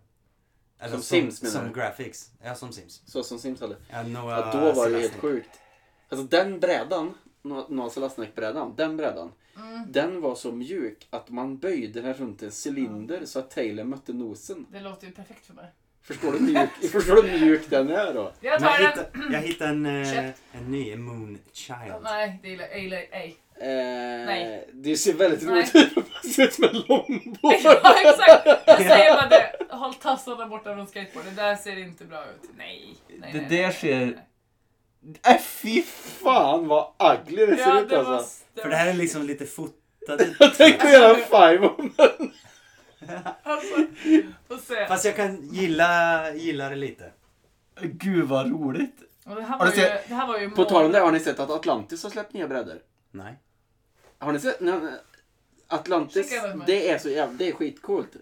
Speaker 4: Eller
Speaker 2: Som Sims, menar
Speaker 4: Som
Speaker 2: du?
Speaker 4: graphics. Ja, som Sims.
Speaker 2: Så som Sims hade.
Speaker 4: Ja, Noah
Speaker 2: Ja, då var det
Speaker 4: Sebastian.
Speaker 2: helt sjukt. Alltså den brädan nå- Nasalastnäckbrädan, den brädan.
Speaker 3: Mm.
Speaker 2: Den var så mjuk att man böjde den runt en cylinder så att tailen mötte nosen.
Speaker 3: Det låter ju perfekt för mig.
Speaker 2: Förstår du hur mjuk, förstår du hur mjuk den är då?
Speaker 3: Jag
Speaker 4: Men
Speaker 3: tar
Speaker 4: jag,
Speaker 3: den!
Speaker 4: hittade, jag hittade en, eh,
Speaker 3: Köpt.
Speaker 4: en ny Moon Child.
Speaker 3: Nej, det gillar jag gillar ej.
Speaker 2: Eh,
Speaker 3: Nej.
Speaker 2: Det ser väldigt
Speaker 3: Nej.
Speaker 2: roligt ut. Det ser ut som en långbord.
Speaker 3: Ja, exakt! Jag säger bara det. Håll tassarna borta från skateboarden. Det där ser inte bra ut. Nej. nej, nej
Speaker 5: Det
Speaker 3: nej,
Speaker 5: där
Speaker 3: nej,
Speaker 5: ser-
Speaker 3: nej.
Speaker 5: Äh, fy
Speaker 2: Fan vad ugly det ser
Speaker 3: Ja,
Speaker 2: ut
Speaker 3: det var...
Speaker 2: alltså.
Speaker 4: För det här är liksom lite fotat.
Speaker 2: Tänk att göra en five om den.
Speaker 3: Alltså, och se.
Speaker 4: Fast jag kan gilla, gilla det lite.
Speaker 5: Gud vad roligt.
Speaker 3: Och det, här
Speaker 5: Och
Speaker 3: var
Speaker 5: det
Speaker 3: ju,
Speaker 5: ser-
Speaker 3: det här var ju
Speaker 2: På tal om
Speaker 3: mål.
Speaker 2: det, har ni sett att Atlantis har släppt nya brädor?
Speaker 4: Nej.
Speaker 2: Har ni sett? Nej, nej. Atlantis,
Speaker 3: Skicka den med.
Speaker 2: det är så jävla, det är skitcoolt.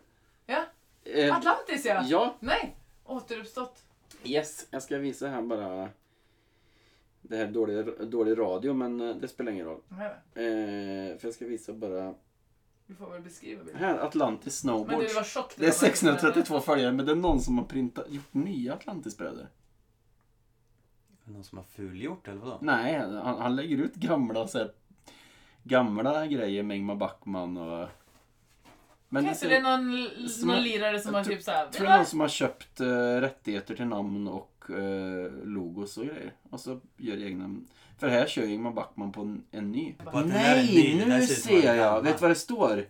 Speaker 3: Ja.
Speaker 2: Eh,
Speaker 3: Atlantis ja.
Speaker 2: ja,
Speaker 3: Nej, återuppstått.
Speaker 2: yes. Jag ska visa här bara. Det här är dålig, dålig radio, men eh, det spelar ingen roll.
Speaker 3: Nej,
Speaker 2: Eh, för jag ska visa bara.
Speaker 3: Vi får väl beskriva bilden.
Speaker 2: Här, Atlantis
Speaker 3: Men
Speaker 2: Snowboard.
Speaker 3: du var tjock.
Speaker 2: Det är 632 följare, men det är någon som har printat, gjort nya Atlantis-brädor.
Speaker 4: Är det Någon som har fulgjort eller vadå?
Speaker 2: Nej, han, han lägger ut gamla så här, gamla grejer med Ingmar Backman och... Men
Speaker 3: Kanske det är någon,
Speaker 2: som
Speaker 3: någon
Speaker 2: har-
Speaker 3: lirare som har
Speaker 2: tror-
Speaker 3: typ såhär...
Speaker 2: tror det är någon som har köpt eh, rättigheter till namn och eh, logos och grejer. Och så gör egna... För här kör Ingmar Backman på en, en ny.
Speaker 4: På att den där är
Speaker 2: Nej,
Speaker 4: ny, den där
Speaker 2: nu
Speaker 4: ser ut som en
Speaker 2: ser jag!
Speaker 4: gammal.
Speaker 2: Vet du vad det står?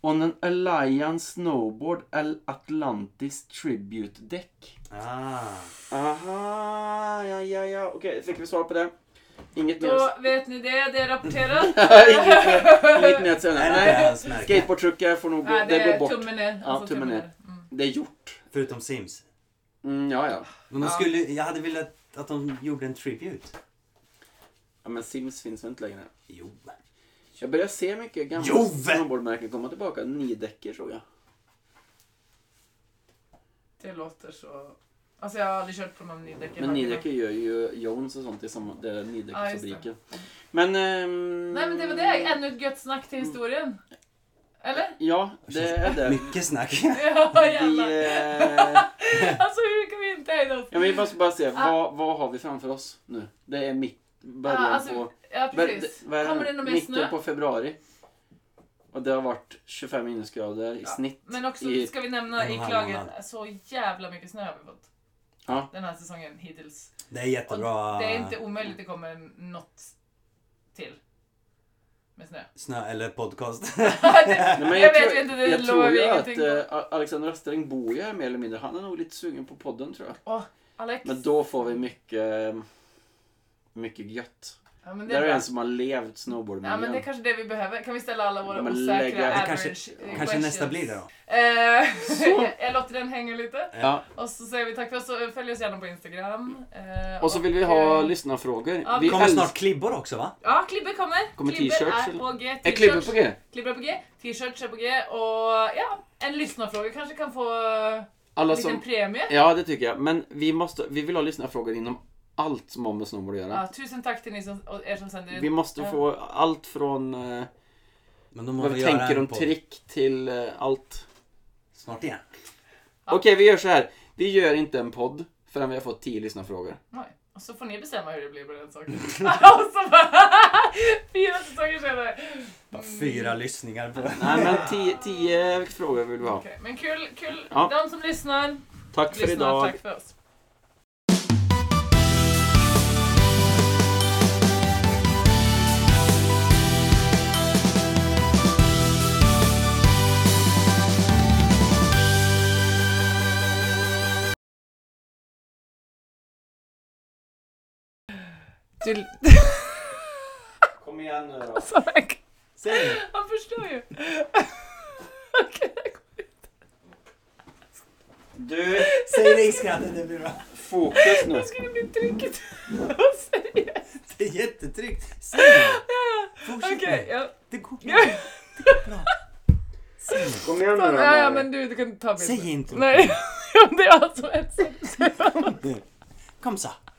Speaker 2: On an Alliance Snowboard Al Atlantis Tribute Deck.
Speaker 4: Ah.
Speaker 2: Aha, ja, ja, ja. Okej, fick vi svar på det? Inget mer?
Speaker 3: Då vet ni det, det är rapporterat.
Speaker 2: inget mer, inget mer att säga.
Speaker 4: Är det
Speaker 2: Nej,
Speaker 4: hans märke?
Speaker 2: skateboardtruckar får nog gå,
Speaker 3: Nej,
Speaker 2: det,
Speaker 3: det
Speaker 2: går
Speaker 3: är
Speaker 2: bort.
Speaker 3: tummen ner.
Speaker 2: Ja, tummen ner.
Speaker 3: Mm.
Speaker 2: Det är gjort.
Speaker 4: Förutom Sims.
Speaker 2: Mm, ja, ja.
Speaker 4: Men de
Speaker 3: Ja.
Speaker 4: skulle, jag hade velat att de gjorde en tribute.
Speaker 2: Ja, men Sims finns väl inte längre?
Speaker 4: Jo.
Speaker 2: Jag börjar se mycket gamla
Speaker 4: Jo!
Speaker 2: snowboardmärken komma tillbaka. Nidäcker tror jag.
Speaker 3: Det låter så... Alltså jag har aldrig kört på någon nydäck.
Speaker 2: Men Nidäcker gör ju Jones och sånt i samma, det är
Speaker 3: Ja, just det.
Speaker 2: Nidäckerfabriken. Men... ehm,
Speaker 3: Nej men det var det, ännu ett gött snack till
Speaker 2: Mm.
Speaker 3: historien. Eller?
Speaker 2: Ja, det är det.
Speaker 4: Mycket snack.
Speaker 3: Ja
Speaker 2: Vi,
Speaker 3: jävlar.
Speaker 2: eh,
Speaker 3: Alltså hur kan vi inte hejda oss?
Speaker 2: ja, men vi måste bara se,
Speaker 3: Ah.
Speaker 2: vad, vad har vi framför oss nu? Det är mitt, början
Speaker 3: Ja, alltså,
Speaker 2: på...
Speaker 3: Ja
Speaker 2: Vad-
Speaker 3: precis.
Speaker 2: vad är
Speaker 3: Kommer
Speaker 2: det
Speaker 3: det
Speaker 2: nu?
Speaker 3: någon mer
Speaker 2: Mitten
Speaker 3: snö?
Speaker 2: på februari. Och det har varit 25 minusgrader i
Speaker 3: Ja,
Speaker 2: snitt.
Speaker 3: Men också
Speaker 2: i-
Speaker 3: ska vi nämna
Speaker 4: en och
Speaker 3: i
Speaker 4: en halv
Speaker 3: klagen,
Speaker 4: månad.
Speaker 3: så jävla mycket snö har vi fått.
Speaker 2: Ja. Ah.
Speaker 3: Den här säsongen hittills.
Speaker 4: Det är jättebra.
Speaker 3: Det är inte omöjligt att det kommer något till. Med snö.
Speaker 4: Snö eller podcast.
Speaker 2: Nej, men
Speaker 3: jag
Speaker 2: tror-
Speaker 3: vet inte, det
Speaker 2: jag tror
Speaker 3: lovar
Speaker 2: ju
Speaker 3: vi
Speaker 2: att
Speaker 3: ingenting på.
Speaker 2: eh, Alexander Österling bor ju här mer eller mindre. Han är nog lite sugen på podden tror jag.
Speaker 3: Alex.
Speaker 2: Men då får vi mycket, mycket gött.
Speaker 3: ja, men det
Speaker 2: Det
Speaker 3: är
Speaker 2: är
Speaker 3: bra.
Speaker 2: en som har levt
Speaker 3: Ja men det är
Speaker 2: snowboardmiljön.
Speaker 3: kanske det vi behöver. Kan vi ställa alla våra
Speaker 2: Ja, men
Speaker 3: osäkra
Speaker 2: lägga- Det
Speaker 3: average
Speaker 4: kanske-
Speaker 3: eh,
Speaker 4: Kanske nästa
Speaker 3: questions.
Speaker 4: blir det då.
Speaker 3: Eh,
Speaker 2: Så.
Speaker 3: jag låter den hänga lite.
Speaker 2: Ja,
Speaker 3: Och så säger vi tack för oss och följ oss gärna på Instagram. Eh,
Speaker 2: och så vill vi ha
Speaker 3: eh,
Speaker 2: lyssnarfrågor.
Speaker 3: ja,
Speaker 2: vi
Speaker 3: vi
Speaker 4: Kommer
Speaker 2: älsk-
Speaker 4: snart klibbor också va?
Speaker 3: Ja, Klibbe kommer.
Speaker 2: Kommer
Speaker 3: Klibbe
Speaker 2: t-shirts
Speaker 3: är
Speaker 2: eller?
Speaker 3: på G.
Speaker 2: Är klippet
Speaker 3: t-shirts-
Speaker 2: på G?
Speaker 3: Klibbe är på G. T-shirts är på G. Och ja, en lyssnarfråga kanske kan få en
Speaker 2: Alla
Speaker 3: liten
Speaker 2: som...
Speaker 3: premie.
Speaker 2: Ja, det tycker jag. Men vi, måste, vi vill ha lyssnarfrågor inom allt som har med snowboard att göra.
Speaker 3: Ja, tusen tack till ni som, och er som sänder
Speaker 2: Vi måste
Speaker 3: Ja.
Speaker 2: få allt från eh,
Speaker 4: Men då
Speaker 2: vad
Speaker 4: måste
Speaker 2: vi
Speaker 4: vi göra
Speaker 2: tänker
Speaker 4: en
Speaker 2: om
Speaker 4: podd.
Speaker 2: trick till eh, allt.
Speaker 4: Snart igen.
Speaker 3: Ja.
Speaker 2: Okej, vi gör så här. Vi gör inte en podd förrän vi har fått tio lyssnarfrågor.
Speaker 3: Nej. Och så får ni bestämma hur det blir på den saken. och så bara, Fyra säsonger senare. Mm,
Speaker 4: Bara fyra lyssningar på
Speaker 2: Nej, men tio, tio frågor vill vi ha.
Speaker 3: Okej, Men kul, kul.
Speaker 2: Ja.
Speaker 3: De som lyssnar,
Speaker 2: Tack för
Speaker 3: lyssnar.
Speaker 2: idag.
Speaker 3: Tack för oss.
Speaker 1: Du...
Speaker 2: Kom igen nu då.
Speaker 1: alltså, jag kan-
Speaker 4: Säg
Speaker 3: Han förstår ju. Okej.
Speaker 2: Du,
Speaker 4: Säg det i skrattet, det blir bra.
Speaker 2: fokus nu.
Speaker 3: Ska det bli trycket?
Speaker 4: Det är jättetryggt. Säg det. Fortsätt
Speaker 3: Okej,
Speaker 4: nu.
Speaker 3: ja.
Speaker 4: Det går bra.
Speaker 3: Ja.
Speaker 4: Det går bra. Säg det.
Speaker 2: Kom igen nu då.
Speaker 3: Ja, ja,
Speaker 2: Mari.
Speaker 3: men du, du kan ta bilden.
Speaker 4: Säg inte.
Speaker 3: Nej, det är alltså ett sätt.
Speaker 4: Kom så.